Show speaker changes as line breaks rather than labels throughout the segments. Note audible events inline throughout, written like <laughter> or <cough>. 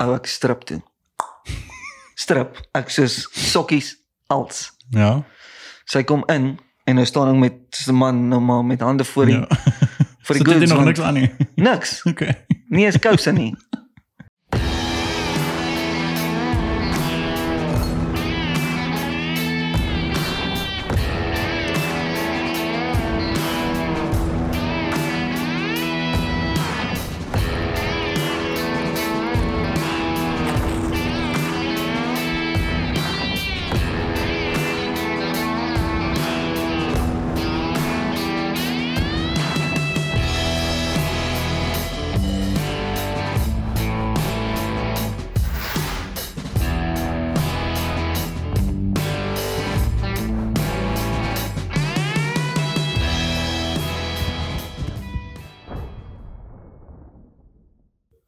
Hou ek strap toe. Strap. Ek soos sokkies als.
Ja.
Sy kom in en nou staan ek met so 'n man nou maar met hande voor die
ja.
<laughs> vir die
Sit dit
goods,
nog
want-
niks aan nie. <laughs>
Niks.
Oké.
Nie eens kouse nie.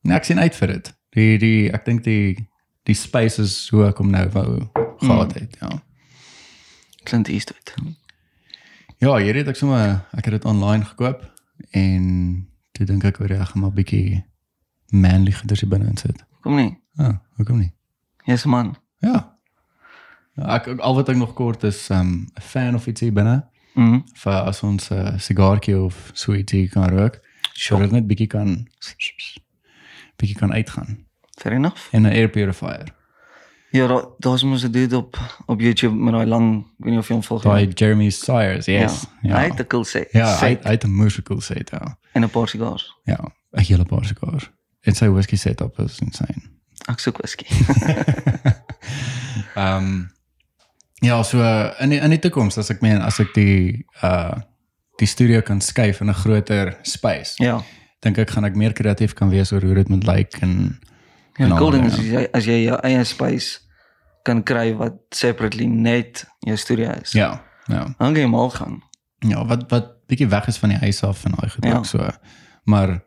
Nee, ek sien uit vir dit. Die die ek dink die die space is hoe ek hom nou wou gehad het, ja.
Klink eers dit.
Ja, hierdie het ek sommer ek het dit online gekoop en toe dink ek oor ek gaan maar 'n bietjie manly goeders hier binne insit.
Kom nie.
Ah, hoekom nie?
Jy's 'n man.
Ja. Ja, Ek ek- al wat ek nog kort is um 'n fan of ietsie binne
Mhm.
vir as ons 'n uh, sigaartjie of so ietsie kan rook. Sure. Dit net bietjie kan bietjie kan uitgaan
Fair enough.
en 'n air purifier.
Ja, da- daar's mos 'n dude op op YouTube met daai lang, ek weet nie of jy hom volg nie.
By Jeremy Sires, yes.
Ja. Hy het 'n cool set.
Ja, hy
set
het- hy het 'n musical set ja.
en 'n paar sigars.
Ja, 'n hele paar sigare. En sy whisky setup is insane.
Ek soek whisky.
<laughs> Ehm ja, so eh, in die, in die toekoms as ek meen as ek die uh die studio kan skuif in 'n groter space,
ja.
dink ek gaan ek meer kreatief kan wees oor hoe dit moet lyk en
Ja,
en al,
cool ding
ja.
is as jy as jy jou eie space kan kry wat separately net jou studio is.
ja, ja.
Dan gaan jy mal gaan.
Ja, wat wat bietjie weg is van die huis af en daai goed
Ja.
ook so. Maar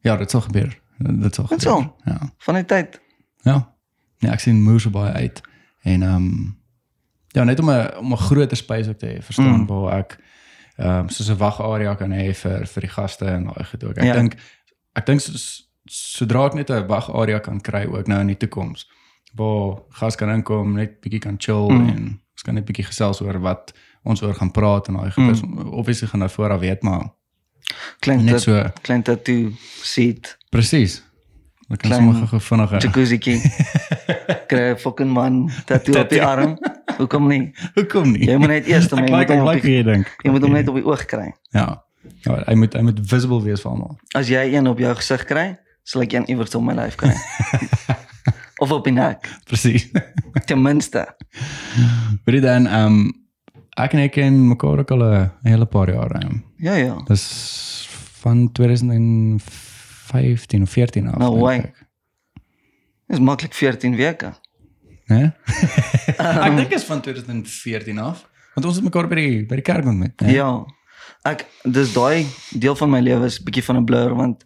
ja, dit sal gebeur. Dit sal
Dit
gebeur.
sal.
Ja.
Van die tyd.
Ja. Nee, ek sien moer so baie uit en ehm um, ja, net om 'n om 'n groter space ook te hê, verstaan mm. waar ek ehm um, soos 'n wagarea kan hê vir vir die gaste en daai goed ook. Ek
Ja.
ja. dink ek dink soos- sodra ek net 'n wagarea kan kry ook nou in die toekoms waar gas kan inkom, net bietjie kan chill mm. en ons kan net bietjie gesels oor wat ons oor gaan praat en daai goed. Mm. Obviously gaan nou vooraf weet maar
Klink
net
dit
so
klink dit toe seat
presies. Ek kan
Klein-
sommer gou-gou vinniger. <laughs>
jacuzzietjie. Kry 'n fucking man tattoo op die
Tattoo.
arm. Hoekom nie?
Hoekom nie?
Jy moet net eers hom
<laughs> Ek
jy moet
like
hom
hom
op
like
die-
jy dink.
jy moet hom net op die oog kry.
Ja. Ja, hy moet hy moet visible wees vir almal. <laughs>
As jy een op jou gesig kry, sal ek een iewers op my lyf
<laughs>
kry. of op die nek,
Presies.
ten minste.
Weet jy dan ehm um, ek en ek ken mekaar ook al 'n hele paar jaar. Um.
Ja ja.
Dis van 2015 of 14 af.
No
dink
way.
ek.
Dis maklik 14 weke.
Né?
<laughs>
ek dink is van 2014 af, want ons het mekaar by die by die kerk ontmoet, né?
Ja. Ek dis daai deel van my lewe is bietjie van 'n blur want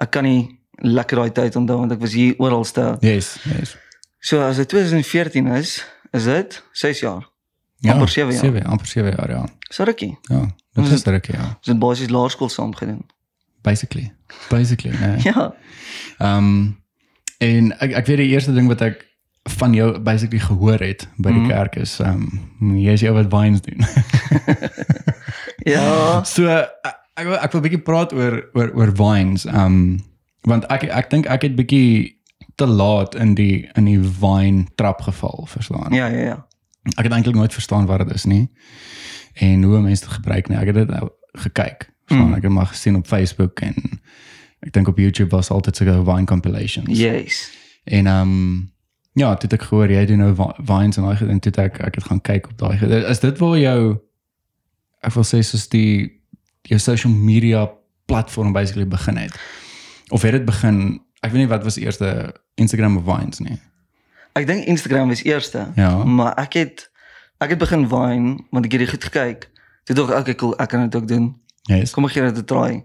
ek kan nie lekker daai tyd onthou want ek was hier oralste.
Yes, yes.
So as dit 2014 is, is dit 6 jaar.
Ja,
Amper sewe jaar.
7, amper 7 jaar, ja.
So rukkie.
Ja, dit is rukkie, ja.
Ons het basies laerskool saam gedoen.
Basically. Basically, né?
<laughs> Ja.
Ehm um, en ek ek weet die eerste ding wat ek van jou basically gehoor het by die mm. kerk is ehm um, jy's jou wat wines doen. <laughs>
Ja.
so ek ek wil, ek wil 'n bietjie praat oor oor oor wines. Ehm um, want ek ek dink ek het bietjie te laat in die in die wine trap geval, verstaan.
Ja, ja, ja.
Ek het eintlik nooit verstaan wat dit is nie en hoe mense dit gebruik nie. Ek het dit nou gekyk. Verstaan, mm. ek het maar gesien op Facebook en ek dink op YouTube was altyd sulke wine compilations.
Yes.
En ehm um, ja, toe het ek gehoor jy doen nou wi- wines en daai goed, en toe het ek ek het gaan kyk op daai. goed. Is dit waar jou ek wil sê soos die jou social media platform basically begin het? Of het dit begin ek weet nie wat was eers Instagram of Vines nie.
Ek dink Instagram was eerste.
Ja.
Maar ek het ek het begin wine want ek het dit goed gekyk. Toe dog ek, okay, cool, ek kan dit ook doen.
Yes.
Kom ek gee dit 'n try.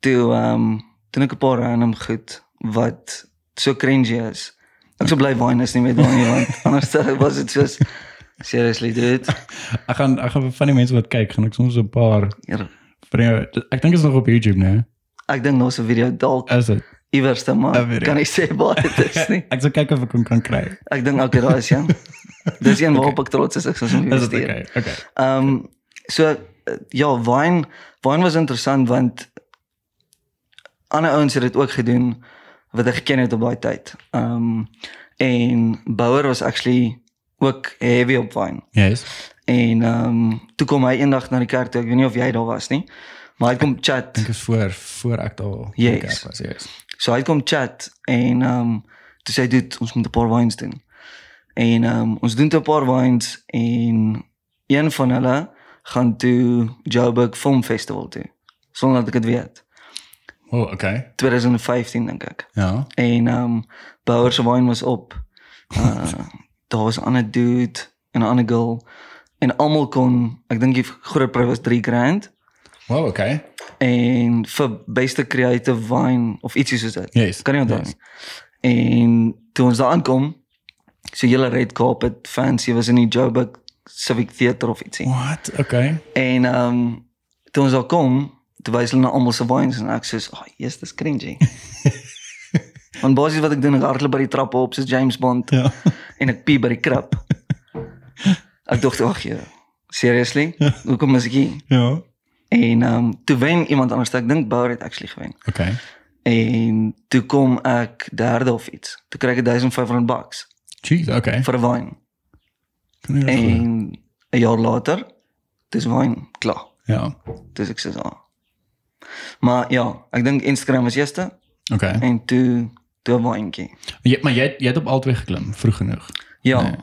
Toe ehm um, doen ek 'n paar random goed wat so cringy is. Ek sou bly wine is nie meer daar nie want <laughs> anders dan was dit soos seriously dude.
Ek gaan ek gaan van die mense wat kyk, gaan ek soms 'n paar
Ja.
van jou, ek dink is nog op YouTube, né?
Ek dink daar's 'n video dalk
Is dit?
iewers te maar
Dat weet ek.
kan ek sê waar dit is nie.
Ek sal kyk of ek hom kan kry.
Ek dink okay, daar is ja. Dis een waarop ek trots is ek sou
Is
moet
dit
weet.
okay? Okay.
Ehm so eh, ja, wine wine was interessant want ander ouens het dit ook gedoen wat ek geken het op daai tyd. Ehm en Bouwer was actually ook heavy op wine.
Yes.
En ehm toe kom hy eendag na die kerk toe. Ek weet nie of jy daar was nie. Maar hy kom chat.
Dink is voor voor ek daar in die
Yes.
kerk was. Yes.
So hy kom chat en ehm um, toe sê hy dit ons moet 'n paar wines doen. En ehm um, ons doen toe 'n paar wines en een van hulle gaan toe Joburg Film Festival toe. Sonder dat ek dit weet.
O, oh, okay.
2015 dink ek.
Ja.
En ehm um, Bouwer se wine was op. Uh daar was 'n ander dude en 'n ander girl en almal kon, ek dink die groot prys was 3 grand
Wow, okay.
en vir beste creative wine of ietsie soos dit.
Yes.
Kan nie onthou
Yes.
nie. En toe ons daar aankom, so hele red carpet fancy was in die Joburg Civic Theatre of ietsie.
What? Okay.
En ehm um, toe ons daar kom, toe wys hulle na almal se wines en ek sê, "Ag, oh, yes, dis cringy." Want basies wat ek doen, ek hardloop by die trappe op soos James
<laughs>
Bond
Ja.
en ek pie by die krap. Ek dink, "Ag, ja, seriously? Hoekom is ek hier?"
Ja.
En ehm um, toe wen iemand anders, ek dink Bauer het actually gewen.
Okay.
En toe kom ek derde of iets. Toe kry ek 1500 bucks
Jeez, okay.
vir 'n wyn.
Kan nie glo.
En 'n jaar later, dis wyn klaar.
Ja.
Dis ek sê so. Maar ja, ek dink Instagram was eerste
Okay.
en toe toe wyntjie.
Jy, maar jy het- jy het op albei geklim vroeg genoeg.
Ja.
Nee.
Nee.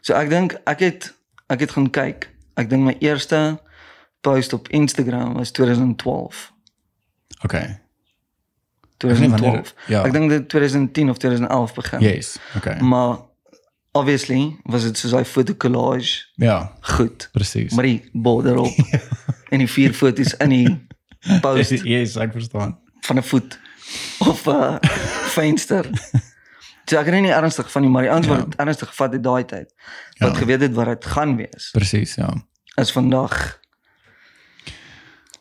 So ek dink ek het ek het gaan kyk. Ek dink my eerste post op Instagram was 2012.
Okay. nie wanneer dit-
2012.
ja.
Ek dink dit 2010 of 2011 begin.
Yes. Okay.
Maar obviously was dit soos hy foto collage
Ja,
goed.
presies.
Maar die border op
<laughs>
en die vier foto's in die post
Yes, ek verstaan.
van 'n voet of 'n venster. So ek het nie ernstig van die maar die ouens wat
Ja.
het ernstig gevat het daai tyd.
Ja.
Wat geweet het wat dit gaan wees
Presies, ja.
is vandag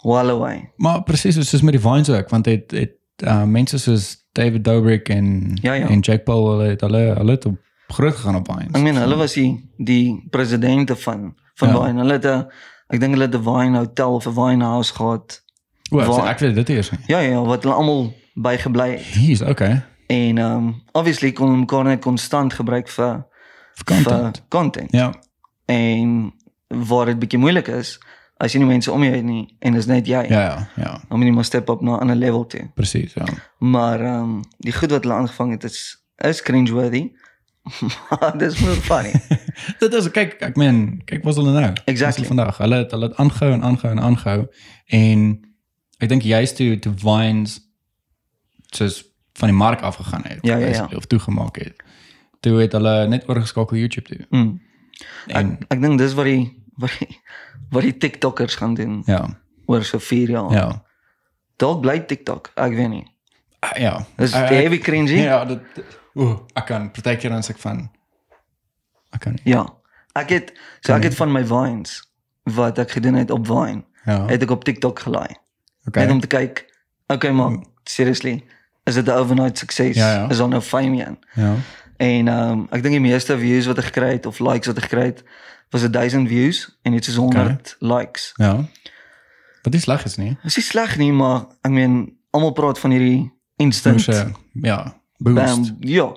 well away.
Maar presies soos soos met die wines ook, want dit het uh, mense soos David Dobrik en
Ja, ja.
en Jack Paul hulle het hulle hulle het op groot gegaan op
Ek
wines.
meen hulle was die die presidente van van
Ja.
ja. Wine. Hulle het 'n ek dink hulle het 'n wine hotel of 'n wine house gehad.
O, ek,
Wa-
ek weet dit eers nie.
Ja ja, wat hulle almal bygebly het.
Jeez, okay.
En ehm um, obviously kon hulle mekaar net konstant gebruik vir
Vakant.
vir content.
Ja.
En waar dit bietjie moeilik is, as jy nie mense om jou het nie en dis net jy.
Ja, ja, ja.
Dan moet jy maar step op na 'n ander level toe.
Presies, ja.
Maar ehm um, die goed wat hulle aangevang het is is cringeworthy. <laughs> maar dis mooi
<laughs>
funny.
Dit is kyk, ek meen, kyk wat is hulle nou? Wat is
Exactly.
Hulle vandag. Hulle het hulle het aangehou en aangehou en aangehou en ek dink juist toe toe Vines soos van die mark afgegaan het
Ja, ja, ja.
basically, of toegemaak het. Toe het hulle net oorgeskakel YouTube toe.
Mm.
En
Ek ek dink dis wat die wat die, wat die TikTokkers gaan doen
ja,
oor so 4 jaar.
ja.
Dalk bly TikTok, ek weet nie.
Ah, Ja.
Dis
Ah, ek-
heavy cringy.
Ja, dit o, ek kan partykeer dan sê ek van ek kan. nie.
Ja. Ek het so ek het van my vines wat ek gedoen het op Vine,
Ja.
het ek op TikTok gelaai. Net
Okay.
om te kyk. Okay, maar seriously, is dit 'n overnight sukses?
Hmm. Ja, ja.
Is daar nou fame in?
Ja.
En ehm um, ek dink die meeste views wat ek gekry het of likes wat ek gekry het, was 1000 views en net soos 100 likes.
Ja. Wat is sleg is nie?
Dit is nie sleg nie, maar ek meen almal praat van hierdie instant
Moes eh, ja, boost.
bam, ja.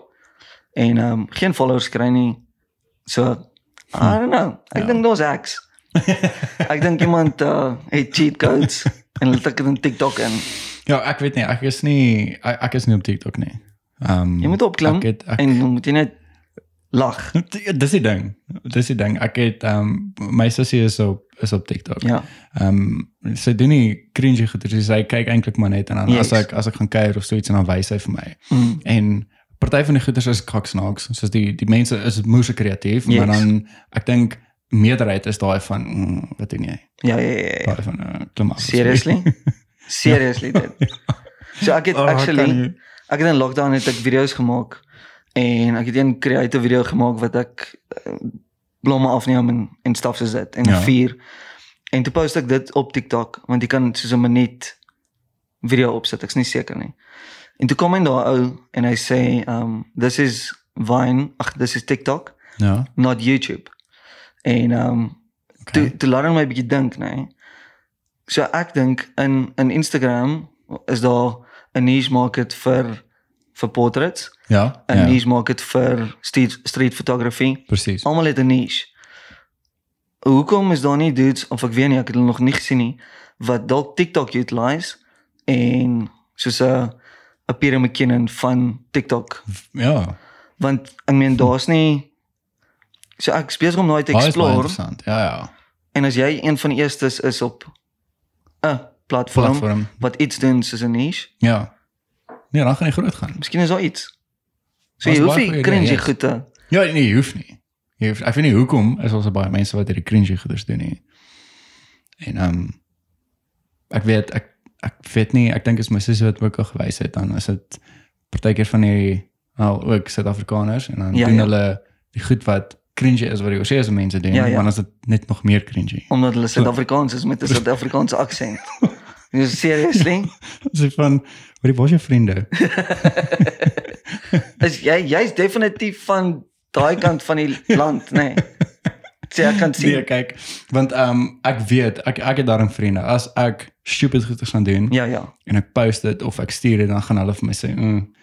En ehm um, geen followers kry nie. So I don't know.
Ja.
Ek dink daar's hacks.
<laughs>
ek dink iemand uh het cheat codes en hulle tik dit in TikTok in.
Ja, ek weet nie, ek is nie ek, ek is nie op TikTok nie. Ehm
Jy moet opklim
Ek het ek,
en dan moet jy net lag.
Ja, dis die ding. Dis die ding. Ek het ehm my sussie is op is op TikTok.
Ja.
Ehm sy doen nie cringy goeie, sy sê, kyk eintlik maar net en dan
Yes.
as ek as ek gaan kuier of so iets en dan wys sy vir my.
Mm.
En party van die goeders is kaksnaaks, soos die die mense is moeëse kreatief, yes. maar
Yes.
dan ek dink meerderheid is daai van mm, wat doen jy?
Ja, ja, ja. ja.
Daai van uh, klim af.
Seriously?
<laughs>
Seriously dit. So ek het
Ja. Oh, ek kan
actually
nie.
ek het in lockdown het ek video's gemaak en ek het een creative video gemaak wat ek eh, blomme afneem en en stuff soos dit en
Ja.
ja. vier. En toe post ek dit op TikTok want jy kan soos 'n minuut video opsit, ek's nie seker nie. En toe kom hy daar ou en hy sê, um this is Vine, ag this is TikTok,
Ja.
not YouTube. En um
Okay.
toe toe laat hom my bietjie dink, nê. Nee. So ek dink in in Instagram is daar 'n niche market vir vir portraits,
ja.
'n
ja.
niche market vir street street photography.
Presies.
Almal het 'n niche. Hoekom is daar nie dudes of ek weet nie, ek het hulle nog nie gesien nie wat dalk TikTok utilise en soos 'n 'n Peter McKinnon van TikTok,
Ja.
want ek meen daar's nie so ek is besig om daai te
Baie is baie
explore.
interessant. Ja, ja.
En as jy een van die eerstes is op 'n platform,
Platform.
wat iets doen soos 'n niche,
Ja. Nee, dan gaan jy groot gaan.
miskien is daar iets. So
Daar's
jy hoef
baie
nie
goeie
cringy
idees.
goed te.
Ja, nee, jy hoef nie. Jy hoef, ek weet nie hoekom Er is ons baie mense wat hierdie cringy goeders doen nie. En ehm um, ek weet ek ek weet nie, ek dink is my sussie wat ook al gewys het dan is dit partykeer van hierdie al ook Suid-Afrikaners en dan
Ja,
ja, doen
ja.
ja. hulle die goed wat cringy is wat die oorsese mense doen,
Ja,
ja,
ja.
ja. want dan is dit net nog meer cringy.
Omdat hulle Suid-Afrikaans is
<laughs>
met 'n Suid-Afrikaanse aksent. Dis seriously?
Dis van wat die was jou vriende.
Is jy jy's definitief van daai kant van die land, nê? Nee. Sê ek kan sien.
Nee, kyk, want ehm um, ek weet ek ek het daarin vriende. As ek stupid goeie gaan doen,
Ja, ja.
en ek post dit of ek stuur dit dan gaan hulle vir my sê, "Mm,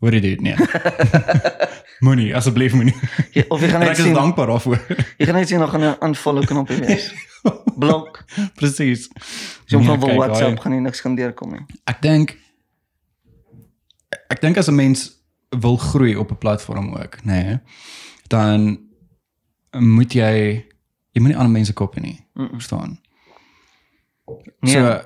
hoor jy dit
<laughs>
nee." moenie, asseblief moenie.
Jy- Of jy gaan
En
net
ek is
sien,
dankbaar daarvoor. <laughs>
jy gaan net sien nog 'n aanval knoppie wees. Blok.
Presies.
So
Nee,
van
kyk,
WhatsApp
daai-
gaan nie niks gaan deurkom nie.
Ek dink ek dink as 'n mens wil groei op 'n platform ook, nê, nee, dan moet jy jy moenie ander mense kopie nie.
Mm, mm.
Verstaan?
Nee.
So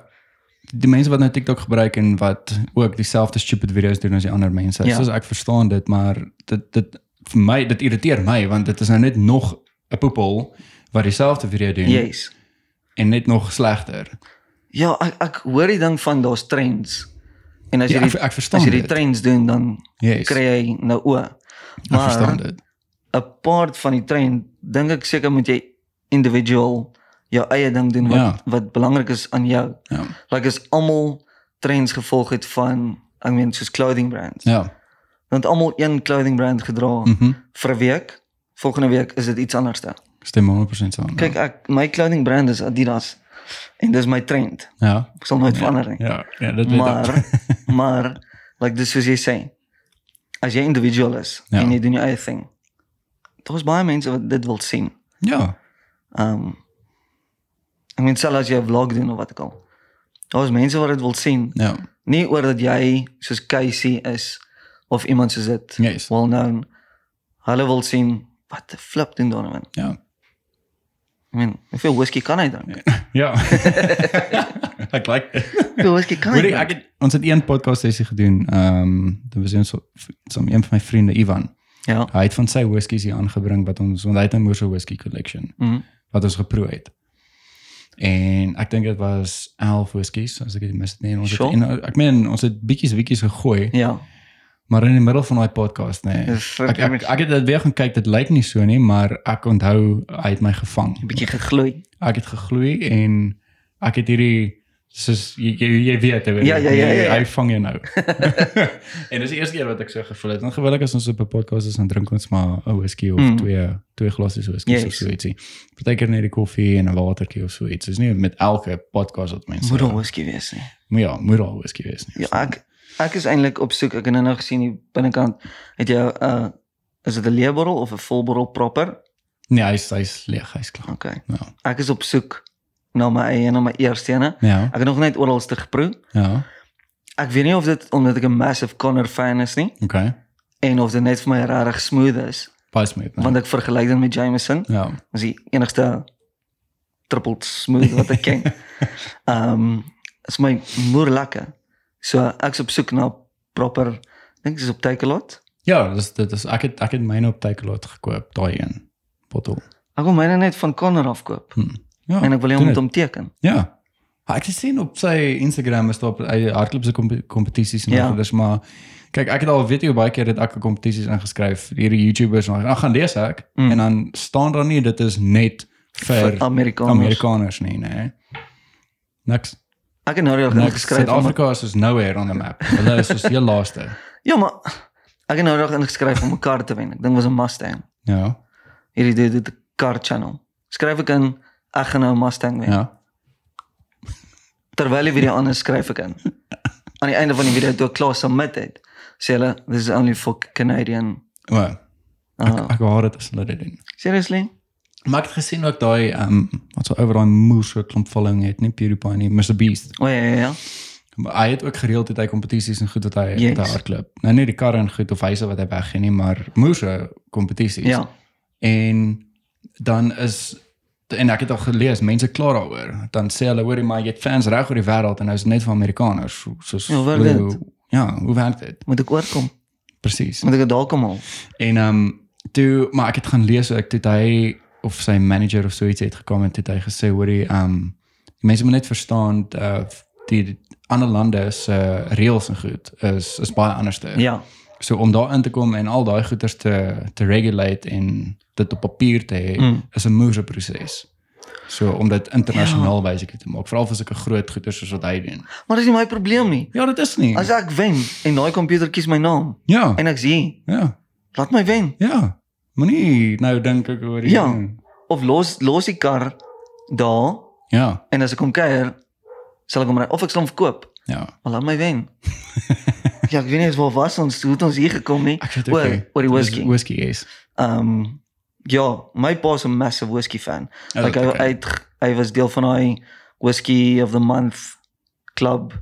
die mense wat nou TikTok gebruik en wat ook dieselfde stupid video's doen as die ander mense.
Ja.
Ja. Soos ek verstaan dit, maar dit dit vir my dit irriteer my want dit is nou net nog 'n poepel wat dieselfde video doen
Yes.
en net nog slegter.
Ja, ek ek hoor die ding van daar's trends. En as
Ja,
jy
ek,
die,
ek
as
verstaan
jy die
dit.
trends doen dan
Yes,
kry jy nou o.
ek verstaan
Maar
dit.
'n part van die trend, dink ek seker moet jy individual jou eie ding doen wat
Ja.
wat belangrik is aan jou.
Ja.
Like as almal trends gevolg het van ek meen soos clothing brands.
Ja.
Dan het almal een clothing brand gedra
Mhm.
vir 'n week. Volgende week is dit iets anderste.
Ek Stem 100% saam.
Kyk, ek my clothing brand is Adidas en dis my trend.
Ja.
Ek sal nooit verander nie.
Ja, ja, dit weet ek.
maar
<laughs>
<laughs> maar like dis soos jy sê as jy individueel is ja.
Ja.
en jy doen jou eie ding daar's baie mense wat dit wil sien
Ja.
um ek meen selfs as jy 'n vlog doen of wat ook al daar's mense wat dit wil sien
Ja.
nie oor dat jy soos Casey is of iemand soos dit
Yes.
well known hulle wil sien wat die flip doen Donovan
Ja.
ek meen hoeveel whisky kan hy drink
Ja. <laughs> ek like dit.
hoeveel whisky kan hy
Hoorie,
drink
ek het ons het een podcast sessie gedoen. Ehm um, dit was ons som een van my vriende Ivan.
ja
Hy het van sy whiskies hier aangebring wat ons want hy het 'n Moorse whisky collection
mm,
wat ons geproe het. En ek dink dit was 11 whiskies as ek dit mis het nie. En Ons
Sure.
het en ek meen ons het bietjies bietjies gegooi,
ja
maar in die middel van daai podcast nê. Nee,
Dis
ek, ek ek het dit weer gaan kyk, dit lyk nie so nie, maar ek onthou hy het my gevang.
'n bietjie gegloei
Ek het gegloei en ek het hierdie soos jy jy, jy weet jy weet,
Ja, ja, ja, ja, ja.
hy vang jou nou. <laughs> en dis die eerste keer wat ek so gevoel het. Dan gewillig as ons op 'n podcast is, dan drink ons maar 'n whisky of
Mm.
mm. twee twee glasies whisky yes. of
Yes.
so ietsie. Partykeer net die koffie en 'n watertjie of so iets. Dis nie met elke podcast wat mense.
moet daar whisky wees nie
Maar ja, moet daar whisky wees nie.
Ja, ek ek is eintlik op soek. Ek het nou nog gesien die binnekant het jy 'n uh, is dit 'n leebottel of 'n volbottel proper?
Nee, hy's hy's leeg, hy's klaar.
Okay.
Ja.
Ek is op soek na my eie en na my eerste ene.
Ja.
Ek het nog net oralste geproe.
Ja.
Ek weet nie of dit omdat ek 'n massive Connor fan is nie
Okay.
en of dit net vir my regtig smooth is,
Pas met.
want ek vergelyk dit met Jameson.
nou. ja.
Dis die enigste triple smooth wat ek ken. Ehm um, is my moer lekker. So ek's op soek na proper ek dink dis op Takealot.
Ja, dis dit is ek het ek het myne op Takealot gekoop, daai een bottel.
Ek wil myne net van Connor afkoop
Ja.
en ek wil hom
doen
met
dit.
hom teken.
Ja. Maar Ek het gesien op sy Instagram is daar hy hardloop se kompe- kompetisies en
Ja.
ja. dis maar kyk ek het al weet jy baie keer dat ek kompetisies ingeskryf hierdie YouTubers en dan gaan lees ek
Mm.
mm. en dan staan daar nie dit is net vir,
Vir Amerikaners.
Amerikaners nie nê. Niks.
Ek het nou
Nou,
reg geskryf. om-
Suid-Afrika is soos nowhere on the map. Hulle is soos heel laaste.
Ja, maar ek het nou reg ingeskryf om 'n kar te wen. Ek dink was 'n Mustang.
Ja.
Hierdie dit dit 'n kar channel. Skryf ek in ek gaan nou 'n Mustang wen.
Ja.
Terwyl die video anders skryf
<laughs>
ek in. Aan die einde van die video toe ek klaar submit het, sê hulle this is only for Canadian.
Maar
Uh,
ek hoor dit as hulle dit doen.
seriously?
Maar ek het gesien ook daai ehm um, wat so oor daai moerse klomp following het, nie PewDiePie nie, Mr Beast.
O ja ja ja.
Maar hy het ook gereeld het hy kompetisies en goed wat hy
Yes.
yes. daar hardloop. Nou nie die karre en goed of hyse wat hy weggee nie, maar moerse kompetisies.
Ja.
En dan is en ek het al gelees mense kla daaroor. Dan sê hulle hoorie maar jy het fans reg oor die wêreld en hy's net van Amerikaners. so- Soos
Ja, werk
hoe- Ja, hoe werk dit?
Moet ek oorkom?
Presies.
Moet ek dit dalk kom haal?
En ehm um, toe maar ek het gaan lees ek toe het hy of sy manager of so iets het gekom en toe het hy gesê hoorie ehm um, mense moet net verstaan uh die ander lande se uh, reëls en goed is is baie anderste.
Ja.
So om daarin te kom en al daai goeders te te regulate en dit op papier te hê
Mm.
mm. is 'n moeëse proses. So om dit internasionaal ja. basically te maak, veral vir sulke groot goeders soos wat hy doen.
Maar dis nie my probleem nie.
Ja, dit is nie.
As ek wen en daai komputer kies my naam
ja.
en ek sê,
Ja.
laat my wen
Ja. Moenie nou dink ek oor die
Ja.
ding.
of los los die kar daar
Ja.
en as ek kom kuier sal ek hom ry of ek sal hom verkoop,
Ja.
maar laat my
<laughs>
wen. ja, ek weet nie eens waar was ons, hoe het ons hier gekom nie?
Ek weet
Oor- oor die whisky.
Whisky is.
Ehm um, ja, my pa's 'n massive whisky fan.
Oh,
like hy
okay.
hy het- hy was deel van daai whisky of the month club.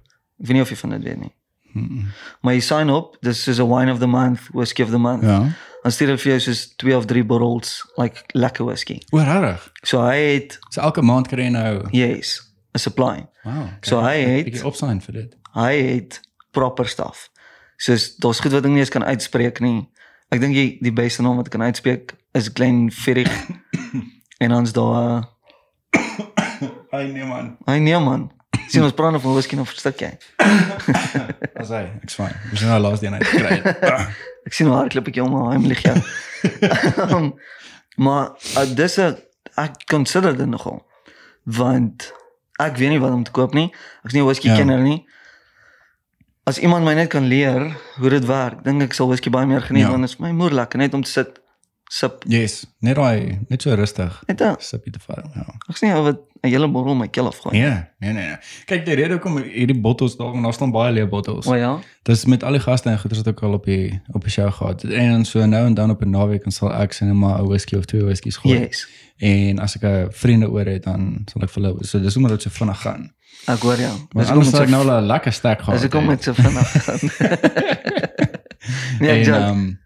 Ek weet nie of jy van dit weet nie.
Mm.
Maar jy sign op, dis soos 'n wine of the month, whisky of the month. Ja.
Ja.
Dan stuur hulle vir jou soos 2 of 3 bottles like lekker whisky.
Oor rarig.
So hy het
So elke maand kry jy nou.
yes, 'n supply.
Wow.
So hy het-
bietjie opsign vir dit.
Hy het proper stuff. Soos daar's goed wat ek nie eens kan uitspreek nie. Ek dink die die beste naam wat ek kan uitspreek is Glenfiddich. en ons daar eh,
Hy nee man.
Hy nee man. Sien ons praat nou van whisky nog 'n stukkie.
As hy, ek's fine. Dis nou laas die een uitgekry het. <laughs>
Ek sien hoe hardloop ek jou maar hom lig jou. um, maar uh, dis 'n ek consider dit nogal want ek weet nie wat om te koop nie. Ek's nie 'n whisky
Ja.
kenner nie. As iemand my net kan leer hoe dit werk, dink ek sal whisky baie meer geniet
Ja.
want dit is vir my moer lekker net om te sit sip.
Yes, net daai, net so rustig.
Net uh,
Sippie te vat. Ja.
ek's nie ou wat 'n hele bottel my keel afgooi. Ja.
Nee, nee, nee, nee. Kyk, die rede hoekom hierdie bottels daar, want daar staan baie leë bottels.
O ja.
Dis met al die gaste en goeders wat ek al op die op die show gehad het. En so nou en dan op 'n naweek en sal ek sien maar 'n whisky of twee whiskies gooi.
Yes.
En as ek 'n vriende oor het, dan sal ek vir hulle so dis hoekom dit so vinnig gaan.
Ek hoor jou.
Maar
Dis hoekom
anders
dit so
sal ek nou al 'n lekker stack gehad.
As ek kom
het.
met so vinnig
<laughs>
gaan. nee, ek
en
joke.
ehm um,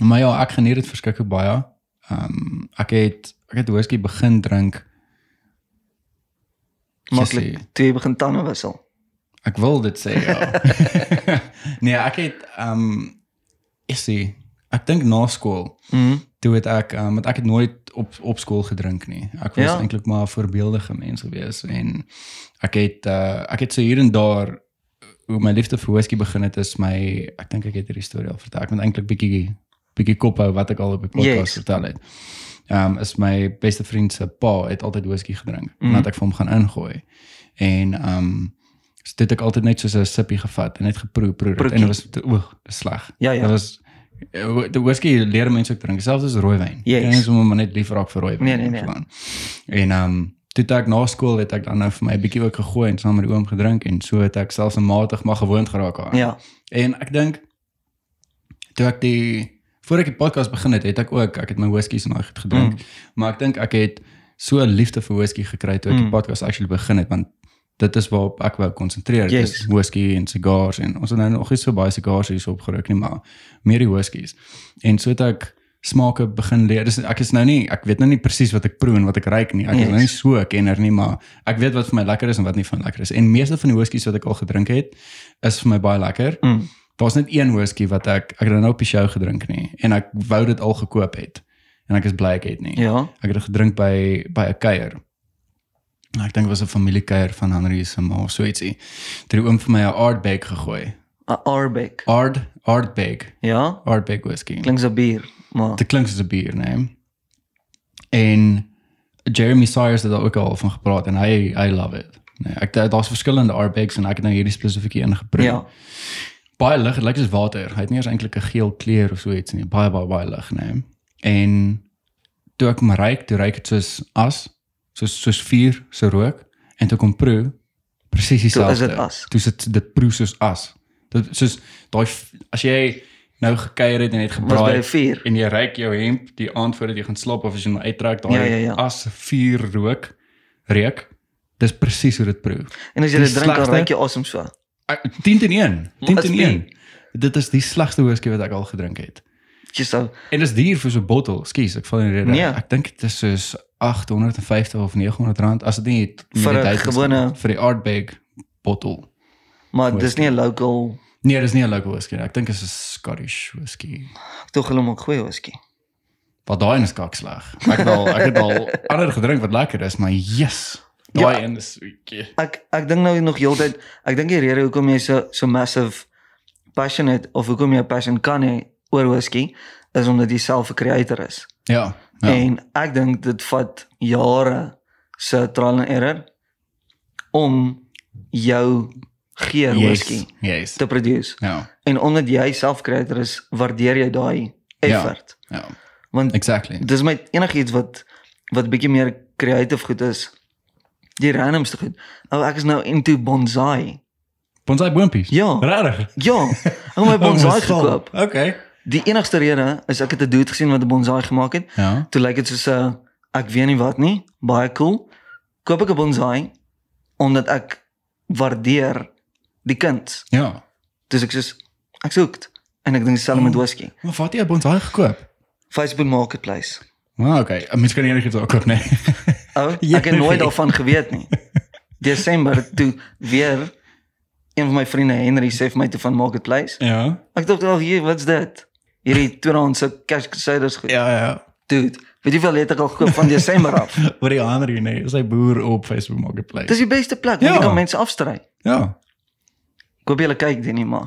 maar ja, ek geniet dit verskriklik baie. Ehm um, ek het ek het whisky begin drink.
maklik
Sissie.
toe jy begin tande wissel.
Ek wil dit sê ja. <laughs> nee, ek het ehm um, is dit ek dink na skool
Mhm.
toe het ek um, want ek het nooit op op skool gedrink nie. Ek was
Ja.
ja. eintlik maar 'n voorbeeldige mens gewees en ek het uh, ek het so hier en daar hoe my liefde vir whisky begin het is my ek dink ek het hierdie storie al vertel. Ek moet eintlik bietjie bietjie kop hou wat ek al op die podcast
Yes.
yes. vertel het. Ehm um, is my beste vriend se pa het altyd whisky gedrink
Mhm.
mm. nadat ek vir hom gaan ingooi. En ehm um, so dit het ek altyd net soos 'n sippie gevat en net geproe proe en
Proekie.
dit was oeg sleg.
Ja, ja.
Dit was Eh, die whisky leer mense ook drink, selfs as rooiwyn.
Yes.
Kan nie sommer maar net lief raak vir rooiwyn.
Nee, nee, nee.
Verstaan? En ehm um, toe het ek na skool het ek dan nou vir my 'n bietjie ook gegooi en saam met die oom gedrink en so het ek selfs 'n matig maar gewoond geraak aan.
Ja.
En ek dink toe ek die voor ek die podcast begin het, het ek ook ek het my whiskies en daai goed gedrink, mm. maar ek dink ek het so 'n liefde vir whisky gekry toe ek mm.
Mm.
die podcast actually begin het want dit is waarop ek wou konsentreer. Dit
Yes.
is whisky en cigars en ons het nou nog nie so baie cigars hierso opgeruk nie, maar meer die whiskies. En so het ek smake begin leer. Dis ek is nou nie ek weet nou nie presies wat ek proe en wat ek ruik nie. Ek yes.
Yes.
is nou nie so 'n kenner nie, maar ek weet wat vir my lekker is en wat nie vir my lekker is. En meeste van die whiskies wat ek al gedrink het, is vir my baie lekker.
Mm.
Daar's net een whisky wat ek ek het nou op die show gedrink nie en ek wou dit al gekoop het en ek is bly ek het nie.
Ja.
Ek het dit gedrink by by 'n kuier. En Ek dink dit was 'n familiekuier van Henry se ma of so ietsie. Toe het die oom vir my 'n Ardbeg gegooi.
'n Arbeck.
Ard Ardbeg,
Ja.
Ardbeg whisky.
Klink so bier, maar
Dit klink soos 'n bier, nee. En Jeremy Sayers het daar ook al van gepraat en hy hy love it. Nee, ek daar's verskillende airbags en ek het nou hierdie spesifieke een geprik.
Ja.
Baie lig, dit lyk soos water. Hy het nie eens eintlik 'n geel kleur of so iets nie. Baie baie baie lig, nee. En toe ek hom ruik, toe ruik dit soos as, soos soos vuur se rook en toe kom proe presies
Toe
dieselfde.
is dit as.
Toe sit dit proe soos as. Dit soos daai f- as jy nou gekuier het en het
Was by
gebraai
'n vuur.
en jy ryk jou hemp die aand voordat jy gaan slaap of as jy hom uittrek daai
Ja, ja, ja.
as vuur rook reuk dis presies hoe dit proe
En as jy
Die
dit drink, dan
slegste-
ruik jy asem so.
Ek- 10 teen 1 10
Must
teen
be.
1 dit is die slegste whisky wat ek al gedrink het
Jy sou
en dis duur vir so 'n bottel skus ek val in die rede
Nee.
ek dink dit is soos 850 of 900 rand as dit nie met die
Vir 'n
duit is nie,
gewone-
vir die Ardbeg bottel
maar dis nie 'n local
nee dis nie 'n local whisky nie. ek dink dit is 'n Scottish whisky
tog hulle maak goeie whisky.
Wat daai een is kaksleg. Ek het al ek het al <laughs> ander gedrink wat lekker is, maar yes. Daai
Ja.
een is okay.
Ek ek dink nou nog heeltyd, ek dink die rede hoekom jy so so massive passionate of hoekom jy 'n passion kan hê oor whisky is omdat jy self 'n creator is.
Ja.
Ja.
Ja.
En ek dink dit vat jare se trial and error om jou geur whisky
Yes.
te produce.
Ja.
En omdat jy self creator is, waardeer jy daai effort. Ja.
Ja.
Want
Exactly.
dis my enigiets wat wat bietjie meer creative goed is. Die randomste goed. Ou ek is nou into bonsai.
Bonsai boontjies.
Ja.
Regtig.
Ja, <laughs> ek het my bonsai gekoop.
Okay.
Die enigste rede is ek het 'n dude gesien wat 'n bonsai gemaak het.
Ja.
Toe lyk dit soos 'n ek weet nie wat nie, baie cool. Koop ek 'n bonsai omdat ek waardeer die kuns.
Ja.
Dis ek soos ek soek en ek dink self
Hmm.
met whisky.
Maar wat het jy 'n bonsai gekoop?
Facebook Marketplace.
Maar well, okay, mens kan enigiets ook koop, nee.
Ou, ek het nooit daarvan geweet nie. Desember toe weer een van my vriende Henry sê vir my toe van Marketplace.
<laughs> ja.
Ek dink al hier, wat's dit? Hierdie tweedehandse cash crusaders goed.
Ja, ja.
Dude, weet jy hoeveel het ek al gekoop
<laughs>
van Desember af?
Oor die ander nee, is hy boer op Facebook Marketplace.
Dis die beste plek want
Ja.
jy kan mense afstry.
ja.
Ek hoop julle kyk dit nie
<laughs>
maar.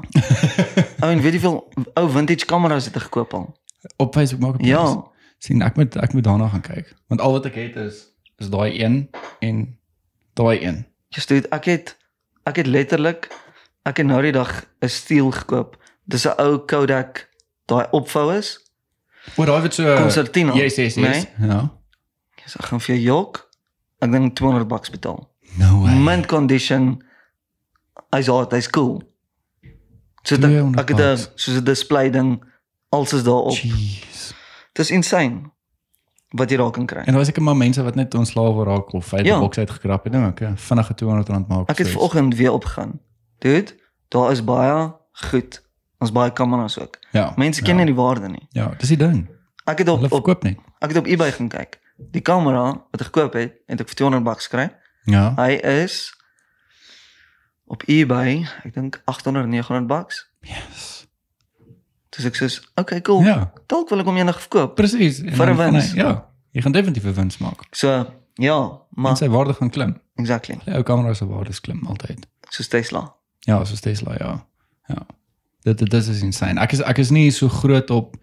Ou en weet jy hoeveel ou vintage kameras het ek gekoop al?
Op Facebook Marketplace.
Ja,
sien ek moet ek moet daarna gaan kyk, want al wat ek het is is daai een en daai een.
just dude, ek het ek het letterlik ek het nou die dag 'n steel gekoop. Dis 'n ou Kodak daai opvou is.
Oor daai wat so
Concertina,
Yes, yes, yes.
nee?
Ja.
Yes, ek gaan vir jou jok. Ek dink 200 bucks betaal.
No
Mint condition. Hy's hard, hy's cool. So dit
200
ek het 'n
bucks.
soos 'n display ding alles is daarop.
Jeez.
Dis insane wat jy daar kan kry.
En daar is seker maar mense wat net ontslaaf raak of uit die
Ja.
boks uitgekrap het. Nou, okay, vinnige 200 rand maak.
Ek het
so iets.
vanoggend weer opgegaan. Dude, daar is baie goed. Ons baie kameras ook.
Ja.
Mense
ja,
ken nie die waarde nie.
Ja, dis die ding.
Ek het op,
Hulle
op
verkoop net.
ek het op eBay gaan kyk. Die kamera wat ek gekoop het en dit vir 200 bucks kry.
Ja.
Hy is op eBay, ek dink 800 900 bucks.
Yes.
Dis ek sê, okay, cool. Ja.
Ja,
Dalk wil ek hom eendag verkoop.
presies. En
Vir
dan
'n
gaan
wins.
hy- Ja. Jy gaan definitief 'n wins maak.
So, ja,
Maar
maar
sy waarde gaan klim.
exactly.
Die ou kamera se waardes klim altyd.
So Tesla.
Ja, soos Tesla, ja. Ja. Dit dit dit is insane. Ek is ek is nie so groot op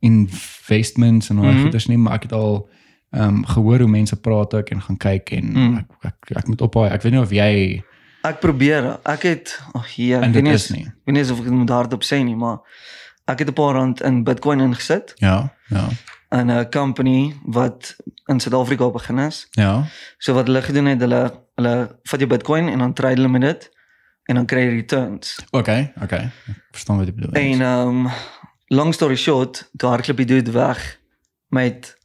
investments en al mm
Mhm.
-hmm. goeders nie, maar ek het al ehm um, gehoor hoe mense praat ook en gaan kyk en
Mm.
mm. ek, ek ek moet ophou. Ek weet nie of jy
Ek probeer, ek het ag hier,
en
ek weet
dit
nie,
is
eens-
nie.
weet nie eens of ek dit moet hardop sê nie, maar ek het 'n paar rand in Bitcoin ingesit
Ja, ja.
in 'n company wat in Suid-Afrika begin is.
Ja.
So wat hulle gedoen het, hulle hulle vat jou Bitcoin en dan trade hulle met dit en dan kry jy returns.
Okay, okay. Ek verstaan wat jy bedoel.
En um long story short, toe hardloop die dude weg met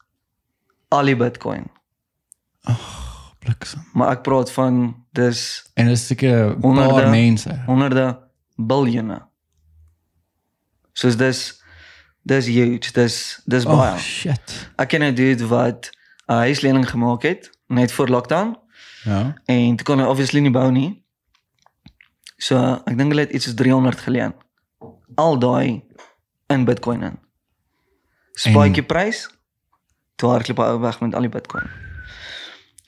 al die Bitcoin.
Ag, bliksem.
Maar ek praat van dis
En dis seker 'n
Honderde.
paar mense.
honderde biljoene. Soos dis dis huge, dis dis baie.
Oh, shit.
Ek ken 'n dude wat 'n huislening gemaak het net voor lockdown
Ja.
en toe kon hy obviously nie bou nie. So ek dink hulle het iets soos 300 geleen. Al daai in Bitcoin in. Spike prys. Toe hardloop hy ou weg met al die Bitcoin.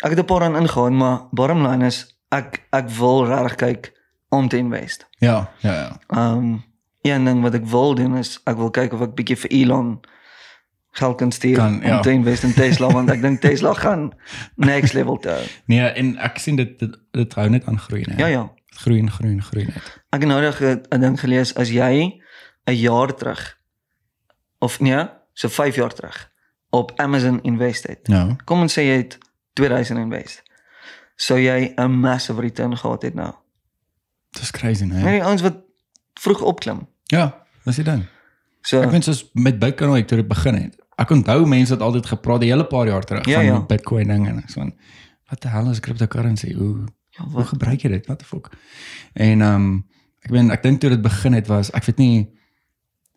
Ek het 'n paar aan ingegaan, maar bottom line is ek ek wil regtig kyk om te invest.
Ja, ja, ja.
Ehm um, een ding wat ek wil doen is ek wil kyk of ek bietjie vir Elon geld kan stuur
Kan,
om
ja.
te invest in Tesla want ek dink
<laughs>
Tesla gaan next level toe.
Nee, en ek sien dit dit, dit hou net aan groei, nee.
Ja ja.
Dit Groei en groei en groei net.
Ek het nodig 'n ding gelees as jy 'n jaar terug of nee, so 5 jaar terug op Amazon invest het.
Nou.
Kom ons sê jy het 2000 invest. Sou jy 'n massive return gehad het nou.
Dis crazy, nee.
Nee, die ouens wat vroeg opklim.
Ja, dis die ding.
So
Ek weet soos met Bitcoin hoe ek toe dit begin het. Ek onthou mense het altyd gepraat die hele paar jaar terug
Ja,
van
ja.
die Bitcoin ding en ek so van wat die hel is cryptocurrency? Hoe
ja,
hoe
wat,
gebruik jy dit? What the fuck? En ehm um, ek weet ek dink toe dit begin het was ek weet nie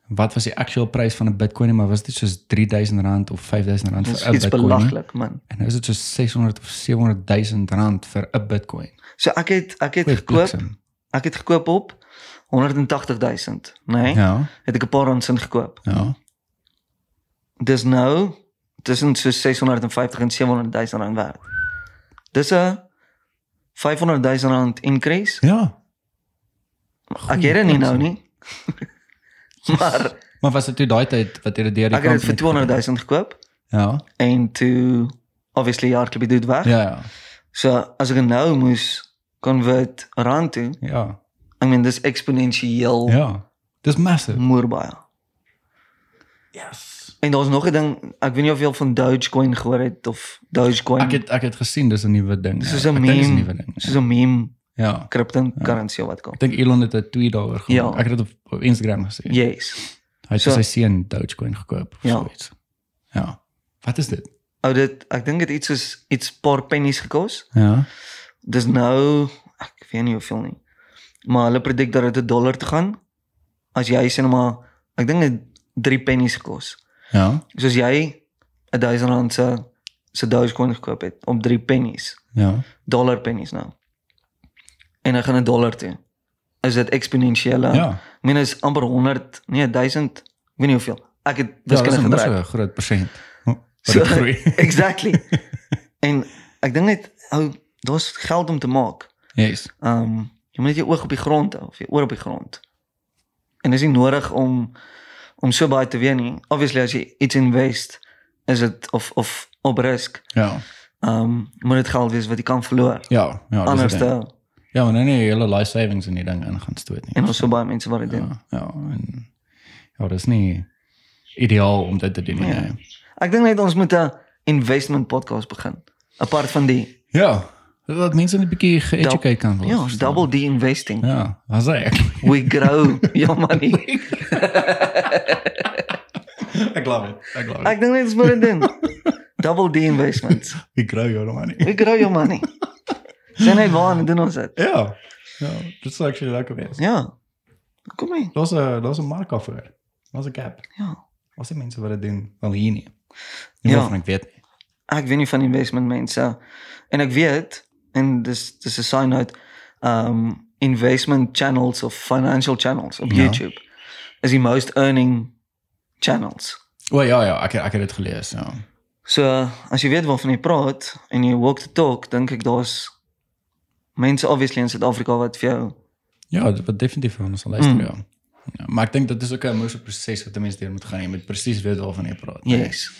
wat was die actual prys van 'n Bitcoin nie, maar was dit soos R3000 of R5000 vir 'n
dit is
Bitcoin?
iets belaglik man.
En nou is dit so 600 of 700 000 rand vir 'n Bitcoin.
So ek het ek het
Goeie
gekoop.
bliksem.
Ek het gekoop op 180000, né? Nee?
Ja,
Het ek 'n paar rand sin gekoop.
ja.
Dis nou tussen so 650 en 700000 rand werd. Dis 'n 500000 rand increase.
Ja.
Ek
Goeie
het dit nie
bliksem.
nou nie. <laughs> maar
Maar was dit toe daai tyd wat jy dit deur die
ek het dit
kant
vir
met gekoop
200000 gekoop
Ja.
en toe obviously ja, klop dit weg.
Ja, ja.
So as ek nou moes convert rand toe,
Ja.
I mean dis eksponensieel ja.
Ja. Dis massive.
moer baie.
Yes.
En daar's nog 'n ding, ek weet nie of jy al van Dogecoin gehoor het of Dogecoin.
Ek het ek het gesien dis 'n nuwe ding.
Dis
ja.
soos 'n
Ek dink dis 'n
meme.
nuwe ding.
soos 'n meme
Ja.
cryptocurrency of wat kom.
Ek dink Elon het 'n tweet daaroor gemaak.
Ja.
Ek het dit op, op Instagram gesien.
Yes.
Hy het
so-
so, sy seun Dogecoin gekoop of
Ja.
ja. so iets. Ja. Wat is dit?
Ou Oh, dit ek dink dit iets soos iets paar pennies gekos.
Ja.
Dis nou ek weet nie hoeveel nie. Maar hulle predik dat dit 'n dollar te gaan. As jy sê nou maar ek dink dit 3 pennies gekos.
Ja.
So as jy 'n 1000 rand se se Dogecoin gekoop het om 3 pennies,
Ja.
dollar pennies nou. En hy gaan 'n dollar toe. Is dit eksponensiële?
Ja.
Ek meen is amper 100, nee 1000, ek weet nie hoeveel. Ek het wiskunde ja,
ja, dis 'n
gebruik.
massive groot persent.
So, <laughs>
So, groei.
exactly. en ek dink net ou daar's geld om te maak.
yes.
Ehm um, jy moet net jou oog op die grond hou of jou oor op die grond. En dis nie nodig om om so baie te weet nie. Obviously as jy iets invest, is dit of of op risk.
Ja.
Ehm um, moet dit geld wees wat jy kan verloor.
Ja, ja, dis
Anders eh,
die ding.
dan
Ja, maar nou nie hele life savings in die ding ingaan stoot nie.
en ons so baie mense wat dit doen.
ja, ja, en ja, dis nie ideaal om dit te doen nie.
Ja.
nee.
Ek dink net ons moet 'n investment podcast begin. Apart van die
Ja, dat mense net 'n bietjie geeducate kan word.
ja, ons double D investing.
Ja, as
<laughs>
ek.
We <laughs> grow your money.
ek love it. Ek love
Ek dink net ons moet dit doen. Double D investments.
Ek grow your money.
We grow your money. Sien net waar en doen ons dit.
Ja. Ja, dit sou actually lekker wees.
Ja. Kom mee.
Daar's 'n daar's 'n mark daarvoor. Daar's 'n cap.
Ja.
Ons sien mense wat dit doen van hier nie. Nie
Ja.
waarvan ek weet nie.
Ek weet nie van investment mense en ek weet en dis dis 'n sign note um investment channels of financial channels op
Ja.
YouTube is die most earning channels.
O ja ja, ek ek het dit gelees, ja.
So as jy weet waarvan jy praat en jy walk the talk, dink ek daar's mense obviously in Suid-Afrika wat vir jou
Ja, dit wat definitief van ons sal luister, ja. ja. Maar ek dink dit is ook 'n moeilike proses wat 'n mens deur moet gaan. Jy moet presies weet waarvan jy praat. nee.
yes.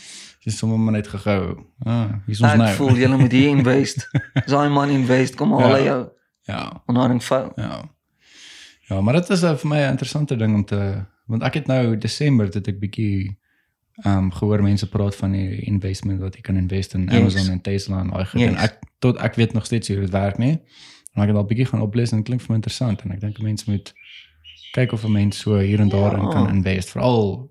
Jy is sommer maar net gegou. Ah, hier's ons
Ek
nou. <laughs>
voel jy moet hier invest. Daai money invest, kom haal
Ja.
jou
Ja.
onderhouding vou.
Ja. Ja, maar dit is eh, vir my 'n interessante ding om te want ek het nou Desember dit ek bietjie ehm um, gehoor mense praat van die investment wat jy kan invest in
Yes.
Amazon en Tesla en daai goed en
Yes.
ek tot ek weet nog steeds hoe dit werk nie. En ek het al bietjie gaan oplees en dit klink vir my interessant en ek dink mense moet kyk of 'n mens so hier en daar in
Ja.
kan invest veral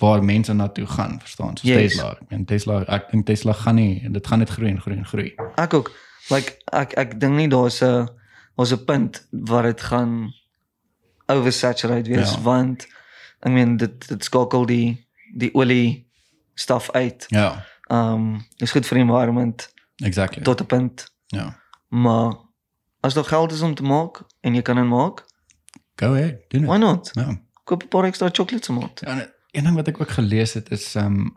waar mense na toe gaan, verstaan? So
Yes.
yes. Tesla. Ek meen Tesla, ek dink Tesla gaan nie dit gaan net groei en groei en groei.
Ek ook Ah, like ek ek dink nie daar's 'n daar's 'n punt waar dit gaan oversaturate wees
Ja.
want ek meen dit dit skakel die die olie stof uit.
Ja,
Um is goed vir die environment
exactly.
tot 'n punt,
ja.
maar as daar geld is om te maak en jy kan dit maak,
Go ahead, doen
why
dit.
not?
Ja.
koop 'n paar ekstra chocolates om aan.
Ja, en een ding wat ek ook gelees het is ehm um,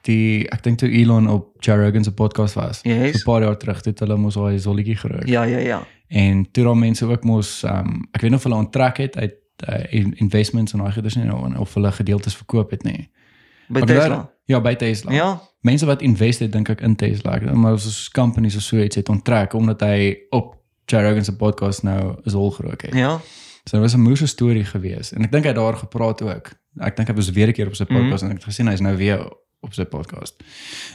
die ek dink toe Elon op Joe Rogan se podcast was,
Yes.
so 'n paar jaar terug het hulle mos daai zolletjie gerook.
Ja, ja, ja.
En toe daar mense ook mos ehm um, ek weet nie of eh, hulle aantrek het uit uh, in- investments en daai goeders nie of, of hulle gedeeltes verkoop het nie.
by
Maar
Tesla.
daar- ja, by Tesla.
Ja,
Mense wat invest het dink ek in Tesla, ek- maar soos companies of so iets het onttrek omdat hy op Joe Rogan se podcast nou is hol gerook het.
ja.
So dit was 'n moeëse storie gewees en ek dink hy het daar gepraat ook. Ek dink hy was weer 'n keer op sy podcast en ek het gesien hy's nou weer op sy podcast.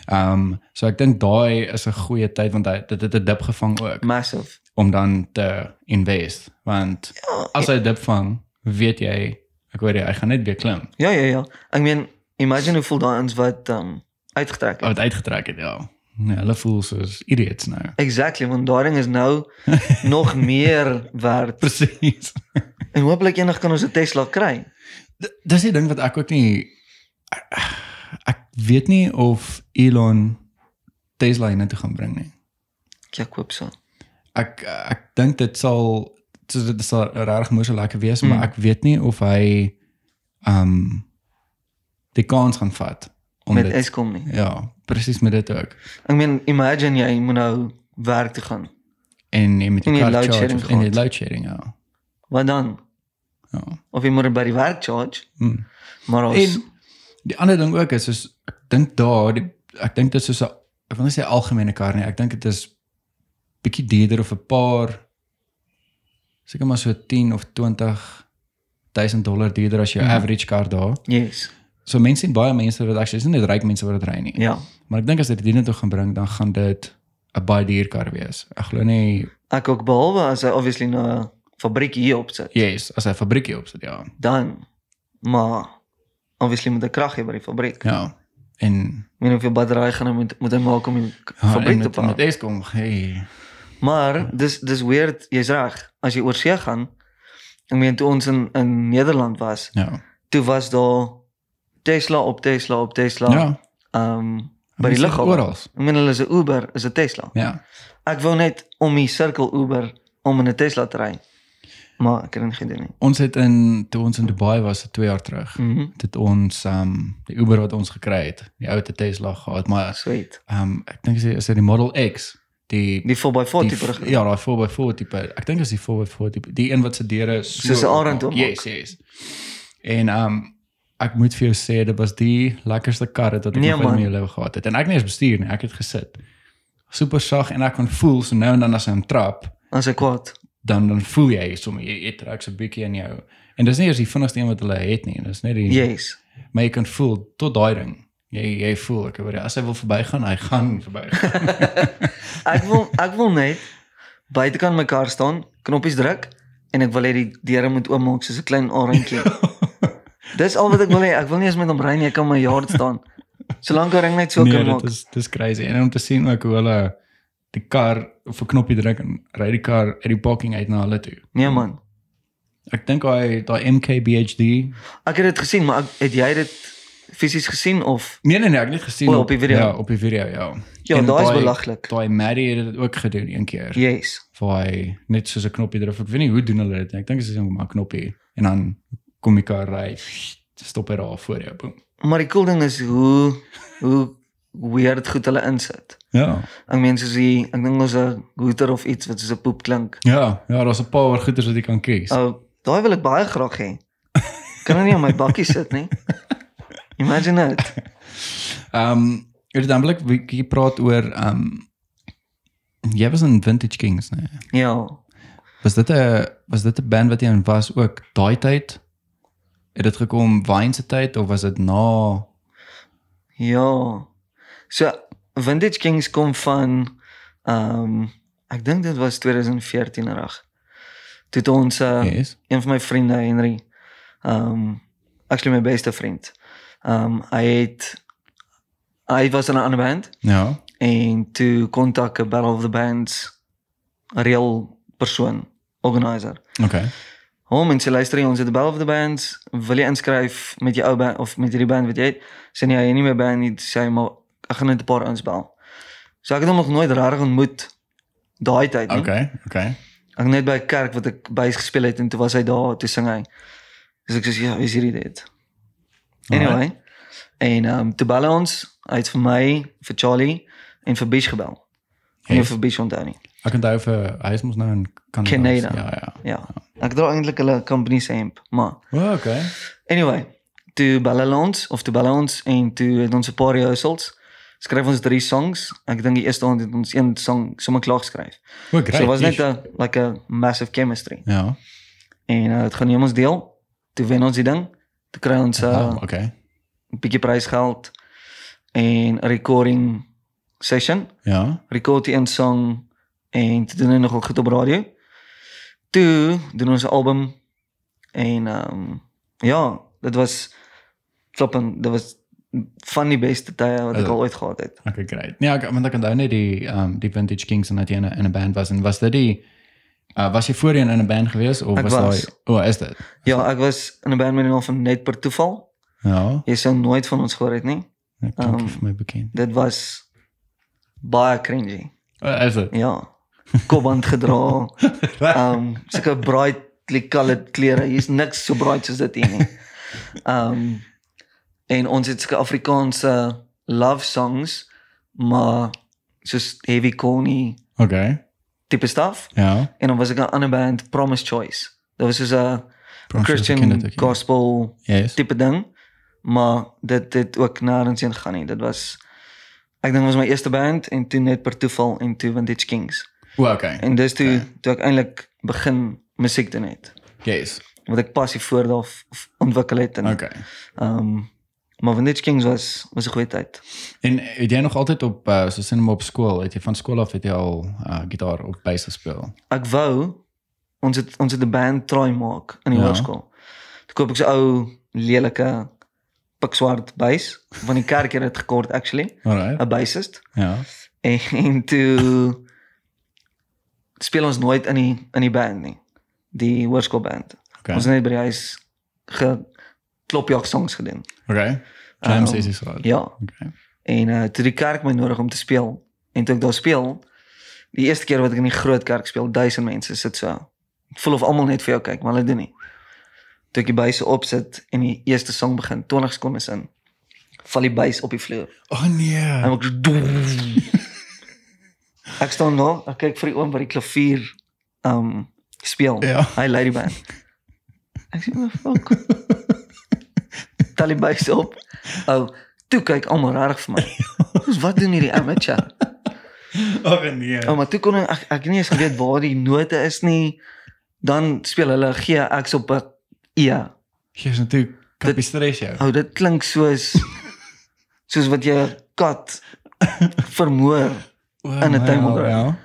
Ehm so ek dink daai is 'n goeie tyd want hy dit het 'n dip gevang ook
Massive.
om dan te invest want as hy 'n dip vang, weet jy ek hoor jy hy gaan net weer klim.
Ja, ja, ja. Ek meen, imagine hoeveel daai ons wat um uitgetrek
Wat
het.
uitgetrek het ja. Ja, hulle voel soos idiots nou. <laughs>
Exactly, want daai ding is nou nog meer werd.
Presies.
En hopelik eendag kan ons 'n Tesla kry.
D- Dis die ding wat ek ook nie ek weet nie of Elon Tesla hiernatoe gaan bring nie.
Ja, koop so.
Ek ek dink dit sal so dit sal regtig moeëse lekker wees, mm.
Hmm.
maar ek weet nie of hy um die kans gaan vat om
Met
dit
Eskom nie.
ja, presies met dit ook.
Ek meen, imagine jy moet nou werk toe gaan.
En nee, met
En
die
die
car
load
charge
shedding
of- en die
gehad.
load sharing ja.
Wat dan?
Ja.
Of jy moet dit by die werk charge.
Mm.
Maar ons
En die ander ding ook is soos ek dink daar die, ek dink dit is soos 'n ek wil nie sê algemene kar nie, ek dink dit is bietjie duurder of 'n paar seker maar so 10 of 20 1000 dollar duurder as jou
Hmm.
mm. average kar daar.
yes.
So mense sien baie mense wat actually is nie net ryk mense wat dit ry nie.
Ja.
Maar ek dink as dit dit net toe gaan bring, dan gaan dit 'n baie duur kar wees. Ek glo nie
Ek ook behalwe as hy obviously nou 'n fabriek hier opsit,
yes, as 'n fabriekie opsit ja.
dan maar obviously moet hy krag hê by die fabriek. Ja.
Ja. En
Ek meen hoeveel batterye gaan hy moet moet hy maak om die k-
ja, en
fabriek te
met, met
pa.
Eskom, hey.
Maar dis dis weird, jy's reg. As jy oor see gaan, ek meen toe ons in in Nederland was,
Ja.
toe was daar Tesla op Tesla op Tesla.
Ja,
Ehm by die
mense
lughawe.
oral.
Ek meen hulle is 'n Uber, is 'n Tesla.
Ja.
Ek wou net om die sirkel Uber om in 'n Tesla te ry. Maar ek het dit nie gedoen nie.
Ons het in toe ons in Dubai was so 2 jaar terug. Mm.
Mhm.
Dit ons ehm um, die Uber wat ons gekry het, die ou te Tesla gehad, maar
Sweet.
ehm um, ek dink is dit is dit die Model X, die
Die 4x4 tipe rig.
die, ja, daai 4x4 tipe. Ek dink is die 4x4 tipe, die een wat se deure so
Soos 'n
oopmaak.
arend oopmaak.
Yes, yes. En ehm um, ek moet vir jou sê dit was die lekkerste kar wat ek
Nee,
nog in my
man.
lewe gehad het. En ek het nie eens bestuur nie, ek het gesit. Super sag en ek kon voel so nou en dan as hy hom trap
As hy kwaad.
dan dan voel jy sommer jy jy trek so 'n bietjie in jou. En dis nie eers die vinnigste een wat hulle het nie, dis net die
Yes.
maar jy kan voel tot daai ding. Jy jy voel ek hoor as hy wil verbygaan, hy gaan verbygaan.
Ek wil ek wil net buitekant my kar staan, knoppies druk en ek wil hê die deure moet oopmaak soos 'n klein
<laughs>
orantjie. Dis al wat ek wil hê. Ek wil nie eens met hom ry nie. Ek kan my yard staan. Solank hy ring net so
nee,
kan
dit
maak.
is dis crazy. En om te sien ook hoe hulle die kar of 'n knoppie druk en ry die kar uit die parking uit na hulle toe.
Nee man.
Ek dink hy daai MKBHD.
Ek het dit gesien, maar ek, het jy dit fisies gesien of
Nee nee nee, ek het net gesien
O, op die video.
Ja, op die video ja.
Ja,
En
daai is
daai-
belaglik. Ja.
Daai Maddie het dit ook gedoen een keer.
Yes.
waar hy net soos 'n knoppie druk. Ek weet nie hoe doen hulle dit nie. Ek dink dit is net maar 'n knoppie en dan kom die kar ry. Stop hy daar voor jou. Boom.
Maar die cool ding is hoe hoe weird goed hulle insit.
Ja.
Ek meen soos die ek dink ons 'n hooter of iets wat soos 'n poep klink.
Ja, ja, daar's 'n paar goeders wat jy kan kies.
Ou, oh, daai wil ek baie graag hê. Kan hy nie op my bakkie sit nie. Imagine dit.
Ehm, um, het dan blik bietjie praat oor ehm um, jy was in Vintage Kings, nee.
Ja.
Was dit 'n was dit 'n band wat jy in was ook daai tyd? Het dit gekom Vine se tyd of was dit na
Ja. So Vintage Kings kom van ehm um, ek dink dit was 2014 reg. Toe het ons uh,
Yes.
een van my vriende Henry ehm um, actually my beste vriend. Ehm um, hy het hy was in 'n ander band
Ja.
en toe kontak 'n Battle of the Bands reël persoon, organizer.
Okay.
Hom en sê luister, hier, ons het 'n Battle of the Bands, wil jy inskryf met jou ou band of met hierdie band wat jy het? Sê nee, hy het nie my band nie, sê hy, maar ek gaan net 'n paar ouens bel. So ek het hom nog nooit regtig ontmoet daai tyd nie.
Okay. Okay.
Ek net by 'n kerk wat ek bys gespeel het en toe was hy daar, toe sing hy. Dus ek sê ja, wie is hierdie dit? Anyway. En ehm um, toe bel hy ons, hy het vir my, vir Charlie en vir Bish gebel. En
Yes.
vir Bish onthou nie.
Ek kan daai vir hy is mos nou in Kanada.
Canada.
Ja, ja.
Ja. Ek dra eintlik hulle company se hemp, maar
O, okay.
Anyway, toe bel hulle ons of toe bel hulle ons en toe het ons 'n paar rehearsals. Skryf ons drie songs. Ek dink die eerste aand het ons een song sommer klaar geskryf.
O, great.
So dit was net
Jeesh.
'n like 'n massive chemistry.
Ja.
En uh, dit gaan neem ons deel. Toe wen ons die ding. Toe kry ons 'n
Wow,
uh,
okay.
bietjie prysgeld en 'n recording session.
Ja.
record die een song en toe doen hy nogal goed op radio. Toe doen ons 'n album en ehm um, ja, dit was kloppen, dit was van die beste tye wat ek
Oh.
al ooit gehad het.
Okay, great. Ja, ek, want ek onthou net die ehm um, die Vintage Kings en dat jy in 'n in 'n band was en was dit die uh, was jy voorheen in 'n band gewees of
Ek
was
was.
daai O, oh, is dit?
Ja, ek was in 'n band met die naam van Net per toeval.
Ja.
Jy sou nooit van ons gehoor het nie.
Ek klink
Ehm,
um, vir my bekend.
Dit was baie cringy.
Oh, is
<laughs>
dit?
Ja. Kopband gedra. Ehm um, sulke brightly colored klere. Hier's niks so bright soos dit hier nie. Ehm um, en ons het sulke Afrikaanse love songs maar soos heavy corny
Okay.
tipe stuff
Ja.
en dan was ek 'n ander band Promise Choice. Dit was soos 'n
Promise Choice, Oh, ek ken
Christian
dit ook, ja.
gospel
Yes.
tipe ding maar dit het ook nêrens heen gegaan nie. Dit was ek dink dit was my eerste band en toe net per toeval en toe Vintage Kings.
O, okay.
En dis toe toe ek eintlik begin musiek doen het.
Yes.
wat ek passie voor daar v- ontwikkel het en ehm
Okay.
um, maar Vintage Kings was was 'n goeie tyd.
En het jy nog altyd op uh, so sien maar op skool, het jy van skool af het jy al uh, gitaar of bass gespeel?
Ek wou ons het ons het 'n band try maak in die
Ja.
ja. hoërskool. Toe koop ek so ou lelike pikswart buis van die kerk het dit gekort actually,
Alright.
'n bassist.
Ja.
En, en <laughs> toe speel ons nooit in die in die band nie. Die hoërskoolband.
Okay.
Ons het net by die huis ge klopjag songs gedoen.
Okay. Jam
Ehm,
sessies gehad.
Ja.
Okay.
En eh toe die kerk my nodig om te speel en toe ek daar speel, die eerste keer wat ek in die groot kerk speel, duisend mense sit so. Ek voel of almal net vir jou kyk, maar hulle doen nie. Toe ek die buis opsit en die eerste song begin, 20 sekondes in, val die buis op die vloer.
Oh nee.
En ek so doem. Ek staan daar, ek kyk vir die oom wat die klavier um speel.
Ja.
Hy lei die band. Ek sê, "What the fuck?" Tel die buis op. Ou, toe kyk almal rarig vir my. Dis wat doen hierdie amateur?
Oh nee.
Ou, maar toe kon ek ek het nie eens geweet waar die note is nie. Dan speel hulle G X op 'n E.
Jy's natuurlik kapie stres jou.
Ou, dit klink soos soos wat jy 'n kat vermoor.
Oh,
in 'n
my
tuimel
hel,
draai.
Ja.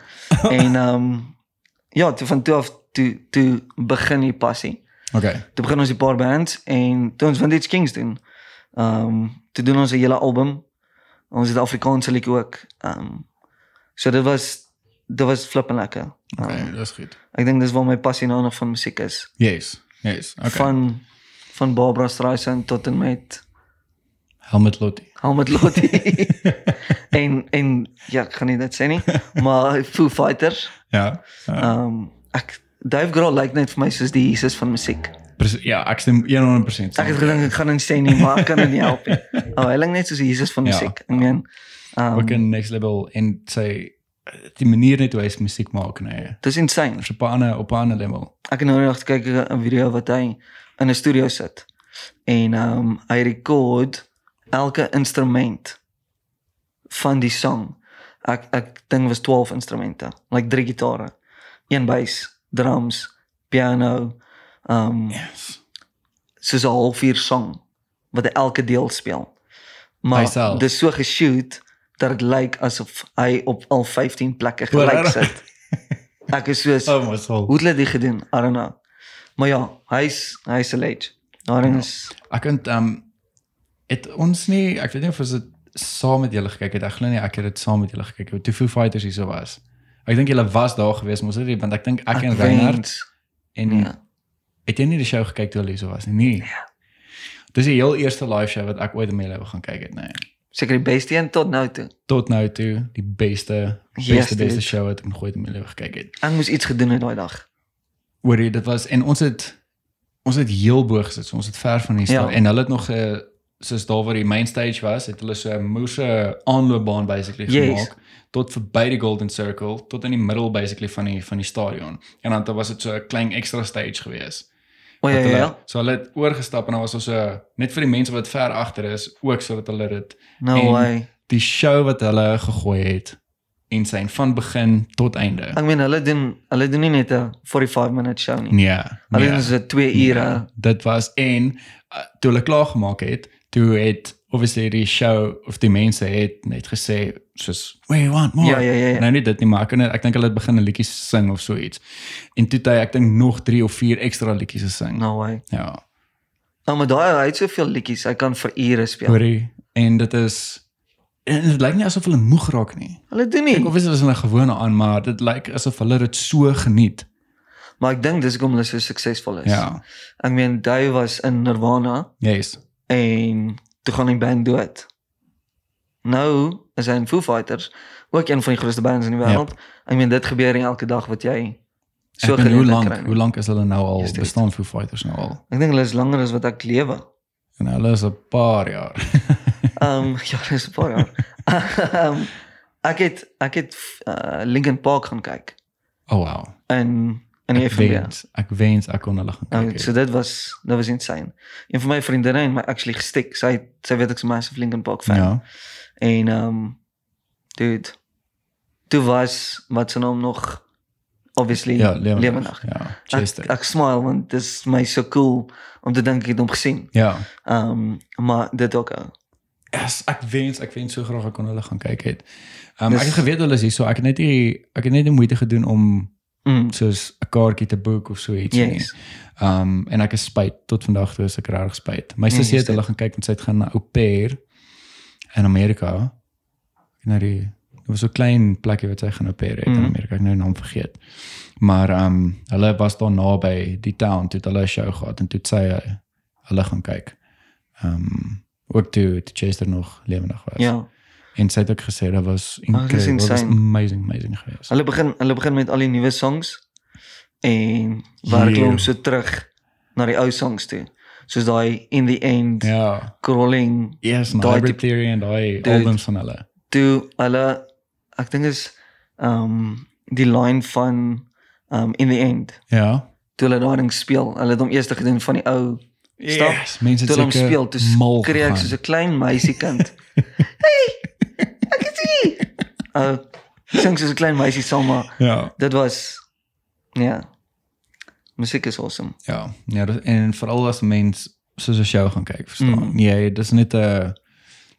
en ehm um, ja, toe van toe af toe toe begin die passie.
Okay.
Toe begin ons die paar bands en toe ons Vintage Kings doen. Ehm um, toe doen ons 'n hele album. Ons het Afrikaanse liedjie ook. Ehm um, so dit was dit was flippend lekker. Um,
Okay, dis goed.
Ek dink dis waar my passie nou nog van musiek is.
Yes. Yes. Okay.
Van van Barbra Streisand tot en met
Helmut Lotti.
Helmut Lotti. en en ja, ek gaan nie dit sê nie, maar Foo Fighters.
Ja. Uh,
Ehm um, ek Dave Grohl lyk net vir my soos die Jesus van musiek.
pres- ja, ek stem 100%
Ek
saam.
het gedink ek gaan insane nie, maar ek kan dit nie help nie. Oh, hy lyk net soos die Jesus van
Ja.
musiek. Ja. Ek meen, ehm
Ook
um,
in next level en sy die manier net hoe hy sy musiek maak nee.
dis insane.
Dis op 'n ander op 'n ander level.
Ek het nou net gekyk 'n video wat hy in 'n studio sit. En ehm um, hy rekord elke instrument van die song. Ek ek dink was 12 instrumente, like drie gitare, een bass, drums, piano, ehm um,
Yes.
soos 'n halfuur song wat hy elke deel speel. Maar
Myself.
dis so geshoot dat dit lyk asof hy op al 15 plekke
Oor,
gelyk
regtig? <laughs>
sit. Ek is soos oh.
Oh my soul.
hoe het hulle dit gedoen? I don't know. Maar ja, hy's hy's 'n legend.
Ja.
Daarin is
Ek kan ehm het ons nie, ek weet nie of ons dit saam met julle gekyk het. Ek glo nie ek het dit saam met julle gekyk het. Toe Foo Fighters hierso was. Ek dink julle was daar gewees, mos dit, want ek dink ek en Reinhard
weet-
en
Ja.
het jy nie die show gekyk toe hulle hierso was nie. Nee.
Ja.
Dis die heel eerste live show wat ek ooit in my lewe gaan kyk het, nee.
Seker die beste een tot nou toe.
Tot nou toe die beste beste
Yes,
yes,
dude.
beste show wat ek nog ooit in my lewe gekyk het.
Ek moes iets gedoen het daai dag.
Hoor jy, dit was en ons het ons het heel bo gesit. So ons het ver van die
Ja.
staan ja. en hulle het nog 'n soos daar waar die main stage was, het hulle so 'n moerse aanloopbaan basically
Yes.
gemaak tot verby die Golden Circle tot in die middel basically van die van die stadion. En dan daar was dit so 'n klein ekstra stage gewees
O ja
wat
ja.
hulle-
ja.
So hulle het oorgestap en daar was ons 'n net vir die mense wat ver agter is, ook sodat hulle dit
No
En-
way.
die show wat hulle gegooi het en syn van begin tot einde.
Ek meen hulle doen hulle doen nie net 'n 45 minute show nie.
Nee.
Hulle
nee.
doen so 2 ure.
Dit was en uh, toe hulle klaar gemaak het, toe het obviously die show of die mense het net gesê soos we want more.
Ja ja ja. ja.
Nou nie dit nie, maar ek, kan- ek dink hulle het begin 'n liedjie sing of so iets. En toe het hy ek dink nog 3 of 4 ekstra liedjies gesing.
No way.
Ja.
Nou maar daai hy het soveel liedjies, hy kan vir ure speel.
Hoorie. En dit is en dit lyk nie asof hulle moeg raak nie.
Hulle doen
Ek
nie.
of is dit 'n gewone aan, maar dit lyk asof hulle dit so geniet.
Maar ek dink dis hoekom hulle so suksesvol is.
Ja.
Ek meen Dave was in Nirvana
Yes.
en toe gaan die band dood. Nou is hy in Foo Fighters, ook een van die grootste bands in die
Ja.
wêreld. Ek meen dit gebeur nie elke dag wat jy so
So en hoe
geleentheid
lank
kry nie.
hoe lank is hulle nou al
Just dit.
bestaan Foo Fighters nou al?
Ek dink hulle is langer as wat ek lewe.
En hulle Nou, is 'n paar jaar.
Ehm <laughs> ja, dis 'n paar jaar. Ehm ek het ek het uh, Linkin Park gaan kyk
Oh wow.
in in die
Ek
FNB.
wens, ek wens ek kon er hulle gaan kyk.
Okay.
Nou, het.
Nou, So dit was dit was insane. Een van my vriendinne en my actually gestik. Sy sy weet ek's 'n massive Linkin Park fan.
ja.
En ehm um, dude toe was wat se naam nog obviously
Ja,
ja,
lewendig.
lewendig.
Ja.
Ek,
Chester.
ek smile want dit is my so cool om te dink ek het hom gesien.
Ja.
Ehm um, maar dit ook. ou.
Yes, ek wens ek wens so graag ek kon hulle gaan kyk het. Um,
Dis-
ek het geweet hulle is hier, so ek het net nie ek het net die moeite gedoen om
Mm.
soos 'n kaartjie te boek of so iets nie.
Yes.
Um en ek is spyt tot vandag toe is ek regtig spyt. My
Nee,
sussie
is
het hulle gaan kyk want sy het gaan na Au Pair in Amerika. En nou die dit was so 'n klein plekkie wat sy gaan Au Pair het mm. in
Mhm.
Amerika. Ek het nou die naam vergeet. Maar um hulle was daar naby die town toe het hulle 'n show gehad en toe het sy uh, hulle gaan kyk. Um ook toe toe Chester nog lewendig was.
Ja. Ah,
En sy het ook gesê dat was
dit is
incredible. Oh, dit was
insane.
amazing amazing geweest.
Hulle begin hulle begin met al die nuwe songs en werk hulle
Jee.
hom so terug na die ou songs toe. Soos daai in the end ja.
Ja.
crawling
Yes,
Daai
daai
tipe-
theory en daai
Dude.
albums van hulle.
toe hulle ek dink is ehm um, die line van ehm um, in the end
Ja.
toe hulle daai ding speel. Hulle het hom eers gedoen van die ou stap.
Yes,
Toe
mense het
hulle hom
seker
speel, toe
mal
skree ek
gegaan.
soos 'n klein
<laughs>
meisiekind. hey! Ek is hier. Uh, sing soos 'n klein meisie saam maar
Ja,
Dit was ja. Musiek is awesome.
ja. Ja, dis- en veral as 'n mens soos 'n show gaan kyk, verstaan.
Mm.
Nee, dis net eh, 'n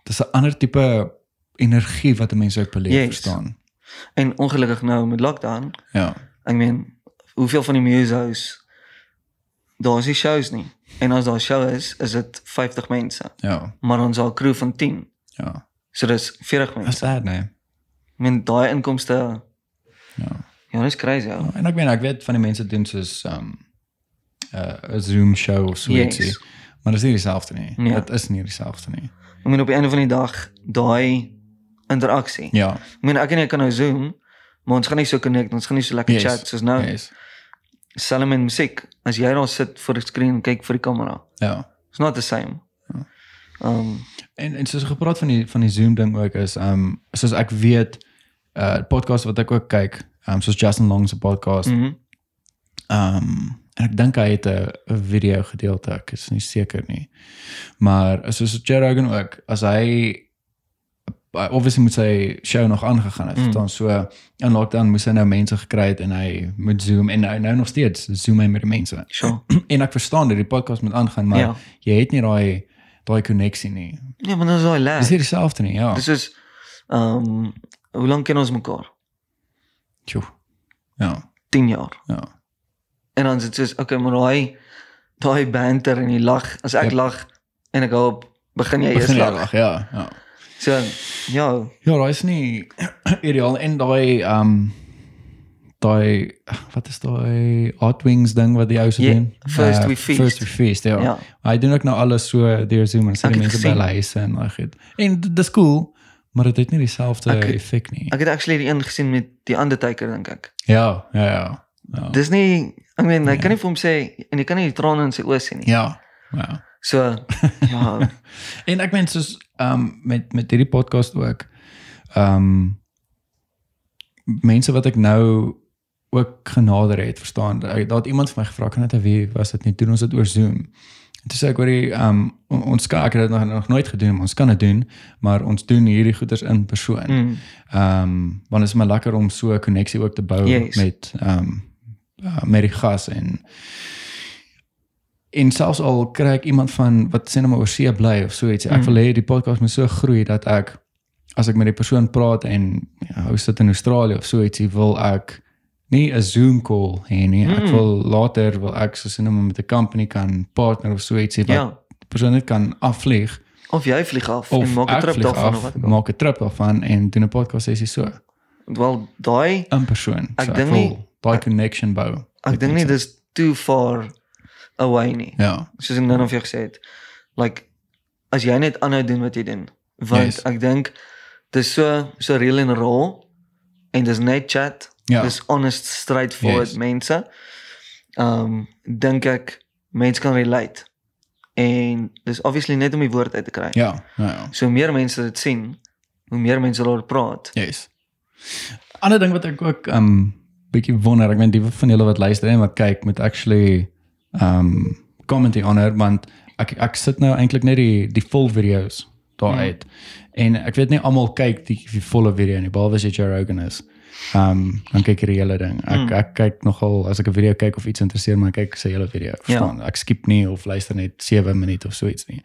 dis 'n ander tipe energie wat 'n mens ook beleef,
Yes.
verstaan.
En ongelukkig nou met lockdown,
Ja.
ek meen, hoeveel van die musos daar's nie shows nie. En as daar 'n show is, is dit 50 mense,
Ja.
maar ons al crew van 10.
Ja.
So dis 40
Dis
mense.
sad, nee.
Ek meen daai inkomste,
Ja.
ja, dis crazy. Ja.
En ek meen ek weet van die mense doen soos um 'n 'n Zoom show of so
Yes.
ietsie. Maar dis nie dieselfde nie.
Nee.
Dit is nie dieselfde nie.
Ek meen op die einde van die dag daai interaksie.
Ja.
Ek meen ek en jy kan nou Zoom, maar ons gaan nie so connect, ons gaan nie so lekker
Yes.
chat soos nou.
Yes.
Selfs met musiek, as jy daar sit voor 'n skerm en kyk vir die kamera,
Ja.
It's not the same.
Ja.
Um
En en soos gepraat van die van die Zoom ding ook is um soos ek weet uh podcast wat ek ook kyk, um soos Justin Long se podcast
mhm.
Ehm en ek dink hy het 'n 'n video gedeelte, ek is nie seker nie. Maar soos Joe Rogan ook, as hy obviously moet sy show nog aangegaan het,
Mm.
dan so in lockdown moes hy nou mense gekry het en hy moet Zoom en nou nou nog steeds Zoom hy met die mense.
Sure.
En ek verstaan dat die podcast moet aangaan, <clears throat> maar
Ja.
jy het nie daai daai koneksie nie.
Ja, maar dan is daai
Dis
lag.
nie dieselfde nie, ja.
Dis is um hoe lank ken ons mekaar?
Tjoe. Ja,
10 jaar.
ja.
En dan is dit soos okay, maar daai daai banter en die lag, as ek
Yep.
lag en ek hoop begin jy eers
Ja. Begin jy
lag.
lag, ja, ja.
So ja,
Ja, daai is nie <clears throat> ideaal en daai ehm um, daai wat is daai Hot Wings ding wat die ou se
Ja,
doen?
First
Eh,
We Feast.
First we feast, ja.
ja.
Hy doen ook nou alles so deur Zoom en sy
Ek
die
het
mense by
gesien.
hulle huise en daai goed. En d- dis cool, maar dit het nie dieselfde
Ek het-
effek nie.
Ek het actually die een gesien met die Undertaker dink ek.
Ja, ja, ja. Ja.
Dis nie ek meen, hy
Nee.
kan nie vir hom sê en jy kan nie die trane in sy oë sien nie.
ja. Ja.
So
<laughs>
ja,
En ek meen soos ehm um, met met hierdie podcast ook ehm um, mense wat ek nou ook genader het, verstaan. Daar daar het iemand vir my gevra kan dit wie was dit nie? Doen ons dit oor Zoom. En toe sê ek oor die ehm um, ons kan ek het dit nog, nog nooit gedoen, maar ons kan dit doen, maar ons doen hierdie goeders in persoon. Ehm
Mm.
want dit is maar lekker om so 'n koneksie ook te bou
Yes.
met ehm uh, met die gas en en selfs al kry ek iemand van wat sê nou maar oor see bly of so iets. Ek
Mm.
wil hê die podcast moet so groei dat ek as ek met die persoon praat en ja, hoe sit in Australië of so ietsie wil ek nie 'n Zoom call hê nie. Ek
Mm.
wil later wil ek soos nou maar met 'n company kan partner of so ietsie wat
Ja.
die persoon net kan afvlieg
Of jy vlieg af
of
en maak 'n
ek
trip
vlieg
daarvan of
af,
wat. ook al.
maak 'n trip daarvan en doen 'n podcast sessie so
Wel, daai
in persoon.
Ek
so,
dink
wil
nie-
daai connection bou.
ek dink nie dis too far away nie.
Ja.
Soos ek nou nog vir jou gesê het. Like as jy net aanhou doen wat jy doen, want
Yes.
ek dink dis so so real en raw en dis net chat.
Ja.
Dis honest, straightforward
Yes.
mense. Ehm dink ek mense kan relate. En dis obviously net om die woord uit te kry.
Ja. Ja. ja.
So hoe meer mense dit sien, hoe meer mense daaroor praat.
Yes. Ander ding wat ek ook um bietjie wonder, ek weet die van julle wat luister en wat kyk moet actually um comment hier onder want ek ek sit nou eintlik net die die vol video's daar
Ja.
uit. En ek weet nie almal kyk die, die volle video nie, behalwe as jy Joe Rogan is. Um dan kyk hier die hele ding. Ek
Mm.
ek kyk nogal as ek 'n video kyk of iets interesseer my, kyk ek se hele video.
Ja.
Verstaan? Ek skip nie of luister net 7 minute of so iets nie.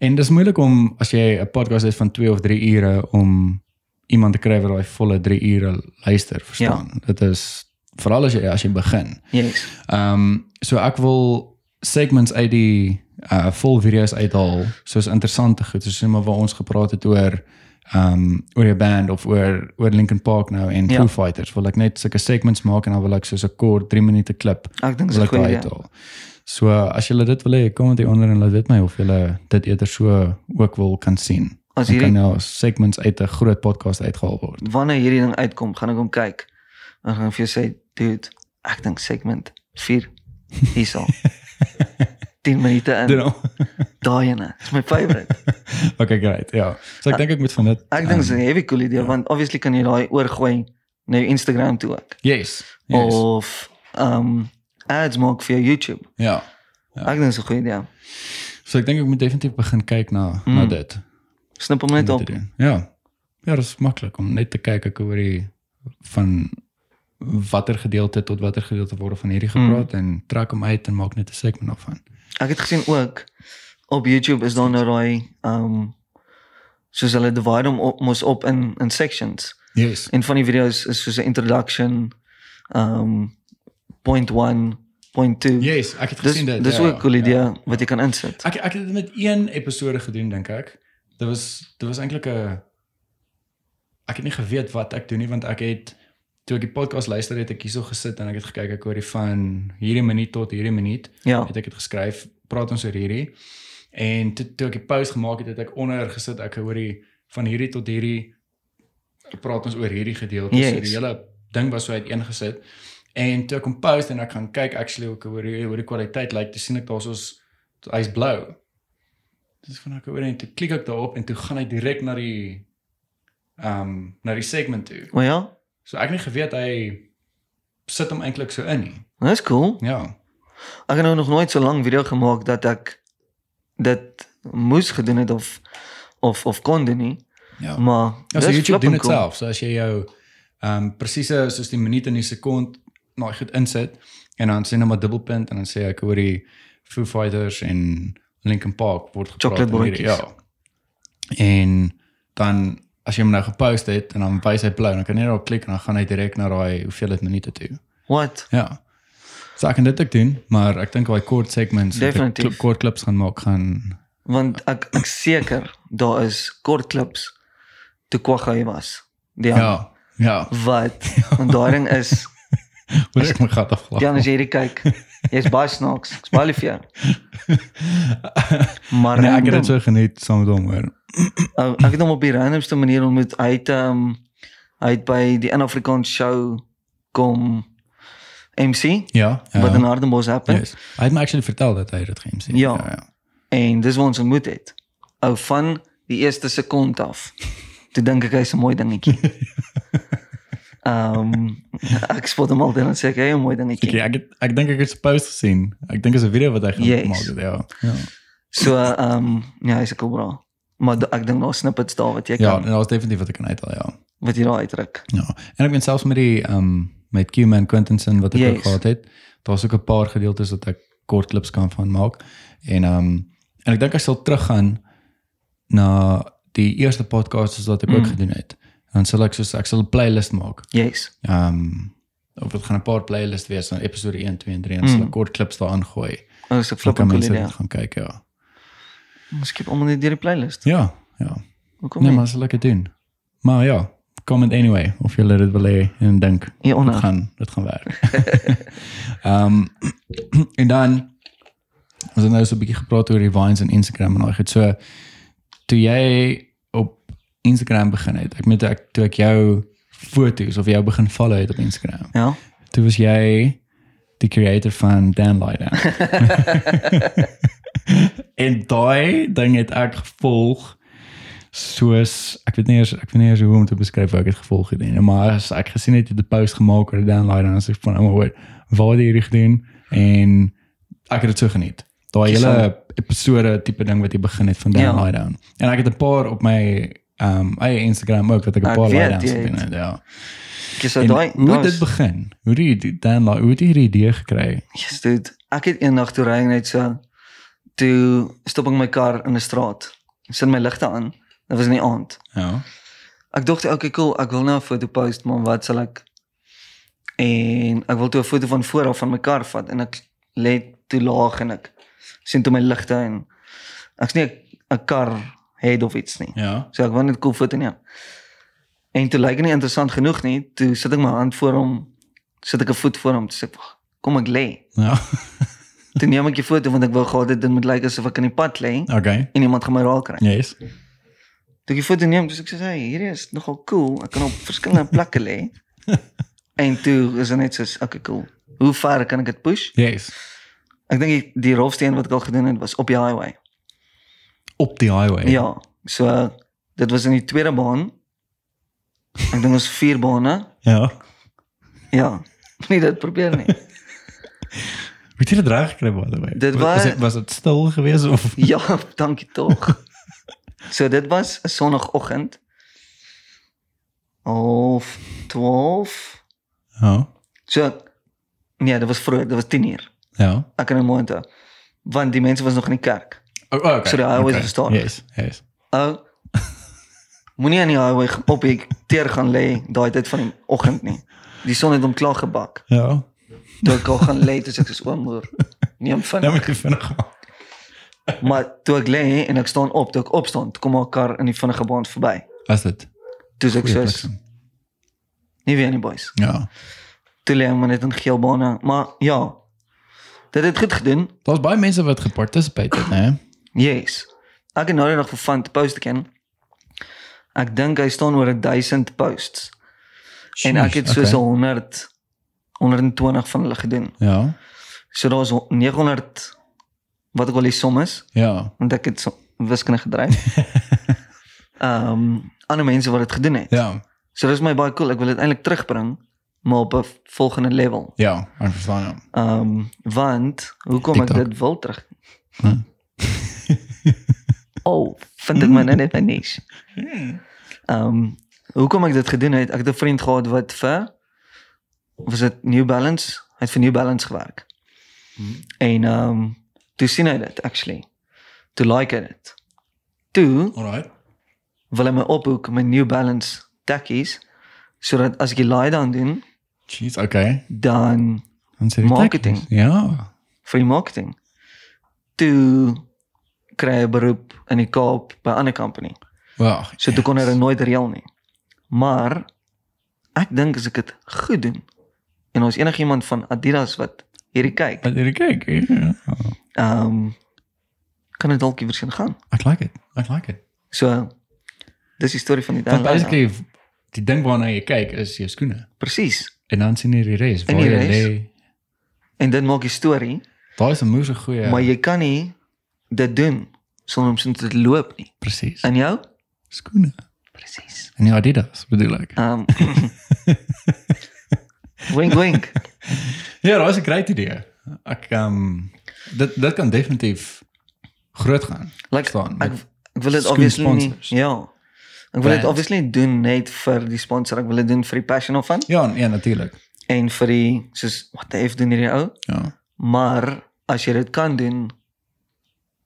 En dis moeilik om as jy 'n podcast het van 2 of 3 ure om iemand te kry wat daai volle 3 ure luister, verstaan? Ja. Dit is veral as jy as jy begin.
Yes.
Ehm so ek wil segments uit die uh vol video's uithaal, soos interessante goed, soos net maar waar ons gepraat het oor ehm oor jou band of oor oor Linkin Park nou en
Ja.
ja. Foo Fighters. Wil ek net sulke segments maak en dan wil ek soos 'n kort 3 minute klip
Ek dink dis
wil
'n
ek
goeie
daai
idee.
uithaal. So uh, as julle dit wil hê, kom dit onder en laat weet my of julle dit eerder so ook wil kan sien.
As
Dan kan
hierdie
nou segments uit 'n groot podcast uitgehaal word.
wanneer hierdie ding uitkom, gaan ek hom kyk. En gaan ek vir jou sê, dude, ek dink segment 4
<laughs>
hierso. 10 minute in.
<laughs> Doen nou.
Daai ene. Dis my favourite.
<laughs> okay, great. Ja. So ek dink ek moet van dit
Ek dink dis
ehm,
'n heavy cool idee want obviously kan jy daai oorgooi na jou Instagram toe ook.
Yes. Yes. Oh.
Of um ads maak vir jou YouTube.
Ja.
Ek dink dis 'n goeie idee.
So ek dink ek moet definitief begin kyk na mm. na
Mm.
dit. om
Snip hom net
dit
op.
te doen. Ja. Ja, dit is maklik om net te kyk ek oor die van watter gedeelte tot watter gedeelte word van hierdie gepraat mm. en trek hom uit en maak net 'n segment daarvan.
Ek het gesien ook op YouTube is daar nou daai um soos hulle divide hom op mos op in in sections.
Yes.
En van die video's is soos 'n introduction um point 1, point 2.
Yes, ek het
Dis
gesien dit.
dis
ja,
ook 'n cool
ja.
idee wat jy kan insit.
Ek ek het dit met een episode gedoen dink ek. Dit was dit was eintlik 'n ek het nie geweet wat ek doen nie want ek het toe ek die podcast luister het ek hierso gesit en ek het gekyk ek oor die van hierdie minuut tot hierdie minuut
Ja.
het ek dit geskryf praat ons oor hierdie en toe, toe ek die post gemaak het het ek onder gesit ek hoor die van hierdie tot hierdie praat ons oor hierdie gedeelte yes. so
Yes.
die hele ding was so uiteengesit en toe ek hom post en ek gaan kyk actually ook oor die, oor die kwaliteit lyk like, toe sien ek daar's ons hy's blou. Dis van ek oor en toe klik ek daarop en toe gaan hy direk na die ehm um, na die segment toe.
Maar ja,
So ek het nie geweet hy sit hom eintlik so in nie.
dis cool.
Ja.
Ek het nou nog nooit so lank video gemaak dat ek dit moes gedoen het of of of kon doen nie.
Ja.
Maar
Ja, so
dis
YouTube
flipping
doen dit self. So as jy jou ehm um, presiese soos die minuut en die sekond nou goed insit en dan sê net maar dubbelpunt en dan sê ek oor die Foo Fighters en Linkin Park word gepraat
Chocolate
in hierdie- ja. En dan as jy hom nou gepost het en dan wys hy blou, dan kan jy net op klik en dan gaan hy direk na daai hoeveelheid minute toe.
What?
Ja. So ek kan dit ook doen, maar ek dink daai kort segments, wat ek
Definitief.
klip- kort klips gaan maak gaan
Want ek ek seker daar is kort klips te kwaggaai was. Die ja.
ja, ja, <laughs>
Wat? Want daai ding is
hoor ek my gat afgelaat.
Jan as jy hierdie kyk, jy's baie snaaks. Ek's baie lief vir jou.
<laughs>
Maar
Nee, ek het dit
random-
so geniet saam met hom hoor.
ou, ek het hom op die randomste manier ontmoet. Hy het ehm um, hy het by die In Afrikaans show kom MC
Ja, ja.
wat in Hardenbos happen
yes. Hy het my actually vertel dat hy dit geheim sien.
Ja.
ja.
en dis waar ons ontmoet het. Ou
<laughs>
van die eerste sekond af. Toe dink ek hy's 'n mooi dingetjie. Ehm ek spot hom altyd en sê ek, "Hey, mooi dingetjie."
Okay, ek het, ek dink ek het 'n post gesien. Ek dink is 'n video wat hy
Yes.
gemaak het, ja. Ja.
So ehm ja, hy's 'n cool bra. Maar da- ek dink daar snippets daar wat jy
Ja,
kan
en daar's definitief wat ek kan uithaal, ja.
wat jy daar uitdruk.
Ja. En ek meen selfs met die ehm met Q-Man Quintensen wat ek
Yes.
ook gehad het, daar's ook 'n paar gedeeltes wat ek kort klips kan van maak. En ehm en ek dink ek sal teruggaan na die eerste podcast wat ek ook
Mm.
gedoen het. Dan sal ek soos ek sal 'n playlist maak.
Yes.
Ehm of dit gaan 'n paar playlist wees van episode 1, 2 en 3 en sal ek kort klips daaraan gooi.
Ons se
Dan
flip
kan
cool
mense
idee.
dit gaan kyk, ja.
Ons skip almal net deur die playlist.
Ja, ja.
Hoekom
Nee,
nie?
maar sal ek dit doen. Maar ja, comment anyway of jy dit wil hê en dink. Dit
Hieronder.
gaan dit gaan werk. Ehm <clears throat> en dan ons het nou so 'n bietjie gepraat oor die vines en Instagram en daai goed. So toe jy op Instagram begin het, ek moet ek toe ek jou foto's of jou begin follow het op Instagram.
Ja.
Toe was jy die creator van Dan Lighter.
<laughs>
en daai ding het ek gevolg soos ek weet nie eers ek weet nie eers hoe om te beskryf hoe ek dit gevolg het nie maar as ek gesien het jy het 'n post gemaak oor die download en as ek van "Oh ouma hoor waar jy hierdie gedoen en ek het dit so geniet daai
Dis
hele episode tipe ding wat jy begin het van
Ja.
download down en ek het 'n paar op my ehm um, eie Instagram ook wat ek 'n
Ek
paar
weet,
live downs
jy het-
gedoen het ja
Ek sê
en
daai
hoe het
daai
dit
is-
begin hoe het jy die download hoe het jy hierdie idee gekry
Yes, dude. Ek het eendag toe ry ek net so toe stop ek my kar in 'n straat. Ek sit my ligte aan. Dit was in die aand.
ja
Ek dink okay, cool, ek wil nou 'n foto post, maar wat sal ek? En ek wil toe 'n foto van voor af van my kar vat en ek lê toe laag en ek sien toe my ligte en ek's nie 'n- 'n kar head of iets nie.
ja
So ek wou net cool foto neem. En toe lyk dit nie interessant genoeg nie. Toe sit ek my hand voor hom, sit ek 'n voet voor hom, toe sê ek, "Wag, kom ek lê.
ja <laughs>
Toe neem ek die foto want ek wou gehad het dit moet lyk asof ek in die pad lê
okay
en iemand gaan my raak kry.
yes
Toe ek die foto neem, dis ek sê, "Hey, hierdie is nogal cool. Ek kan op verskillende plekke lê." en toe is dit net so, okay, cool. Hoe ver kan ek dit push?
yes
Ek dink die- die rofste een wat ek al gedoen het was op die highway.
op die highway
Ja, so dit was in die tweede baan. Ek dink ons vier bane.
ja
Ja. <laughs> Nee, dit probeer nie.
Hoe het jy dit reg gekry by the way?
Dit
Was-
wa-
was dit was dit stil geweest of
Ja, dankie tog. So dit was 'n sonoggend. Of 12.
Ja.
So nee, dit was vroeg, dit was 10uur.
Ja.
ek kan hom onthou. Want die mense was nog in die kerk.
Oh, okay.
So die highway is verstaan.
Yes, yes.
Ou moenie aan die highway ge- op die teer gaan lê daai tyd van die oggend nie. Die son het hom klaar gebak.
Ja.
Toe ek al gaan lê, toe sê ek soos oom broer, neem
Nou
vinnig.
moet jy vinnig maak.
Maar toe ek lê en ek staan op, toe ek opstaan, toe kom haar kar in die vinnige baan verby.
Was dit?
Toe sê ek
Goeie
soos
bliksem.
nie weer nie boys.
Ja.
Toe lê hom net in geel bane, maar ja. Dit het goed gedoen.
Daar's baie mense wat geparticipate het, né?
Yes. Ek het nou net nog vir van te post ken. Ek dink hy staan oor 1000 posts. En ek het soos
Okay.
100 120 van hulle gedoen.
Ja.
So daar's hon- 900 wat ek al die som is,
Ja.
want ek het so, wiskunde
<laughs>
gedryf. Ehm ander mense wat dit gedoen het.
Ja.
So dis my baie cool. Ek wil dit eintlik terugbring maar op 'n volgende level.
Ja, ek verstaan ja.
Ehm want hoekom ek
TikTok.
dit wil terug.
Huh?
<laughs> oh, vind ek my nou net my niche. Ehm hoekom ek dit gedoen het, ek het 'n vriend gehad wat vir was dit New Balance, hy het vir New Balance gewerk. En ehm toe sien hy dit actually. Toe like hy dit. Toe
Alright.
wil hy my ophoek met New Balance tekkies sodat as ek die laai dan doen,
Jeez, okay.
dan
Dan sê die
Marketing.
tekens. Ja.
vir die marketing. Toe kry hy 'n beroep in die Kaap by 'n ander company.
Wow.
So toe kon hy dit nooit reël nie. Maar ek dink as ek dit goed doen en ons enigiemand van Adidas wat hierdie kyk,
Wat jy kyk. Ja.
ehm um, kan dit dalk iewers heen gaan.
Ek like it. Ek like it.
So dis die storie van die
Want
dag.
basically die ding waarna jy kyk is jou skoene.
Presies.
En dan sien jy die res
En
waar
die
jy
res.
lê.
En dit maak die storie,
Daai is 'n moeëse goeie.
maar jy kan nie dit doen sonder om sin te loop nie.
presies.
En jou?
Skoene.
Presies.
En die Adidas bedoel ek. <laughs>
Ehm Wink wink.
Ja, dat is een great idee. Ek ehm dit dit kan definitief groot gaan.
Like
Verstaan,
ek
met
ek wil dit
skoen
obviously nie.
sponsors.
Ja. Ek wil dit
Brands.
obviously nie doen net vir die sponsor, ek wil dit doen vir die passion of van
Ja, ja natuurlijk.
en vir die soos wat the f doen hierdie ou,
Ja.
maar as jy dit kan doen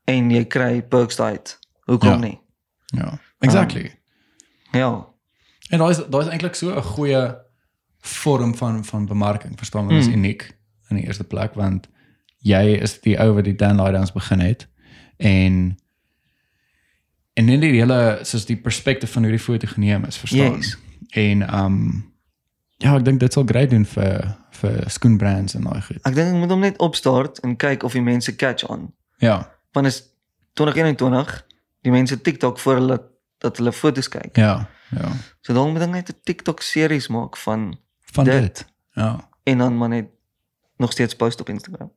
en jy kry perks uit. Hoekom
Ja.
nie?
Ja. Exactly.
Ja.
En daar is daar is eintlik so 'n goeie vorm van van bemarking, verstaan want Dit is
Mm.
uniek in die eerste plek want jy is die ou wat die Dan Lydans begin het en en net die hele soos die perspektief van hoe die foto geneem is, verstaan.
Yes.
En ehm um, ja, ek dink dit sal great doen vir vir skoenbrands en daai goed.
Ek dink ek moet hom net opstart en kyk of die mense catch on.
Ja,
Want is 2021, die mense TikTok voor hulle dat hulle foto's kyk.
ja, ja.
So dan moet ek net 'n TikTok series maak van
Van
Dit-
dit. dit. Ja.
en dan maar net nog steeds post op Instagram.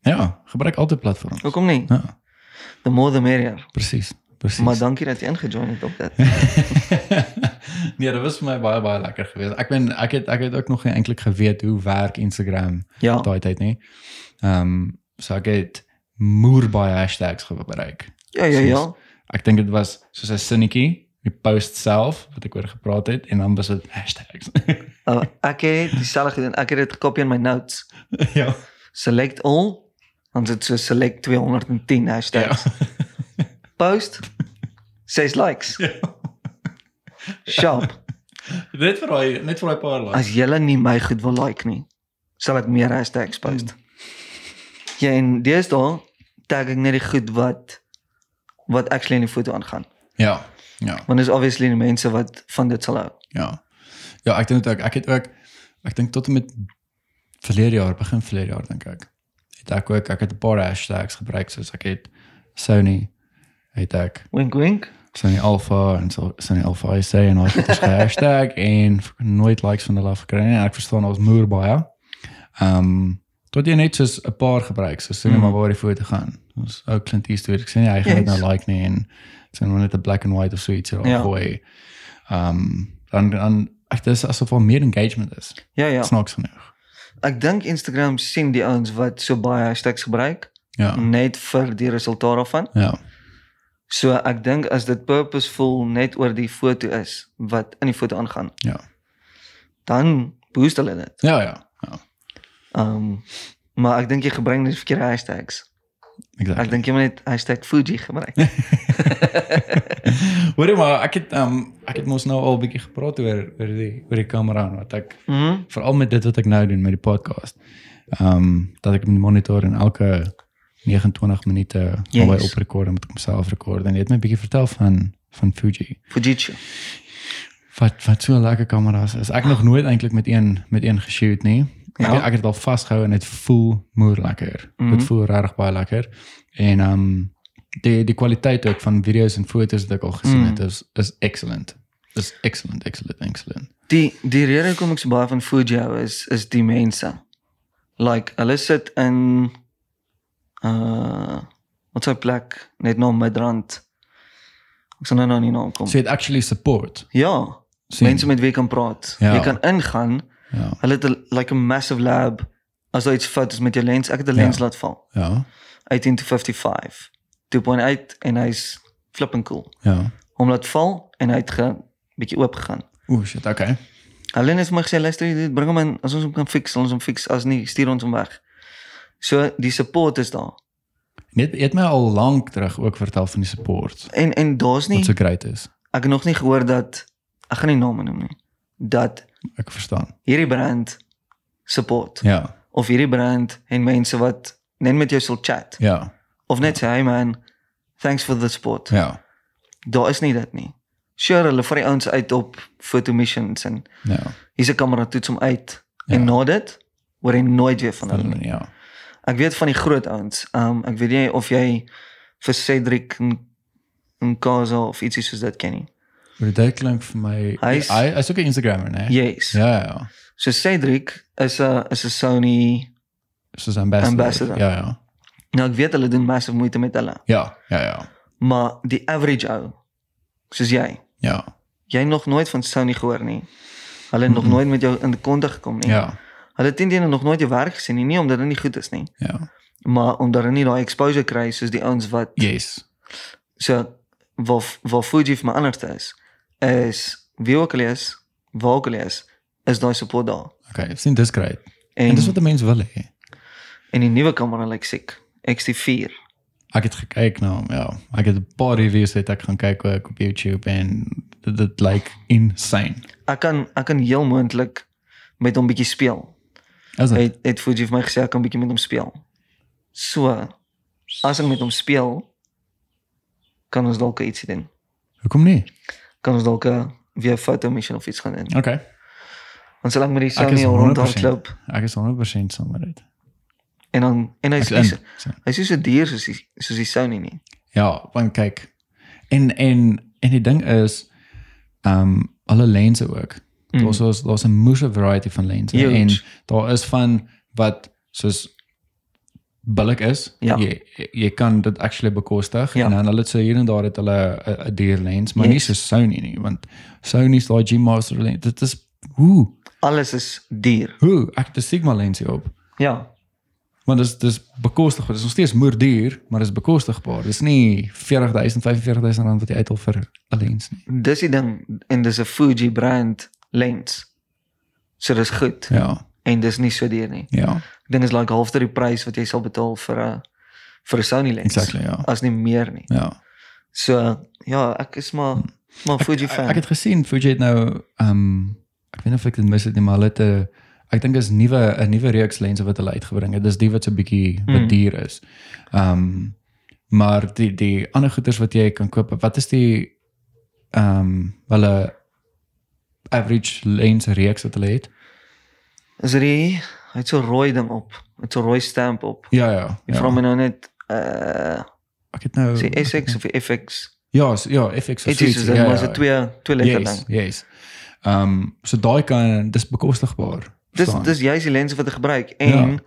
Ja, gebruik altyd platforms.
Hoekom nie?
Ja,
The more the merrier.
presies. Presies.
Maar dankie dat jy ingejoin het op dit.
<laughs> nee, dit was vir my baie baie lekker geweest. Ek ben ek het ek het ook nog nie eintlik geweet hoe werk Instagram
Ja.
daai tyd nie. Ehm so ek het moer baie hashtags gebruik.
Ja ja ja.
Ek dink dit was soos 'n sinnetjie, die post self wat ek oor gepraat het en dan was dit hashtags. <laughs>
Uh, ek het dieselfde gedoen. Ek het dit gekopie in my notes.
ja.
Select all. Dan sit so select 210 hashtags. Ja. Post 6 likes.
Ja. <laughs>
Sharp.
Net vir daai net vir daai paar likes.
As julle nie my goed wil like nie, sal ek meer hashtags post. Ja, en deesdae tag ek net die goed wat wat actually in die foto aangaan.
Ja. Ja.
Want dis obviously die mense wat van dit sal hou.
Ja. Ja, ek dink dit ook ek het ook ek dink tot en met verlede jaar, begin verlede jaar dink ek. Het ek ook ek het 'n paar hashtags gebruik soos ek het Sony het ek
Wink wink.
Sony Alpha en so Sony Alpha IC en al dit is hashtag <laughs> en fucking nooit likes van hulle af gekry nie. En Ek verstaan ons moer baie. Ehm um, tot jy net soos 'n paar gebruik, so sien mm. maar waar die foto gaan. Ons ou Clint Eastwood, ek sien nie, hy gaan dit
Mhm. Yes.
nou like nie en sien maar net 'n black and white of so iets of
Ja.
ja. gooi. Ehm um, dan dan ek dis asof daar meer engagement is.
Ja ja.
Ja. Snaaks genoeg.
Ek dink Instagram sien die ouens wat so baie hashtags gebruik
Ja. Mm.
net vir die resultaat daarvan.
Ja.
So ek dink as dit purposeful net oor die foto is wat in die foto aangaan,
Ja.
dan boost hulle dit.
Ja ja. Ja.
Ehm um, maar ek dink jy gebruik net die verkeerde hashtags. Ek
Exactly.
dink jy moet net hashtag #fuji <laughs> gebruik.
Hoor jy maar ek het ehm um, ek het mos nou al 'n bietjie gepraat oor oor die oor die kamera en wat ek
Mhm.
veral met dit wat ek nou doen met die podcast. Ehm dat ek met die monitor en elke 29 minute
Yes.
albei oprekord en met myself rekord en jy het my 'n bietjie vertel van van Fuji.
Fujitsu.
Wat wat so 'n lekker kamera's is. Ek nog nooit eintlik met een met een geshoot nie. Ek,
Ja.
ek het dit al vasgehou en dit voel moer lekker. Mm -hmm.
Mhm.
Dit voel regtig baie lekker. En ehm die die kwaliteit ook van video's en foto's wat ek al gesien
Mm.
het is is excellent. Is excellent, excellent, excellent.
Die die rede hoekom ek so baie van Fuji hou is is die mense. Like hulle sit in uh wat se plek net na Midrand. Ek sal nou nou nie na kom.
So it actually support.
Ja,
Sien.
mense met wie jy kan praat.
Ja.
Jy kan ingaan.
Ja.
Hulle het 'n- like 'n massive lab. As daar iets fout is met jou lens, ek het die lens
Ja.
laat val.
Ja.
18 to 55. 2.8 en hy's flipping cool.
Ja.
Hom laat val en hy het 'n bietjie oop gegaan.
Oeh, shit, okay.
Hulle het vir my gesê luister dit bring hom in as ons hom kan fix, sal ons hom fix as nie stuur ons hom weg. So die support is daar.
Net jy het my al lank terug ook vertel van die support
En en daar's nie
wat so great is.
ek het nog nie gehoor dat ek gaan nie name noem nie dat
Ek verstaan.
hierdie brand support ja.
Ja.
of hierdie brand en mense wat net met jou sal chat
Ja.
of net sê hey man thanks for the support. Ja.
Ja.
Daar is nie dit nie. Sure hulle vat die ouens uit op photo missions en
Ja.
hier's 'n kamera toets hom uit ja.
Ja.
en na dit hoor jy nooit weer van hulle nie.
Dan ja.
Ek weet van die groot ouens. Um ek weet nie of jy vir Cedric Nkaza of ietsie soos dit ken nie.
Maar dit klink vir my
Hy
hy
is-
hy is ook 'n Instagrammer, né?
Yes.
Ja, ja, ja.
So Cedric is 'n is 'n Sony.
Soos ambassador.
Ambassador.
Ja, ja.
Nou ek weet hulle doen massive moeite met hulle,
Ja, ja, ja.
maar die average ou soos jy
Ja.
Jy het nog nooit van Sony gehoor nie. Hulle het nog
Mhm.
nooit met jou in kontak gekom nie.
Ja.
Hulle het intendeel nog nooit jou werk gesien nie, nie omdat dit nie goed is nie,
Ja.
maar omdat hulle nie daai exposure kry soos die ouens wat
Yes.
so waar waar Fuji vir my anders is is wie ook al jy is, waar ook al jy is, is daai support daar.
Okay, I've seen this great.
En
En
en,
dis wat die mense wil hê.
en die nuwe kamera lyk like siek. XT4.
Ek het gekyk na hom, ja. Ek het 'n paar reviews het ek gaan kyk ook op YouTube en dit, dit lyk insane.
Ek kan ek kan heel moontlik met hom bietjie speel.
Is dit?
Het het Fuji vir my gesê ek kan bietjie met hom speel. So as ek met hom speel kan ons dalk ietsie doen.
Hoekom nie?
Kan ons dalk 'n weer 'n foto mission of iets gaan doen.
Okay.
Ons sal lank met die
Ja. Ek is
Sony
100%
rondhardloop
Ek is 100% saam met dit.
en dan en hy's
Ek is
hy's
in. So.
hy's so duur soos die soos die Sony nie.
Ja, want kyk. En en en die ding is ehm um, alle lense ook.
Mm.
Daar's daar's daar's 'n moose variety van lense
Huge.
en daar is van wat soos billik is.
Ja.
Jy jy kan dit actually bekostig
Ja.
en dan hulle het so hier en daar het hulle 'n- 'n duur lens, maar
Yes.
nie so Sony nie, want Sony se daai G Master lens, dit is hoe
Alles is duur.
hoe ek die Sigma lens hier op.
Ja.
Want dis dis bekostigbaar. Dit is nog steeds moer duur, maar dit is bekostigbaar. Dis nie 40000 45000 rand wat jy uithaal vir 'n lens nie.
Dis die ding en dis 'n Fuji brand lens. So dis goed
Ja.
en dis nie so duur nie.
Ja.
Ek dink is like halfter die prys wat jy sal betaal vir 'n vir 'n Sony lens.
Exactly, ja.
As nie meer nie.
Ja.
So ja, ek is maar maar Fuji fan.
Ek het gesien Fuji het nou ehm um, ek weet nie of ek dit mis het nie, maar hulle het 'n ek dink is nuwe 'n nuwe reeks lense wat hulle uitgebring het. Dis die wat so 'n bietjie
Mm.
wat duur is. Ehm um, maar die die ander goeders wat jy kan koop, wat is die ehm um, hulle average lens reeks wat hulle het?
is dit die hy het so rooi ding op. Met so rooi stamp op.
Ja ja.
Jy vra
ja.
my nou net uh
Ek het nou
sê SX of FX.
Ja, so, ja, FX of
Dit is
zoiets,
dit maar se twee twee lekker
yes,
ding.
yes. Ehm um, so daai kan dis bekostigbaar.
Dis
verstaan?
dis juist die lense wat ek gebruik en
Ja.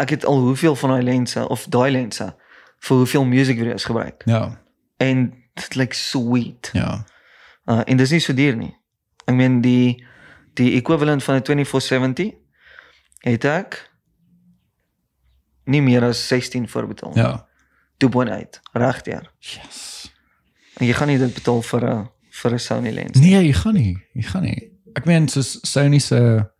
ek het al hoeveel van daai lense of daai lense vir hoeveel music video's gebruik.
ja,
En dit lyk sweet.
ja.
Uh en dis nie so duur nie. Ek meen die die equivalent van 'n 2470 het ek nie meer as 16 voor betaal. Ja.
Ja.
Toe bon uit, regdeur.
Yes.
En jy gaan nie dit betaal vir 'n vir 'n Sony lens.
Nee, jy gaan nie. Jy gaan nie. Ek meen soos Sony se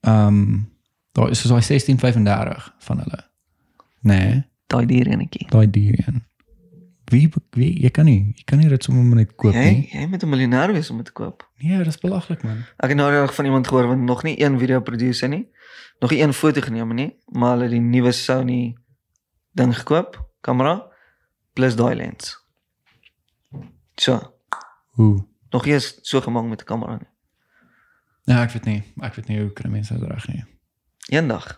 ehm um, daar is soos hy 1635 van hulle. Nee,
Daai duur enetjie.
daai duur een. Wie, be- wie jy kan nie, jy kan nie dit sommer net koop
Jy
nie.
jy moet 'n miljonair wees om dit te koop.
Nee, dis belaglik man.
Ek het nou reg van iemand gehoor wat nog nie een video produseer nie, nog nie een foto geneem het nie, maar hulle het die nuwe Sony ding gekoop, kamera plus daai lens. So.
Hoe?
nog nie eens so gemaak met 'n kamera nie.
Ja, ek weet nie. Ek weet nie hoe kan mense dit reg nie.
Eendag.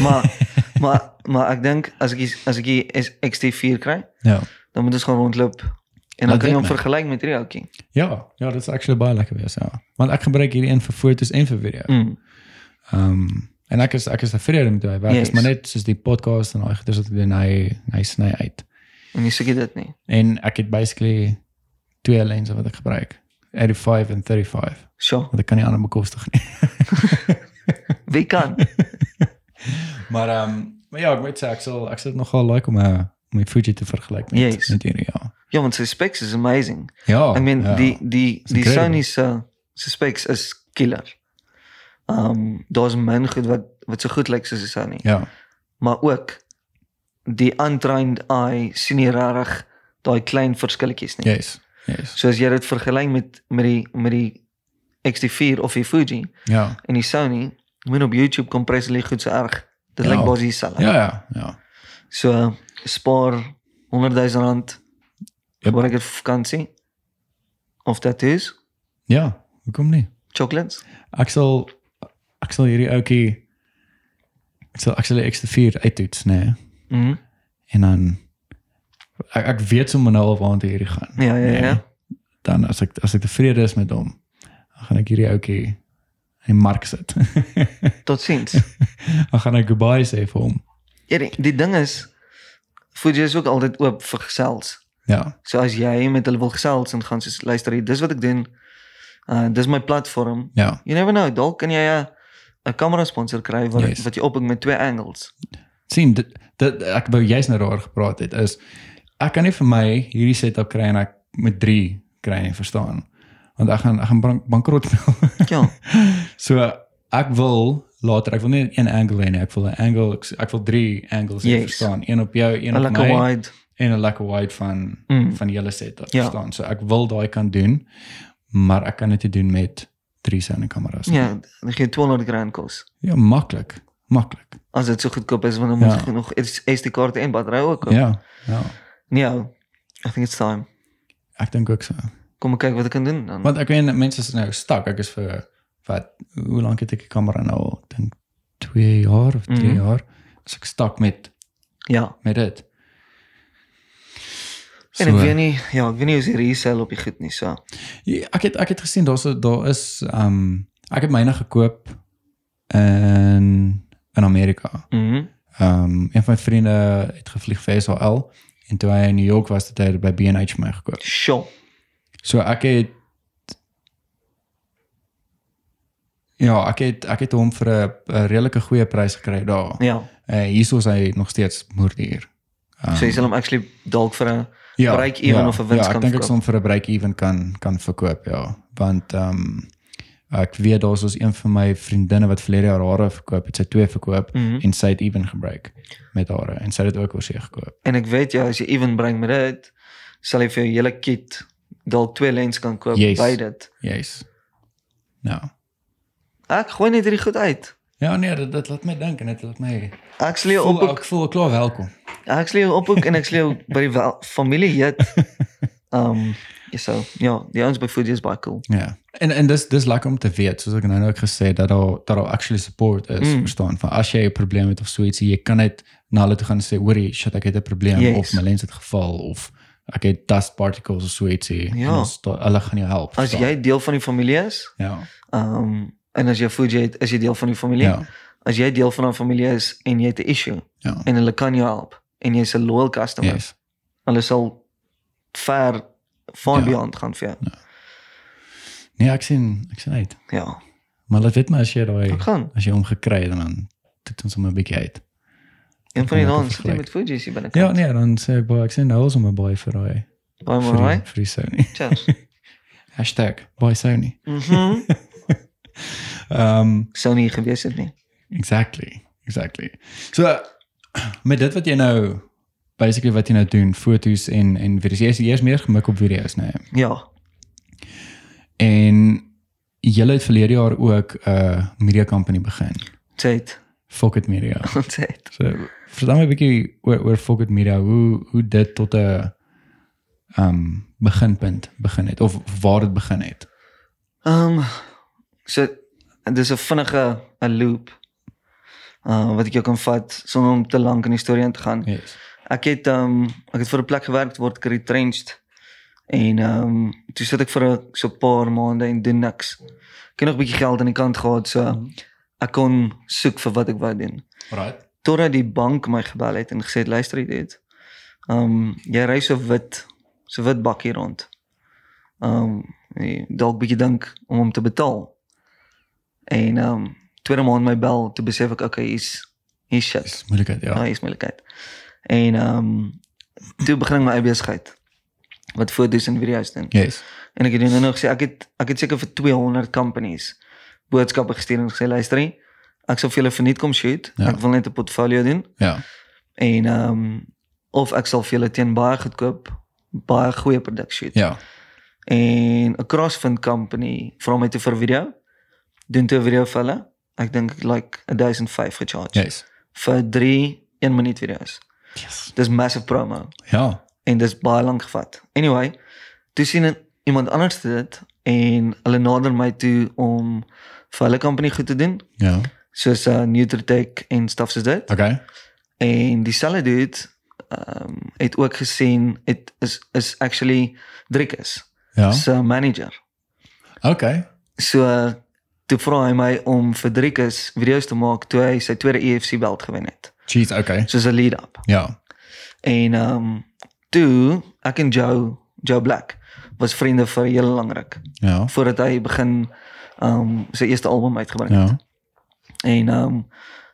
Maar maar maar ek dink as ek die- as ek die S- XT4 kry,
Ja.
dan moet ons gaan rondloop en dan
Laat
kan jy hom
dit my.
vergelyk met hierdie ouetjie.
Ja, ja, dit is actually baie lekker wees, ja. Want ek gebruik hierdie een vir fotos en vir video.
Mm.
Ehm um, en ek is ek is tevrede met hoe hy werk. Yes.
Yes.
Is maar net soos die podcast en daai goeders wat ek doen, hy hy sny uit.
En nie seker dit nie.
En ek het basically twee lense wat ek gebruik. 85 en 35.
So,
Want ek kan nie ander bekostig nie.
wie kan?
<laughs> Maar ehm um, maar ja, ek moet sê ek sal ek sal dit nogal like om 'n om my Fuji te vergelyk met
Yes.
met hierdie ja.
Ja, want sy specs is amazing.
Ja.
I mean
ja.
die die die
incredible.
Sony se se specs is killer. Um daar's min goed wat wat so goed lyk soos die Sony.
ja.
maar ook die untrained eye sien nie regtig daai klein verskilletjies nie.
Yes. Yes.
So as jy dit vergelyk met met die met die XT4 of die Fuji
Ja.
en die Sony, moet op YouTube kom prys hulle goed so erg. Dit
Ja.
lyk basies dieselfde.
Ja ja ja.
So spaar 100 000 rand
Yep.
yep. vir 'n vakansie of tattoos,
Ja, hoekom nie?
chocolates.
Ek sal ek sal hierdie ouetjie ek sal ek sal die X4 uittoets, nee.
Mhm. Mm
En dan ek, ek weet sommer nou al waartoe hierdie gaan.
ja, ja, ja.
Nee.
ja.
dan as ek as ek tevrede is met hom, dan gaan ek hierdie ouetjie in die mark sit. <laughs>
Totsiens.
dan gaan ek goodbye sê vir hom.
Ja, die, die ding is Fuji is ook altyd oop vir gesels.
Ja.
So as jy met hulle wil gesels en gaan soos luister, hier, dis wat ek doen. Uh dis my platform.
Ja.
You never know, dalk kan jy 'n 'n kamera sponsor kry wat
Yes.
wat jy opbou met twee
<laughs>
angles.
sien dit, dit ek wou juist nou daaroor gepraat het is ek kan nie vir my hierdie setup kry en ek met 3 kry nie verstaan want ek gaan ek gaan bank, bankrot <laughs> nou.
Ja.
so ek wil later ek wil nie een angle hê nie, ek wil 'n angle ek, ek wil 3 angles hê,
Yes.
verstaan een op jou een
'n
op
lekker
my
wide.
en 'n lekker wide van
Mm.
van die hele setup
Ja.
verstaan so ek wil daai kan doen maar ek kan dit nie doen met 3 Sony kameras nie.
Ja, dan gee jy 200 rand kos.
ja maklik maklik
As dit so goedkoop is want dan moet
Ja.
jy nog SD kaarte en battery ook koop.
ja ja
Nee, ou, I think it's time.
ek dink ook so
Kom ek kyk wat ek kan doen dan.
Want ek weet mense is nou stak. Ek is vir wat hoe lank het ek die kamera nou al? Ek dink 2 jaar of 3 mm
Mhm.
-hmm. jaar. As ek stak met
Ja.
met dit.
En ek
So,
weet nie, ja, ek weet nie hoe se resell op die goed nie, so.
ja, ek het ek het gesien daar's 'n- daar is ehm um, ek het myne gekoop in in Amerika.
Mhm. Mm
Ehm um, een van my vriende het gevlieg vir SAL en toe hy in New York was, het hy dit by B&H vir my gekoop.
Sjoe.
So ek het Ja, ek het ek het hom vir 'n 'n redelike goeie prys gekry daar.
Ja.
Eh hierso is hy nog steeds moerdier. Ehm,
So jy sal hom actually dalk vir 'n break even of 'n wins
ja,
kan
ek dink ek
verkoop.
sal hom vir 'n break even kan kan verkoop, ja. Want ehm ek weet daar's ons een van my vriendinne wat verlede jaar hare verkoop het, sy twee verkoop
Mhm.
en sy het even gebruik met hare en sy het dit ook oorsee gekoop.
En ek weet ja, as jy even bring met dit, sal jy vir jou hele kit dalk twee lens kan koop
Yes.
by dit.
Yes. Nou.
Ek gooi net hierdie goed uit.
Ja nee, dit, dit laat my dink en dit laat my
Ek sal jou
voel,
ophoek,
ek voel klaar welkom.
ek sal jou ophoek en ek sal jou by die wel, familie
<laughs>
eet. Um, ja, so ja, die ons by Foodie is baie cool.
Ja. En en dis dis lekker om te weet, soos ek nou nou ook gesê het dat daar dat daar actually support is,
Mm.
mm. verstaan? Van as jy 'n probleem het of so iets, jy kan net na hulle toe gaan en sê, "Hoerie, shit, ek het 'n probleem
Yes.
yes. of my lens het geval of ek het dust particles of so ietsie."
Ja.
En ons da- hulle gaan jou help.
As
verstaan?
jy deel van die familie is,
ja.
um en as jy Foodie eet, is jy deel van die familie.
Ja.
As jy deel van 'n familie is en jy het 'n issue
Ja.
en hulle kan jou help en jy's 'n loyal customer.
Yes.
Hulle sal ver far
Ja.
beyond gaan vir jou.
Nee, ek sien ek sien uit.
Ja.
Maar laat weet my as jy daai
Ek gaan
as jy hom gekry het en dan dit ons hom 'n bietjie uit.
een van
Ek
die
kan
dae
dit
sit jy
vergelyk.
met Fuji hier binne.
Ja, nee, dan sê ek baie ek sien nou ons hom 'n baie vir daai
Baie
vir
mooi.
die- vir die Sony. <laughs>
Cheers.
Hashtag #baie Sony.
Mhm.
Ehm um,
Sou nie gewees het nie.
Exactly. Exactly. So <clears throat> met dit wat jy nou basically wat jy nou doen, fotos en en video's. Jy is jy is meer gemik op video's, né? Nee.
Ja.
En jy het verlede jaar ook 'n uh, media company begin.
Tyd. <laughs>
Focket Media.
Tyd.
So vertel my 'n bietjie oor oor Focket Media, hoe hoe dit tot 'n um beginpunt begin het of waar dit begin het.
Ehm so dis 'n vinnige 'n loop. Uh wat ek jou kan vat sonder om te lank in die storie in te gaan.
Yes.
Ek het ehm ek het vir 'n plek gewerk word ek retrenched en ehm toe sit ek vir 'n so 'n paar maande en doen niks. Ek het nog 'n bietjie geld aan die kant gehad so ek kon soek vir wat ek wou doen.
Right.
Totdat die bank my gebel het en gesê het luister jy dit. Ehm jy ry so wit so wit bakkie rond. Ehm um, dalk bietjie dink om hom te betaal. En ehm tweede maand my bel toe besef ek okay hier's hier's shit.
Dis moeilikheid,
Ja,
ja.
Nou, hier is moeilikheid. En ehm toe begin ek my eie besigheid wat foto's en video's doen.
Yes.
En ek het nou nog gesê ek het ek het seker vir 200 companies boodskappe gestuur en gesê luister nie, ek sal vir julle verniet kom shoot.
Ja.
Ja. Ek wil net 'n portfolio doen
Ja.
en ehm of ek sal vir julle teen baie goedkoop baie goeie produk shoot.
Ja.
En 'n CrossFit company vra my toe vir 'n video. Doen toe 'n video vir hulle. Ek dink ek like 1005 gecharge
Yes.
vir 3 1 minuut video's.
Yes.
Dis massive promo
Ja.
en dis baie lank gevat. Anyway, toe sien ek iemand anders dit en hulle nader my toe om vir hulle company goed te doen,
Ja.
soos uh, Nutritech en stuff soos dit.
Okay.
En dieselfde dude ehm um, het ook gesien dit is is actually Driekus
Ja.
se manager.
Okay.
So uh, toe vra hy my om vir Driekus video's te maak toe hy E sy tweede EFC belt gewen het,
Jeez, okay.
soos 'n lead up.
Ja.
En ehm um, toe ek en Joe, Joe Black was vriende vir 'n hele lang ruk
Ja.
voordat hy begin ehm sy eerste album uitgebring het.
Ja.
En ehm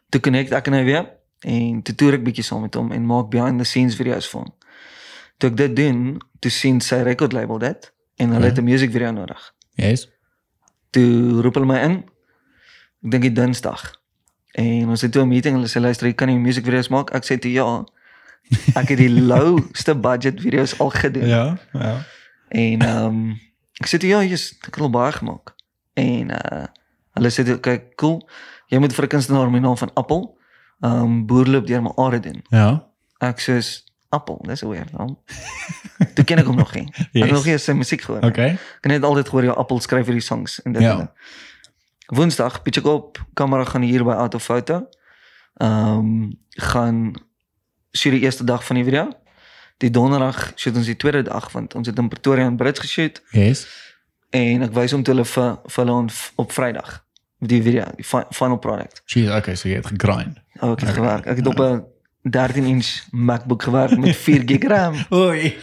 toe connect ek en hy weer en toe toer ek bietjie saam met hom en maak behind the scenes video's vir hom. Toe ek dit doen, toe sien sy record label dit en hulle het 'n music video nodig.
Yes.
Toe roep hulle my in. Ek dink die Dinsdag. En ons het toe 'n meeting en hulle sê luister, jy kan nie music video's maak. Ek sê toe ja. Ek het die <laughs> lowste budget video's al gedoen.
Ja. Ja.
En ehm ek sê toe, ja, jy's ek het al baie gemaak. En uh hulle sê toe, kyk, cool. Jy moet vir 'n kunstenaar met die naam van Appel ehm um, boerloop deur my are doen.
Ja.
Ek sê Appel, dis 'n weird naam.
<laughs>
toe ken ek hom nog nie. Yes. Ek
Yes.
het nog nie eens sy musiek gehoor. nie.
Okay.
Ek het net altyd gehoor jou Appel skryf hierdie songs en dit.
Ja.
en dit. Woensdag pitch ek op, kamera gaan hier by Autofoto. Ehm gaan shoot die eerste dag van die video. Die donderdag shoot ons die tweede dag want ons het in Pretoria en Brits geshoot.
Yes.
En ek wys hom toe hulle vir vir hulle on, op Vrydag die video, die fi- final product.
Jeez, okay, so jy het gegrind.
Oh, ek het gewerk. Ek het op 'n 13 inch MacBook gewerk met 4 GB RAM,
Oei.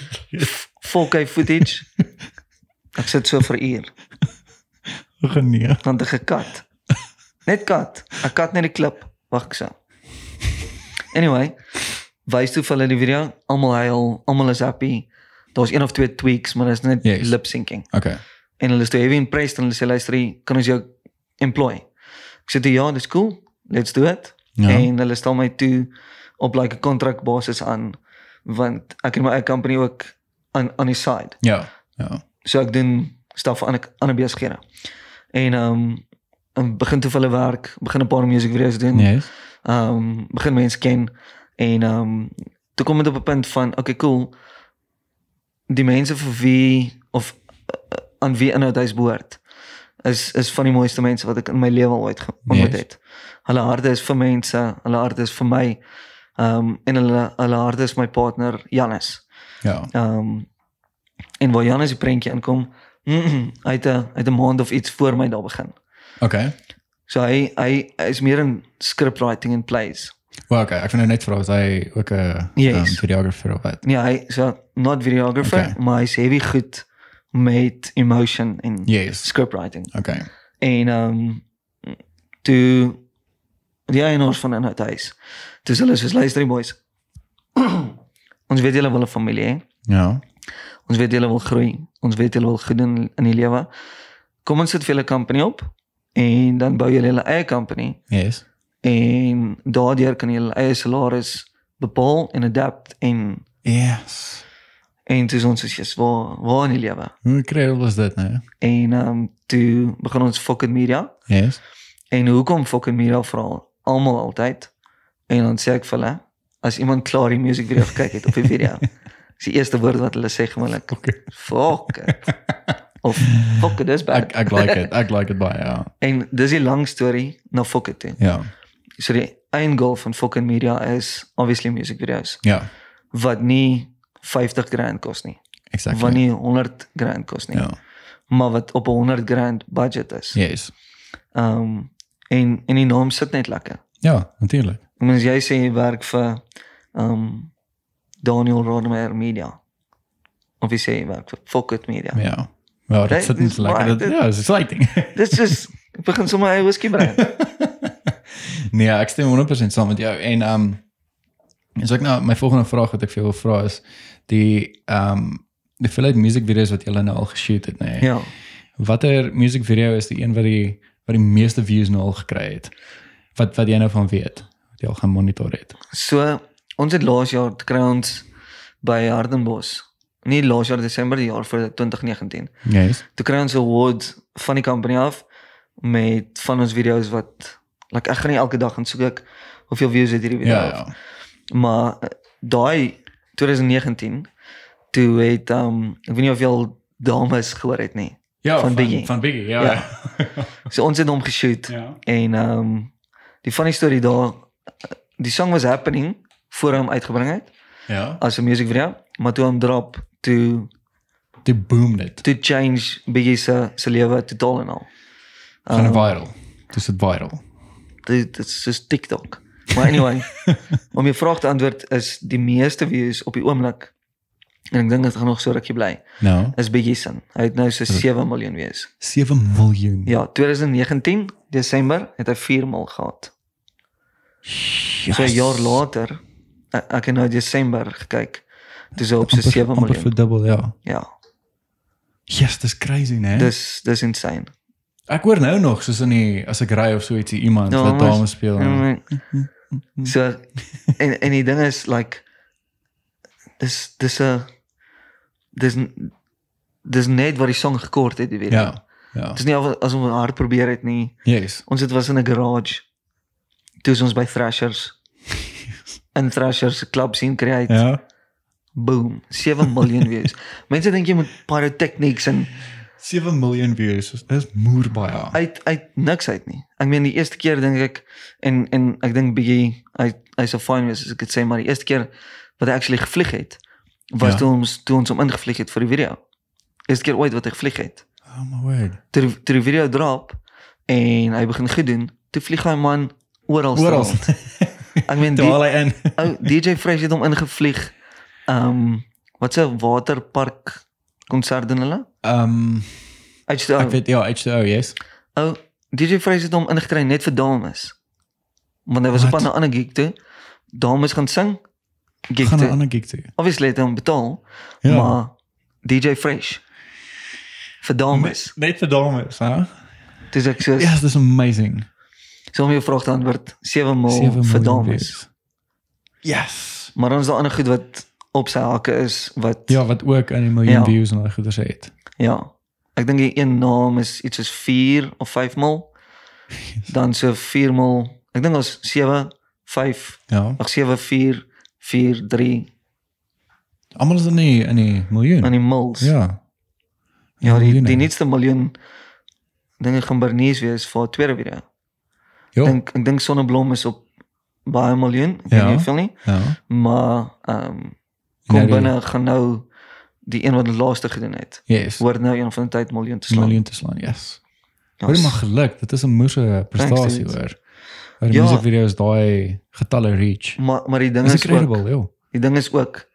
4K footage. Ek sit so vir 'n uur,
Genee.
dan het ek gekat. Net kat. Ek kat net die klip. Wag ek so. Anyway, wys toe vir hulle die video. Almal huil, almal is happy. Daar's een of twee tweaks, maar dit is net
Yes.
yes. lip syncing.
Okay.
En hulle is toe heavy impressed en hulle sê luister, hier, kan ons jou employ? Ek sê toe ja, dis cool. Let's do it.
Ja.
Ja. En hulle stel my toe op like 'n kontrakbasis aan want ek het my eie company ook aan aan die side.
Ja. Ja.
So ek doen stuff aan 'n ander besighede. En ehm um, begin toe vir hulle werk, begin 'n paar music videos doen.
Yes.
Ehm um, begin mense ken en ehm um, toe kom dit op 'n punt van okay cool die mense vir wie of uh, aan wie inhoud hy behoort is is van die mooiste mense wat ek in my lewe al ooit ge- ontmoet
Yes.
het. Hulle harte is vir mense, hulle harte is vir my. Ehm um, en hulle hulle harte is my partner Janus.
Ja.
Ehm um, en waar Janus die prentjie <clears throat> inkom, uit 'n uit 'n maand of iets voor my daar begin.
Okay.
So hy hy, hy is meer in scriptwriting en plays.
Wel, okay, ek vind nou net vra as hy ook 'n
Yes.
um, videographer of wat.
Ja, hy so not videographer,
Okay.
maar hy's heavy goed met emotion en
Yes.
scriptwriting.
Okay.
En ehm um, toe die eienaars van Inhoud huis. Toe sê hulle soos luister die boys. <clears throat> ons weet julle wil 'n familie hê.
Ja.
Ons weet julle wil groei. Ons weet julle wil goed doen in die lewe. Kom ons sit vir julle company op en dan bou julle julle eie company
Yes.
en daardeur kan julle eie salaris bepaal en adapt en
Yes.
en toe is ons soos jy's waar waar in die lewe.
Hoe kreëel was dit nou?
En ehm um, toe begin ons fucking media.
Yes.
En hoekom fucking media vra almal altyd? En dan sê ek vir hulle, as iemand klaar die musiekvideo gekyk het op die
<laughs>
video, is die eerste woord wat hulle sê gewoonlik,
Okay.
"Fuck."
<laughs>
It. Of "Fuck it is
Ek
bad."
ek like dit. Ek like dit baie. Ja.
<laughs> En dis 'n lang storie na fuck it toe.
Ja.
So die einde goal van fucking media is obviously musiekvideo's
Ja.
wat nie 50 grand kos nie,
Exactly.
wat nie 100 grand kos nie,
Ja.
maar wat op 'n 100 grand budget is.
Yes.
Ehm um, en en die naam sit net lekker.
Ja, natuurlik.
Ek meen as jy sê jy werk vir ehm um, Daniel Rodemeyer Media. Of jy sê jy werk vir Focket Media. Ja.
Ja. Ja, dit
Dit
sit net
is
lekker.
waar,
Dit,
dit-
ja, it's exciting. <laughs>
Dis is ek begin sommer hy whisky brand.
nee, ek stem 100% saam met jou en ehm um, is ek nou my volgende vraag wat ek vir jou wil vra is die ehm um, die hoeveelheid musiekvideo's wat jy nou al geshoot het, nê? Nee.
ja.
Watter musiekvideo is die een wat die wat die meeste views nou al gekry het? Wat wat jy nou van weet? Wat jy al gaan monitor het.
So ons het laas jaar te kry ons by Hardenbos. Nie laas jaar Desember die jaar voor 2019.
Yes.
Toe kry ons 'n award van die company af met van ons video's wat like ek gaan nie elke dag gaan soek ek hoeveel views het hierdie video
Ja,
af.
ja.
Maar eh, daai 2019 toe het um ek weet nie of jy al dames gehoor het nie.
Ja,
Van Biggie.
Van Biggie, ja.
Ja.
Ja.
So ons het hom geshoot
ja.
en um die funny story daar eh, die song was happening voor hy hom uitgebring het
<laughs> Ja.
as 'n music video, maar toe hom drop toe
Die boom dit.
toe change Biggie se se lewe totaal en al.
Gaan
Oh.
um, viral. Dis dit viral.
Dit dit is soos TikTok. Maar anyway, om jou vraag te antwoord is die meeste views op die oomblik En ek dink dit gaan nog so rukkie bly.
Nou,
Is Biggie se. Hy het nou so
Hm.
7 miljoen wees.
7 miljoen.
Ja, 2019 Desember het hy 4 mal gehad. So 'n jaar later e- ek het nou Desember gekyk. Dis op so 7
amper
miljoen.
verdubbel, ja.
Ja,
Yes, dis crazy, né?
dis dis insane.
Ek hoor nou nog soos in die as ek ry of so ietsie iemand
Ja,
wat
maar-
dame speel. en-
Mm, So en en die ding is like dis dis 'n dis n- dis net wat die song gekort het, jy weet.
Ja. Ja.
Dis nie al- asof ons hard probeer het nie.
Yes.
Ons het was in 'n garage. Toe is ons by
<laughs>
Thrashers. En Thrashers se klub sien kry uit.
Ja.
Boom, 7 miljoen
<laughs>
views. Mense dink jy moet pyrotechnics en
7 miljoen views. Dis- Dis moer baie.
uit uit niks uit nie. Ek meen die eerste keer dink ek en en ek dink Biggie hy hy sou fyn wees as ek dit sê maar die eerste keer wat hy actually gevlieg het was
Ja.
ja. toe ons toe ons hom ingevlieg het vir die video. Eerste keer ooit wat hy gevlieg het.
Oh my word.
Toe die- toe die video drop en hy begin goed doen, toe vlieg hy man oral
Oral.
rond. Ek meen
<laughs> Toe
die
haal hy in.
ou DJ Fresh het hom ingevlieg. Ehm um, wat se waterpark konsert doen hulle?
Ehm
Uit die
ek weet ja, H2O, yes.
Ou DJ Freeze het hom ingekry net vir dames. Want hy was op
Wat?
'n ander gig toe. Dames gaan sing. Gig
Gaan 'n
toe.
ander gig toe.
Obviously het hy hom betaal,
Ja.
maar DJ Fresh vir dames.
Net vir dames, hè?
Dis ek so
Yes, dis amazing.
so om jou vraag te antwoord 7 mil
Sewe
Oh, vir
miljoen
dames.
views. Yes.
Maar ons daar ander goed wat op sy hakke is wat ja.
Ja, wat ook aan die miljoen
Ja.
views en daai goeders het.
ja ek dink die een naam is iets soos 4 of 5 mil. Dan so 4 mil. Ek dink ons 7 5
Ja.
ag 7 4 4 3
Almal is in die in die miljoen.
aan die mills. Ja,
ja.
ja die
miljoene.
die nuutste miljoen dinge gaan Bernies wees vir haar tweede video.
Jo.
Ek dink ek dink Sonneblom is op baie miljoen, ek
Ja.
weet nie hoeveel nie,
Ja.
maar ehm um, kom
Nou die-
binne gaan nou die een wat die laaste gedoen het.
Yes.
Word nou een van die tyd miljoen te slaan.
miljoen te slaan. Yes.
Ja,
Hoor
s-
maar geluk, dit is 'n moerse prestasie
dude.
hoor. Oor die
Ja.
musiekvideo's daai getalle reach.
maar maar die ding
Dis
is, ook,
incredible, joh.
die ding is ook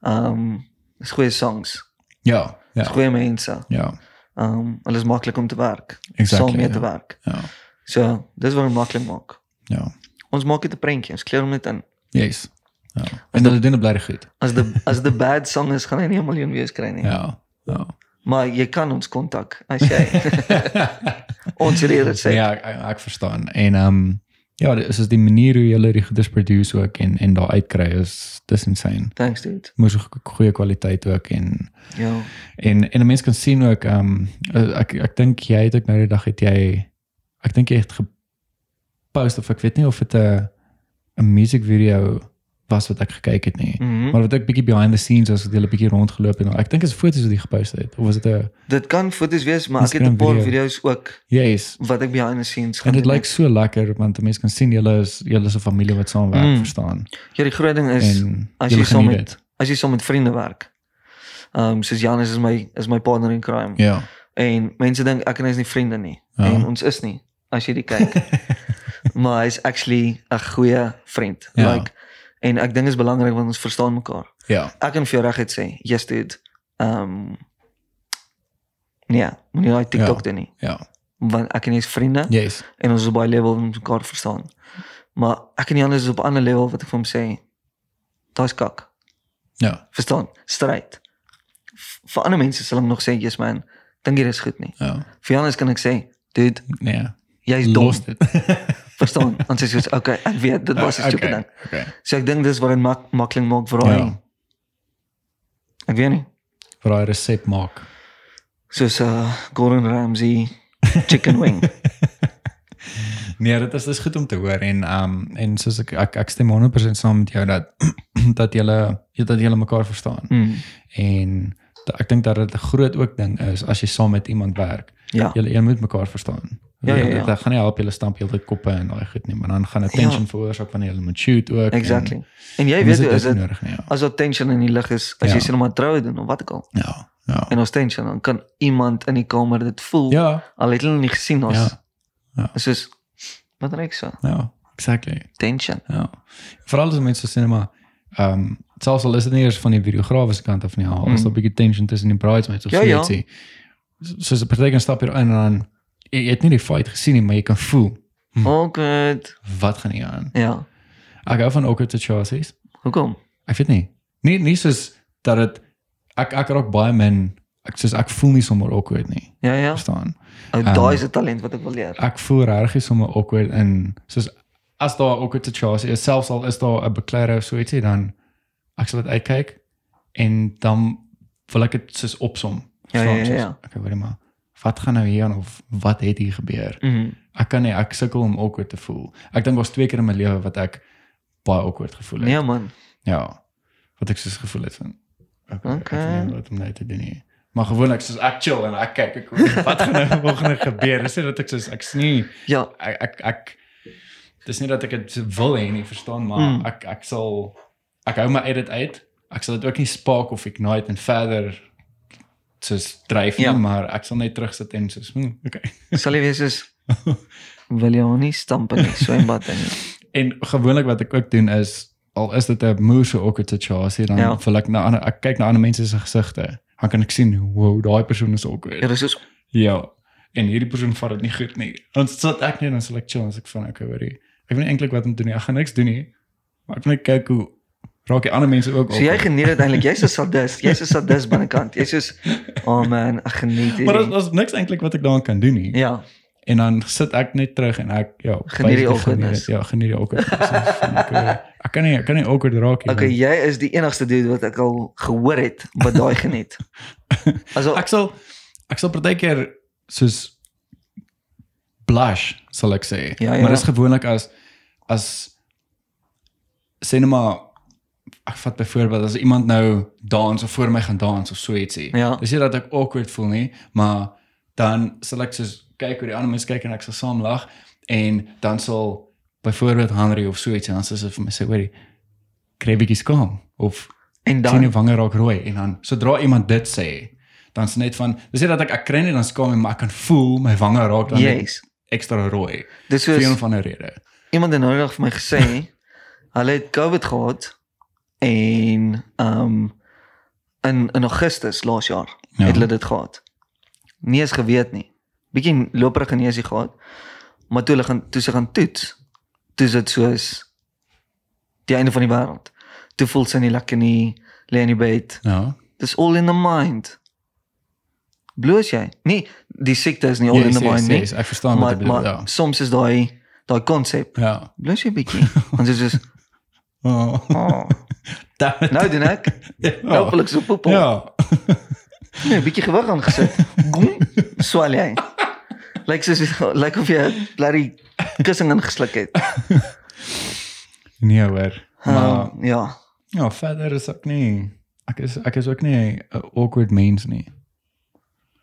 ehm um, is goeie songs,
Ja,
is
ja.
goeie mense.
Ja,
Ehm um, hulle is maklik om te werk,
Exactly,
saam mee
ja.
te werk.
ja.
So, dis wat hom maklik maak.
Ja.
Ons maak dit 'n prentjie, ons kleur hom net in.
Yes. Ja. En hulle doen dit bly goed.
As
<laughs>
die as die bad song is gaan hy nie 'n miljoen wees kry nie.
Ja. Ja.
Maar jy kan ons kontak as
<laughs>
jy ons reël <laughs> dit sê. Ja.
Ja, ek, ek- ek verstaan. En ehm um, ja, dis is die manier hoe hulle die goeders produce ook en en daar uitkry is dis insane.
Thanks dude.
Moes goeie kwaliteit ook en
Ja.
En en 'n mens kan sien ook ehm um, ek ek dink jy het ook nou die dag het jy ek dink jy het gepost of ek weet nie of dit 'n 'n music video was wat ek gekyk het nie.
Mhm.
Maar wat ek bietjie behind the scenes was wat jy 'n bietjie rondgeloop het. Ek dink is foto's wat jy gepost het of was dit 'n
Dit kan foto's wees, maar ek het
Instagram
'n paar
video.
video's ook
yes.
wat ek behind the scenes
En
gaan
dit
doen.
lyk so lekker want 'n mens kan sien julle is julle is 'n familie wat saamwerk,
Mm.
mm. verstaan?
Ja, die groot ding is
En
as
julle
jy saam
geniet
met-
dit.
as jy saam met vriende werk. Ehm um, soos Janus is my is my partner in crime
Ja.
en mense dink ek en hy is nie vriende nie
Ja.
en ons is nie as jy dit
<laughs>
kyk. maar hy's actually 'n goeie vriend.
Ja.
Like en ek dink dit is belangrik want ons verstaan mekaar.
Ja.
ek kan vir jou reguit sê, yes dude. Ehm um, nee, moenie daai TikTok
Ja.
doen nie,
Ja.
want ek en jy is vriende
Yes.
en ons is op baie level om mekaar verstaan. Maar ek en Jan is op 'n ander level wat ek vir hom sê, daai's kak.
Ja.
Verstaan? Stryd. V- Vir ander mense sal hom nog sê, yes man, dink jy dis goed nie.
Ja.
Vir Jan kan ek sê, dude,
Nee.
jy's dom.
Los dit.
<laughs> Verstaan? Ons sê soos, okay, ek weet, dit was 'n stupid
Okay,
ding.
Okay.
So ek dink dis wat dit mak maklik maak vir daai.
Ja.
Ek weet nie.
Vir daai resep maak.
soos uh, Gordon Ramsay chicken wing.
<laughs> Nee, dit is dis goed om te hoor en ehm um, en soos ek ek, ek stem 100% saam met jou dat <clears throat> dat julle dat julle mekaar verstaan.
Mm.
En da- ek dink dat dit 'n groot ook ding is as jy saam met iemand werk.
Ja.
Julle een moet mekaar verstaan.
Ja, ja, ja.
Dit gaan nie help julle stamp heeltyd koppe en daai goed nie, maar dan gaan dit tension ja. veroorsaak wanneer julle moet shoot ook.
Exactly.
En,
En jy
en
weet hoe is
nie
dit
nodig nie. Ja.
as daar tension in die lug is, as
Ja.
jy sien maar troue doen of wat ook al.
Ja. Ja.
En ons tension dan kan iemand in die kamer dit voel.
Ja.
Al het hulle nie gesien ons.
Ja. Ja.
Soos wat reik so?
Ja. Exactly.
Tension.
Ja. Veral as mense sê maar ehm um, Zelfs al is het niet eens van die videografische kant af niet al. Is
Mm.
daar 'n bietjie tension tussen die bridesmaids of
Ja,
so
ja.
ietsie. So- Soos 'n partykeer stap hier in en dan jy, jy het nie die fight gesien nie, maar jy kan voel
Awkward.
wat gaan hier aan.
Ja.
Ek hou van awkward situaties.
Hoekom?
Ek weet nie. Nie nie soos dat dit ek ek raak baie min ek soos ek voel nie sommer awkward nie.
Ja, ja.
Verstaan?
Ou
Ehm,
daai is 'n talent wat ek wil leer.
Ek voel regtig sommer awkward in soos as daar 'n awkward situasie is, selfs al is daar 'n beklere of so ietsie dan ek sal dit uitkyk en dan wil ek dit soos opsom.
Ja, ja,
Verstaan?
ja,
Soos,
ja.
Okay, weet maar. Wat gaan nou hier aan of wat het hier gebeur?
Mhm.
Ek kan nie ek sukkel om awkward te voel. Ek dink daar's twee keer in my lewe wat ek baie awkward gevoel het.
Nee man.
Ja. Wat ek soos gevoel het van ek okay.
Oké.
ek weet nie wat om nou te doen nie. Maar gewoonlik soos ek chill en ek kyk ek hoe- wat gaan nou <laughs> volgende gebeur. Dis nie dat ek soos ek's nie
Ja,
ek ek ek dis nie dat ek dit wil hê nie, verstaan, maar
Mm.
mm. ek ek sal ek hou my edit uit. Ek sal dit ook nie spark of ignite en verder soos dryf nie,
Ja.
ja. maar ek sal net terugsit en soos hmm, okay.
sal jy wees is
<laughs>
wil jy hom nie stamp in die swembad in. nie.
En gewoonlik wat ek ook doen is al is dit 'n moeëse awkward situasie dan
Ja.
ja. wil ek na ander ek kyk na ander mense se gesigte. Dan kan ek sien, wow, daai persoon is awkward.
Ja, dis soos
Ja. En hierdie persoon vat dit nie goed nie. Dan sit ek net en dan sal ek chill en sê ek van okay, hoorie. Ek weet nie eintlik wat om te doen nie. Ek gaan niks doen nie. Maar ek wil net kyk hoe raak die ander mense ook
so jy
awkward.
geniet dit eintlik. Jy's 'n sadist. Jy's 'n sadist binnekant. Jy's soos
<laughs>
oh man, ek geniet
Maar daar's
dit.
daar's niks eintlik wat ek daaraan kan doen nie.
Ja,
En dan sit ek net terug en ek ja,
Geniet die
basically
awkwardness.
geniet dit. Ja, geniet die awkwardness. Van, ek, hoor, ek kan nie ek kan nie awkward raak nie.
okay, jy is die enigste dude wat ek al gehoor het wat daai
<laughs>
geniet. Also
Ek sal ek sal partykeer soos blush sal ek sê.
Ja, ja.
Maar dis gewoonlik as as sê net maar ek vat byvoorbeeld as iemand nou dans of voor my gaan dans of so ietsie.
Ja.
Dis nie dat ek awkward voel nie, maar dan sal ek soos kyk hoe die ander mense kyk en ek sal saam lag en dan sal byvoorbeeld Henry of so ietsie en dan sal sy vir my sê, "Hoorie, kry 'n bietjie skaam." Of
en
sien
dan
jou wange raak rooi en dan sodra iemand dit sê, dan is net van dis nie dat ek ek kry nie dan skaam nie, maar ek kan voel my wange raak dan net
yes.
ekstra rooi
Dis
vir een
soos
of ander rede.
iemand het nou nog vir my gesê hulle het COVID gehad en um in in Augustus laas jaar
Ja.
het hulle dit gehad. Nie eens geweet nie. Bietjie loperige neusie gehad. Maar toe hulle gaan toe sy gaan toets, toe is dit soos die einde van die wêreld. Toe voel sy nie lekker nie, lê in die bed.
Ja.
Dis all in the mind. Bloos jy? Nee, die siekte is nie all in the mind nie.
Ek verstaan
maar
wat jy
maar
bedoel. Ja.
soms is daai daai konsep
Ja.
bloos jy bietjie. <laughs> Want dit is <laughs>
Oh,
oh,
damn it.
nou doen ek nou
Ja.
hopelik so poepel.
Ja.
Nee, 'n bietjie gewig aangesit. Goem, swal jy. Lyk soos lyk of jy 'n bloody kussing ingesluk Ehm, het.
Nee hoor. Maar
Um, ja.
ja, verder is ek nie ek is ek is ook nie 'n awkward mens nie.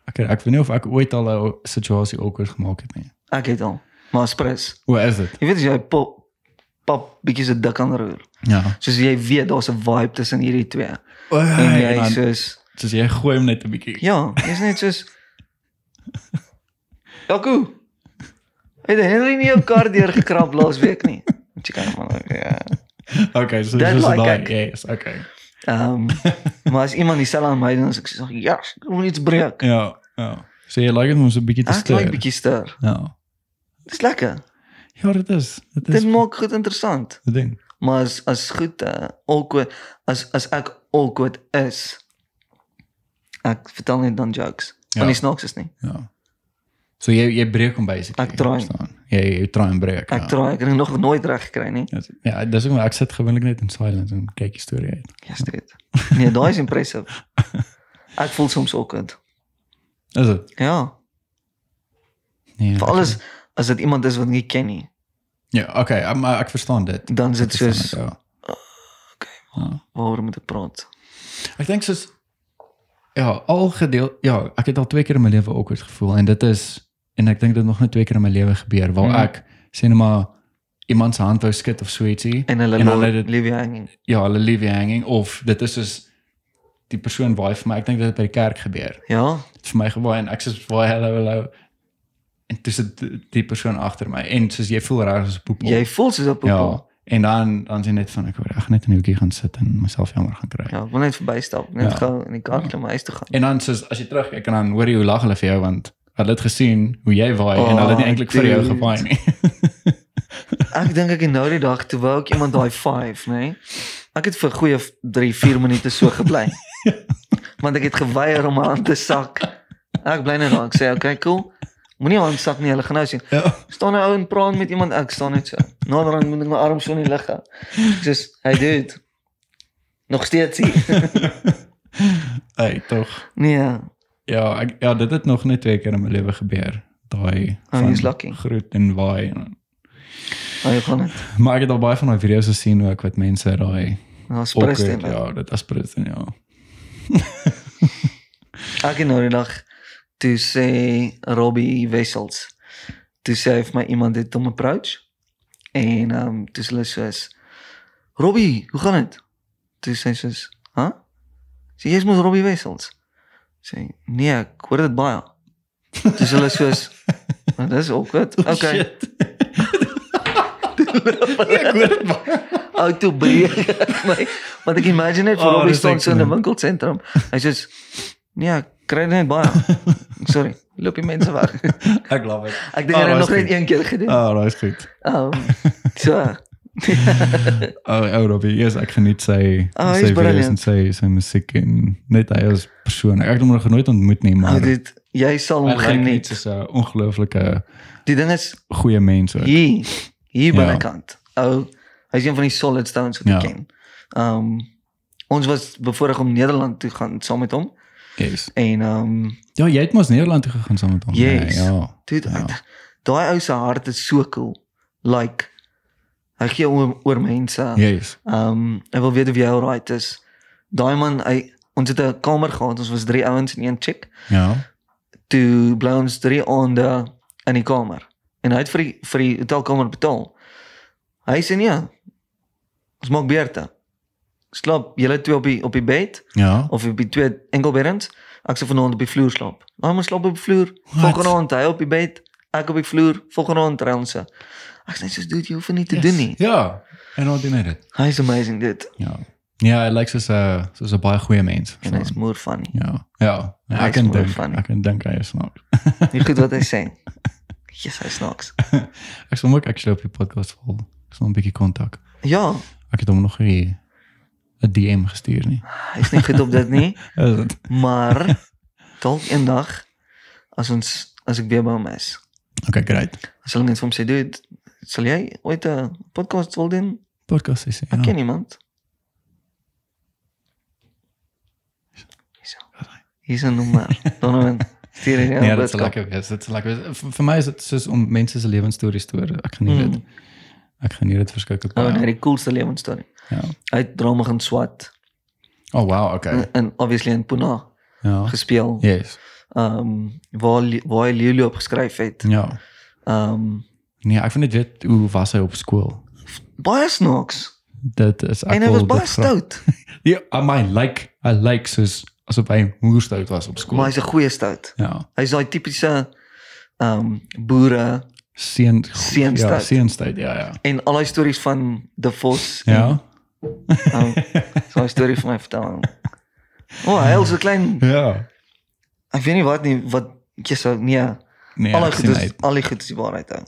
Ek ek weet nie of ek ooit al 'n situasie awkward gemaak het nie.
Ek het al. Maar spres.
Hoe is dit?
Jy weet as jy pop pop bietjie se dik aanroer.
Ja.
Soos jy weet daar's 'n vibe tussen hierdie twee.
Oh,
En jy soos
soos jy gooi hom net 'n bietjie.
Ja, jy's net soos Jaco. Het Henry nie jou kar deur gekrap laas week nie? Want Jy kan hom maar ja.
Okay, so
That
dis
like
daai.
ek.
Yes, okay.
<laughs> Ehm maar as iemand dieselfde aan my doen, as ek sê ja, ek wil iets breek.
Ja, ja. So jy like dit om so 'n bietjie te
Ek like
steur.
bietjie ster.
Ja.
Dis lekker.
Ja, dit is. Dit is
Dit maak goed interessant.
die ding.
Maar as as goed uh, awkward as as ek awkward is. Ek vertel net dan jokes. Ja.
Ja.
Want nie snaaks is nie.
Ja. So jy jy breek hom basically.
Ek try.
verstaan? Jy jy try en breek.
Ek
ja.
ja. try, ek het nog nooit reg gekry nie.
Dis- Ja, dis hoekom ek sit gewoonlik net in silence en kyk die storie uit.
<laughs> Ja, dit. Nee, daai is <laughs> impressive. Ek voel soms awkward.
Is dit?
Ja,
Nee.
vir alles as dit iemand is wat ek nie ken nie,
Ja, okay, ek- maar ek verstaan dit.
dan is
Ek
dit
verstaan
soos
dit, ja. Ja.
waaroor moet ek praat?
Ek dink soos ja, al gedeel ja, ek het al twee keer in my lewe awkward gevoel en dit is en ek dink dit nog net twee keer in my lewe gebeur waar
Mm.
mm. ek sê net maar iemand se hand wou skud of so ietsie.
En hulle
En
laat-
hulle dit-
leave you hanging.
Ja, hulle leave you hanging of dit is soos die persoon waai vir my. Ek dink dit het by die kerk gebeur.
Ja,
Het vir my gewaai en ek sê waai hallo hallo. En dis die persoon agter my en soos jy voel reg as 'n poepel.
jy voel soos 'n poepel.
ja.
Ja.
En dan dan sien net van ek hoor ek gaan net in 'n hoekie gaan sit en myself jammer gaan kry.
Ja, ek wil net verbystap, net
Ja.
gou in die kar klim huis toe gaan.
En dan soos as jy terugkyk en dan hoor jy hoe lag hulle vir jou want hulle het gesien hoe jy waai oh, en hulle het nie
Oh,
eintlik vir jou
dude. <laughs>
gewaai nie.
Ek dink ek het nou die dag toe wou ek iemand daai 5, nê? Nee? Ek het vir goeie 3, 4 minute so gebly.
<laughs>
Want ek het geweier om my hand te sak. Ek bly net daar. Ek sê, "Okay, cool. Moenie jou hand sak nie, hulle gaan nou sien."
Ja.
Staan 'n ou en praat met iemand. Ek staan net so. Naderhand moet ek my arm so in die lug hou. Ek sê, "Hey dude. Nog steeds
<laughs>
hier."
Ey, tog.
Nee.
Ja, ek, ja, dit het nog net twee keer in my lewe gebeur. Daai
Oh,
van
jy's lucky.
groet en waai.
Hy gaan dit.
Maar ek het al baie van daai video's gesien hoe ek wat mense daai
Ons
awkward,
presteer.
ja, dit is Preston, ja.
Elke nou die dag toe sê Robbie Wessels. Toe sê hy vir my iemand het hom approach en ehm um, toe sê hulle soos Robbie, hoe gaan dit? Toe sê hy soos, "Hæ? Huh? Sê jy's mos Robbie Wessels." Sê, hy, "Nee, ek hoor dit baie." Toe sê hulle
<laughs>
soos, "Maar dis awkward." Okay.
Oh,
<laughs>
Shit. ja, ek hoor dit baie.
Ou toe breek <laughs> ek my. Want ek imagine net vir
Oh,
oh, Robbie
dis
staan so in 'n
excellent.
winkelsentrum. Hy sê, "Nee, ek kry dit net
<laughs>
baie." Sorry, loop die mense weg.
Ek glo dit.
Ek dink hy
Ah,
het
dat
nog
is
net
goed.
een keer gedoen.
Ah, oh, Nou, dis goed.
Um,
<laughs>
so.
Oh, ou Robbie, yes, ek geniet sy
Ah, hy is
sy video's en
brilliant.
sy sy musiek en net hy as persoon. Ek het hom nog nooit ontmoet nie, maar
Maar dit jy sal
hy
hom
lyk net
geniet.
soos 'n ongelooflike
Die ding is
goeie mens ook.
hier hier
Ja.
binnekant. Ou, hy's een van die solid stones wat ek
Ja.
ken. Um ons was bevoorreg om Nederland toe gaan saam met hom
Yes.
en um
Ja, jy het mos Nederland toe gegaan saam met hom. nee,
Yes.
Ja.
dude,
Ja.
ek- daai ou se hart is so cool. Like hy gee oor, oor mense.
Yes.
Ehm um, ek wil weet of jy alright is. Daai man, hy ons het 'n kamer gehad. Ons was drie ouens en een chick.
Ja.
toe bly ons 3 aande in die kamer. En hy het vir die, vir die hotelkamer betaal. Hy sê nee. Ons maak beurte. Slaap julle twee op die op die bed
Ja.
of op die twee enkelbeddens. Ek sal vanaand op die vloer slaap. Nou ons slaap op die vloer.
Wat?
Volgende aand hy op die bed, ek op die vloer. Volgende aand ry ons. se. Ek sê soos dude, jy hoef dit nie te yes. doen nie.
Ja. En dan doen hy dit.
Hy's amazing dit.
Ja. Ja, hy lyk soos 'n soos 'n eh, baie goeie mens.
En hy's moer van
Ja. Ja.
Hy is
Ek kan
mooi
dink.
funny.
Ek kan dink hy is nou- snaaks.
nie goed wat hy sê. Yes, hy snaaks.
Ek sal hom ook actually op die podcast vol. Ek sal hom 'n bietjie kontak.
Ja,
Ek het hom nog nie 'n DM gestuur nie.
hy's nie goed op dit nie.
Is dit?
Maar dalk eendag as ons as ek weer by hom is,
Okay, great.
as hulle net vir hom sê, "Dude, sal jy ooit 'n podcast wil doen?"
Podcast is
Ek
ja.
ken iemand. Hierso. Hier's 'n
<laughs>
nommer. Donovan, stuur hy jou.
Ja, dit is lekker wees. Dit is lekker wees. Vir, vir my is dit soos om mense se lewensstories te hoor. Ek geniet Nee, dit. Ek geniet dit verskriklik
Hmm. Oh, nee,
baie.
Mm. die coolste lewensstorie.
Ja.
Hy het drama gaan swat
Oh wow, okay.
en obviously in Pune
Ja.
gespeel. Ehm
Yes.
um, waar li- waar hy Lulu op geskryf het.
Ja.
Ehm um,
Nee, ek vind dit weet hoe was hy op skool.
baie snaaks.
Dit is ek
En hy
wil
was
dit
baie
graag-
stout,
Ja, I mean like I like soos asof hy moerstout was op
maar
skool.
hy's 'n goeie stout.
Ja.
Hy's daai tipiese ehm um, boere
Seën Ja,
Seunstyd.
seënstyd. Ja, ja.
en al daai stories van De Vos.
Ja. <laughs>
Um, so 'n storie vir my vertel. O, oh, hy is 'n klein
Ja.
ek weet nie wat nie wat jy sou nee.
Nee,
Ja, al die
ek
goed
sien uit.
is al die goed is die waarheid ou.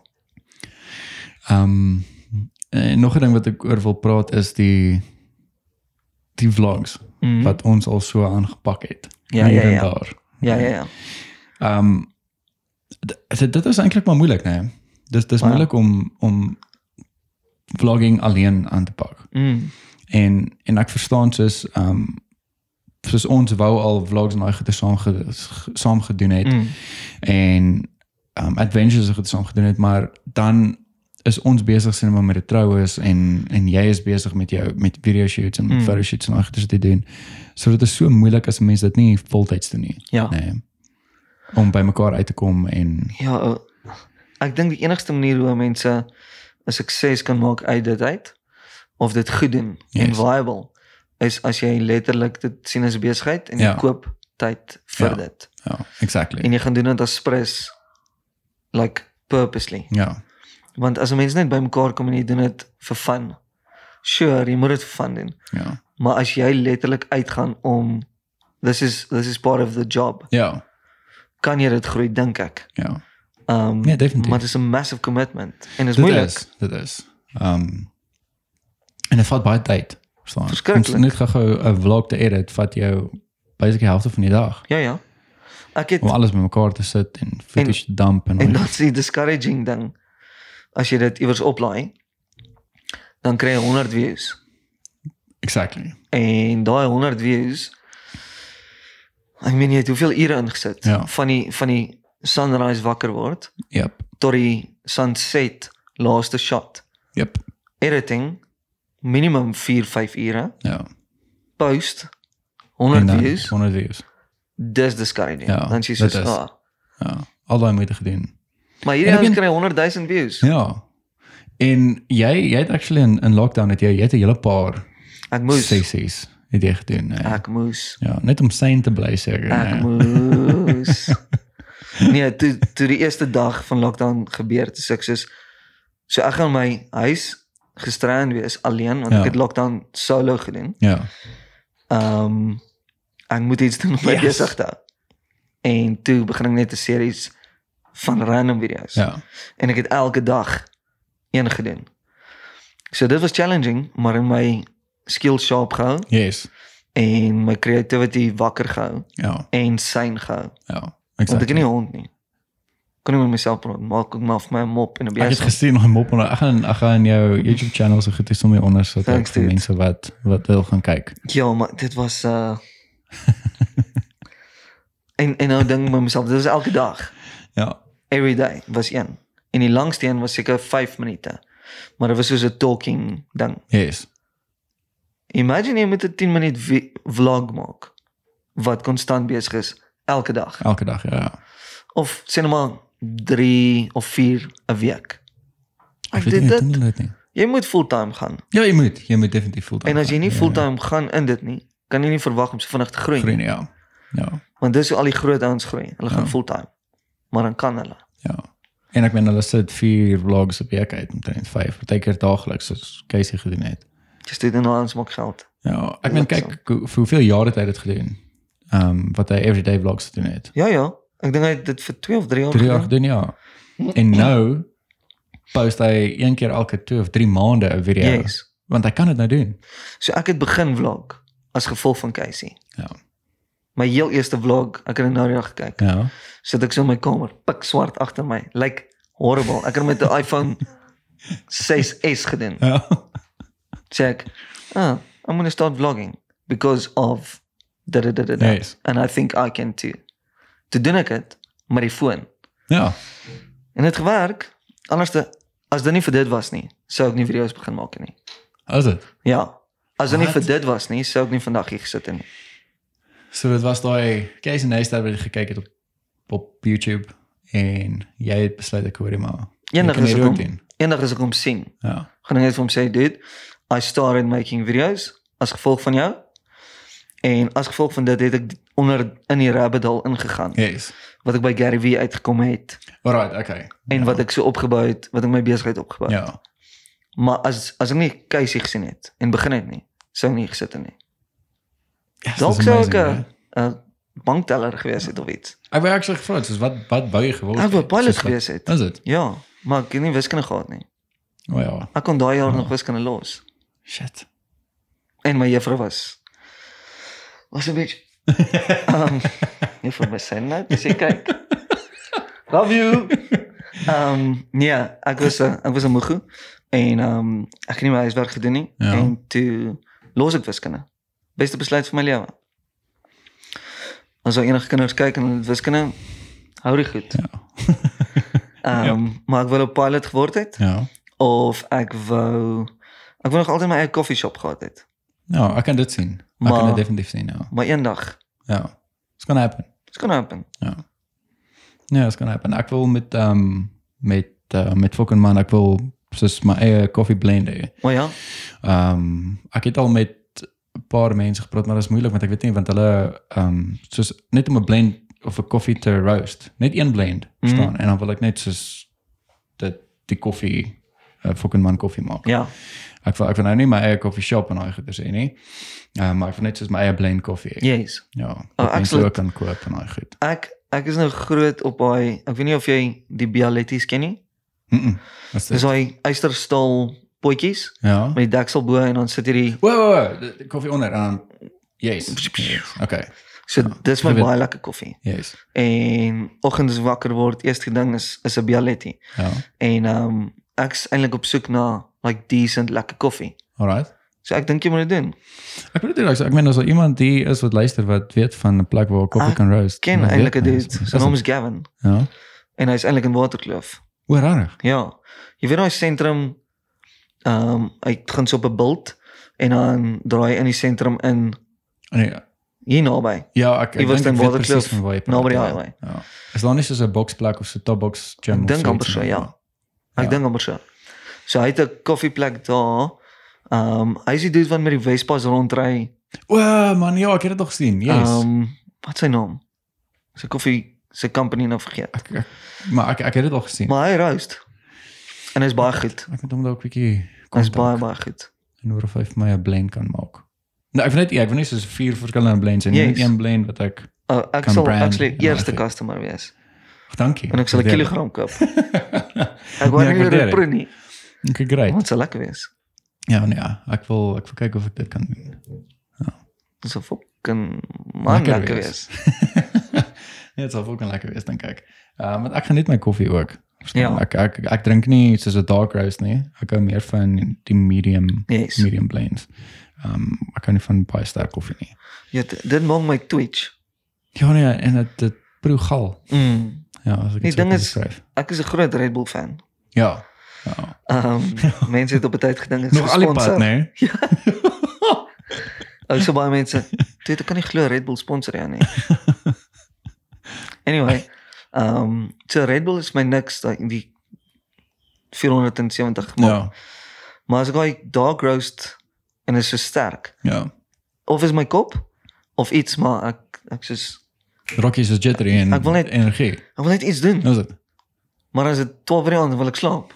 Ehm en nog 'n ding wat ek oor wil praat is die die vlogs
Mhm.
wat ons al so aangepak het.
Ja,
hier
ja,
en
ja.
daar.
Ja, ja, ja.
Ehm d- dit, dit is eintlik maar moeilik, né? Dis dis
Wow.
moeilik om om vlogging alleen aan te pak.
Mm.
En en ek verstaan soos ehm soos ons wou al vlogs en daai goeie saam ge- ge- saam gedoen het.
Mm.
en um adventures het saam gedoen het, maar dan is ons besig sien maar met die troues en en jy is besig met jou met video shoots en met
Mm.
mm. photo shoots en agters te doen. So dit is so moeilik as 'n mens dit nie voltyds doen nie,
Ja. Nee.
nê. Nee, om by mekaar uit te kom en
Ja. ou. Ek dink die enigste manier hoe mense 'n sukses kan maak uit dit uit of dit goed doen yes. en
Yes.
viable is as jy letterlik dit sien as 'n besigheid en jy
Ja.
ja. koop tyd vir
Ja.
ja. dit.
ja, exactly.
en jy gaan doen dit as press like purposely
Ja.
want as 'n mens net bymekaar kom en jy doen dit vir fun sure, jy moet dit vir fun doen.
Ja.
Maar as jy letterlik uitgaan om this is this is part of the job,
Ja.
kan jy dit groei dink ek.
Ja.
Um
Ja, definitief.
Maar dit is 'n massive commitment en dit is
Dit
moeilik.
is, dit is. Ehm en dit vat baie tyd. Verstaan?
Verskriklik.
Om Net gou 'n vlog te edit vat jou basically die helfte van die dag
Ja ja. Ek het
om alles bymekaar te sit en footage te dump en,
En
en
dat is die discouraging ding. As jy dit iewers oplaai, dan kry jy 100 views.
exactly.
En daai 100 views ek meen jy het hoeveel ure ingesit
Ja.
van die van die sunrise wakker word
Yep.
tot die sunset laaste shot.
Yep.
Editing minimum 4 5 ure.
Ja.
Post
En
100
dan
views.
100 views.
Dis discouraging.
Ja,
dan sê jy
dit
so,
is.
ah,
Ja. Al daai moeite gedoen.
maar hierdie
En ek
ouens
meen-
kry 100 000 views.
Ja. En jy jy het actually in in lockdown het jy jy het 'n hele paar
Ek moes Ah.
sessies het jy gedoen. Nee.
ek moes
ja, net om sane te bly seker.
Ek
nee.
moes.
<laughs>
nee, toe toe die eerste dag van lockdown gebeur het, sê ek soos so ek gaan my huis gestrand wees alleen want
Ja.
ek het lockdown solo gedoen.
Ja.
Ehm um, ek moet iets doen om my
Yes.
yes. besig te hou. En toe begin ek net 'n series van random video's
Ja.
en ek het elke dag een gedoen. So dit was challenging, maar in my skill sharp gehou
Yes.
en my creativity wakker gehou
Ja.
en syn gehou.
Ja.
Want ek
Exactly.
het nie 'n hond nie. Kan nie met myself praat maak ek maar vir my 'n mop en 'n
Ek het
beeste.
gesien nog 'n mop onder. Ek gaan ek gaan jou YouTube channel so goed is om hier onder sit
Thanks,
vir
dude.
mense wat wat wil gaan kyk.
Ja, maar dit was uh <laughs> en en nou ding met myself, dit was elke dag.
Ja.
Every day was een. En die langste een was seker 5 minute. Maar dit was soos 'n talking ding.
Yes.
Imagine jy moet 'n 10 minuut vi- vlog maak wat konstant besig is elke dag
Elke dag, ja. ja.
of sê net maar 3 of 4 'n week. Ek
weet nie,
dit
doen
dit
hulle dit nie.
jy moet fulltime gaan.
Ja, jy moet, jy moet definitief Ja. fulltime.
En as jy nie
gaan.
fulltime gaan in dit nie, kan jy nie verwag om so vinnig te groei
ja,
nie,
groen ja. Ja.
want dis hoe al die groot ouens groei. Hulle gaan
Ja.
fulltime. Maar dan kan hulle.
Ja. En ek meen hulle sit 4 vlogs op week uit omtrent 5, partykeer daagliks soos Casey gedoen het.
Just dit en ons maak geld.
Ja, ek meen kyk hoe- vir hoeveel jare het hy dit gedoen? Ehm um, wat hy everyday vlogs gedoen het.
Ja ja, ek dink hy het dit vir 2 of 3 jaar
3 jaar
gedoen.
gedoen ja. En nou post hy een keer elke 2 of 3 maande 'n video.
Yes.
Want hy kan dit nou doen.
So ek het begin vlog as gevolg van Casey.
Ja.
My heel eerste vlog, ek het dit nou net gekyk.
Ja.
Sit ek so in my kamer, pik swart agter my. Lyk like, horrible. Ek het met 'n
<laughs>
iPhone 6s gedoen.
Ja. <laughs>
sê ek, "Ah, I'm going to start vlogging because of da da da da." da.
Nice.
And I think I can too. Toe doen ek dit met die foon.
Ja.
En dit gewerk. Anders te, as dit nie vir dit was nie, sou ek nie video's begin maak het nie.
As dit.
Ja. As dit nie
Wat?
vir dit was nie, sou ek nie vandag hier gesit het nie.
So dit was daai Casey Neistat wat jy gekyk het op op YouTube en jy het besluit ek hoor hom maar. jy
Eendag
kan
as
dit
ek
ook
hom
doen.
eendag as ek hom sien,
Ja.
gaan ek net vir hom sê, "Dude, I started making videos as gevolg van jou." En as gevolg van dit het ek onder in die rabbit hole ingegaan
Yes.
wat ek by Gary Vee uitgekom het.
Alright, okay.
en
ja.
wat ek so opgebou het, wat ek my besigheid opgebou het.
Ja.
Maar as as ek nie Casey gesien het en begin het nie, sou ek nie gesit het nie.
Yes, eh,
Dalk
dis
sou
amazing,
ek 'n
hè?
'n bankteller gewees het of iets.
Ek wou actually gevra het, soos wat wat wou jy geword
Ek wou
het?
pilot
Soos wat-
gewees het.
Is dit?
Ja, maar ek het nie wiskunde gehad nie.
O oh, ja.
Ek kon daai jaar
Ja.
nog wiskunde los
Shit.
en my juffrou was was 'n
<laughs>
bietjie um juffrou my sê net, sê kyk. Love you. Um ja, ek was 'n ek was 'n moegu en um ek het nie my huiswerk gedoen nie
Ja.
en toe los ek wiskunde. Beste besluit van my lewe. As al enige kinders kyk en hulle het wiskunde hou dit goed.
Ja.
<laughs> Um maar ek wou 'n pilot geword het
Ja.
of ek wou ek wou nog altyd my eie koffieshop gehad het.
Ja, ek kan dit sien. Ek maar, kan
Maar-
dit definitief sien, ja.
Maar eendag,
Ja. It's going to happen.
it's gonna happen.
Ja, it's going to happen. Ek wil met ehm um, met uh, met fucking man, ek wil soos my eie koffie blend hê.
Maar ja,
Ehm ek het al met 'n paar mense gepraat, maar dit is moeilik want ek weet nie want hulle ehm soos net om 'n blend of 'n koffie te roast, net een blend staan en dan wil ek net soos dit die koffie uh, fucking eh, man koffie maak.
ja,
Ek wil ek wil nou nie my eie koffieshop en daai goeder sê nie. Ehm maar ek wil net soos my eie blend koffie hê.
Yes.
Ja. Wat mense
excellent.
ook kan koop en daai goed.
Ek ek is nou groot op daai ek weet nie of jy die Bialetti's ken nie.
Mm -mm. Wat
Dis
is dit?
daai ysterstaal potjies
Ja.
met die deksel bo en dan sit hierdie
Wow, wow, wow. die- die Koffie onder. Ehm yes. yes. Okay.
so dis my
Geweet.
baie lekker koffie.
Yes.
En oggens wakker word, eerste ding is is 'n Bialetti.
Ja.
En ehm um, ek's eintlik op soek na like decent lekker koffie.
Alright.
So ek dink jy moet dit doen.
Ek bedoel ek, ek meen as daar iemand hier is wat luister wat weet van 'n plek waar koffie
Ek
kan roast.
Ken
dan
eintlik 'n
weet
dude.
mens. Is
Sy naam
dit-
is Gavin
Ja.
en hy's eintlik in Waterkloof.
O, rarig.
Ja. Jy weet daai sentrum ehm um, hy gaan so op 'n bult en dan draai hy in die sentrum in
Nee.
hier naby.
Ja, ek
Jy
ek
was
dink
in
ek weet
Waterkloof,
presies van waar jy praat,
naby die
ja.
highway.
Ja. Is daar nie soos 'n boksplek of so top box gym?
Ek
of
dink
so
amper
iets
so,
in-
ja. Ek
Ja.
dink amper so. So hy het 'n koffieplek daar. Ehm um, hy is die dude wat met die Vespa's rondry.
O, man, ja, ek het dit nog gesien.
Ehm
Yes.
um, wat is sy naam? Sy koffie sy company nou vergeet.
ek, ek, maar ek ek het dit al gesien.
Maar hy roast. En hy's baie goed.
ek moet hom dalk 'n bietjie
Hy's baie
kontak
baie goed.
en oor of hy vir my 'n blend kan maak. Nou, ek weet net ek wil nie soos vier verskillende blends en yes.
Yes.
een blend wat ek
Uh, ek
Kan
sal
brand
actually
en daai
eerste
goed.
customer wees
oh, dankie.
en ek sal 'n
Waardeer
kilogram
<laughs>
koop. Ek
Nee,
wou
ek
nie
waardeer
dit
dit.
proe nie.
dit. Okay, great.
Wat sal lekker wees.
Ja, nee, ja, ek wil ek wil kyk of ek dit kan doen. <laughs>
Dis 'n fucking man
Lekker
lekker
wees.
wees.
Net sal ook lekker wees dink ek. Ehm want ek geniet my koffie ook. Verstaan?
Ja.
Ek ek ek drink nie soos 'n dark roast nie. Ek hou meer van die medium
Yes.
medium blends. Ehm ek hou nie van baie sterk koffie nie.
Ja, dit dit maak my twitch.
Ja nee, en dit dit proe gal.
Mm.
Ja, as
Die
ek dit sou
ding
kon
is-
beskryf.
Ek is 'n groot Red Bull fan.
Ja. Ja. <laughs>
Ehm mense het op 'n tyd gedink dit is
Nog al die pad,
gesponsor.
nee.
Ou so baie
<laughs>
mense, dit ek kan nie glo Red Bull sponsor ja nie. Anyway, ehm um, so Red Bull is my niks daai die 470 maak.
Ja.
Maar as ek daai dark roast en is so sterk,
Ja.
of is my kop of iets maar ek ek soos
Rockies is jittery en
Ek wil net-
energie.
ek wil net iets doen.
Nou is dit.
Maar as dit 12 uur aan wil ek
<laughs>
slaap.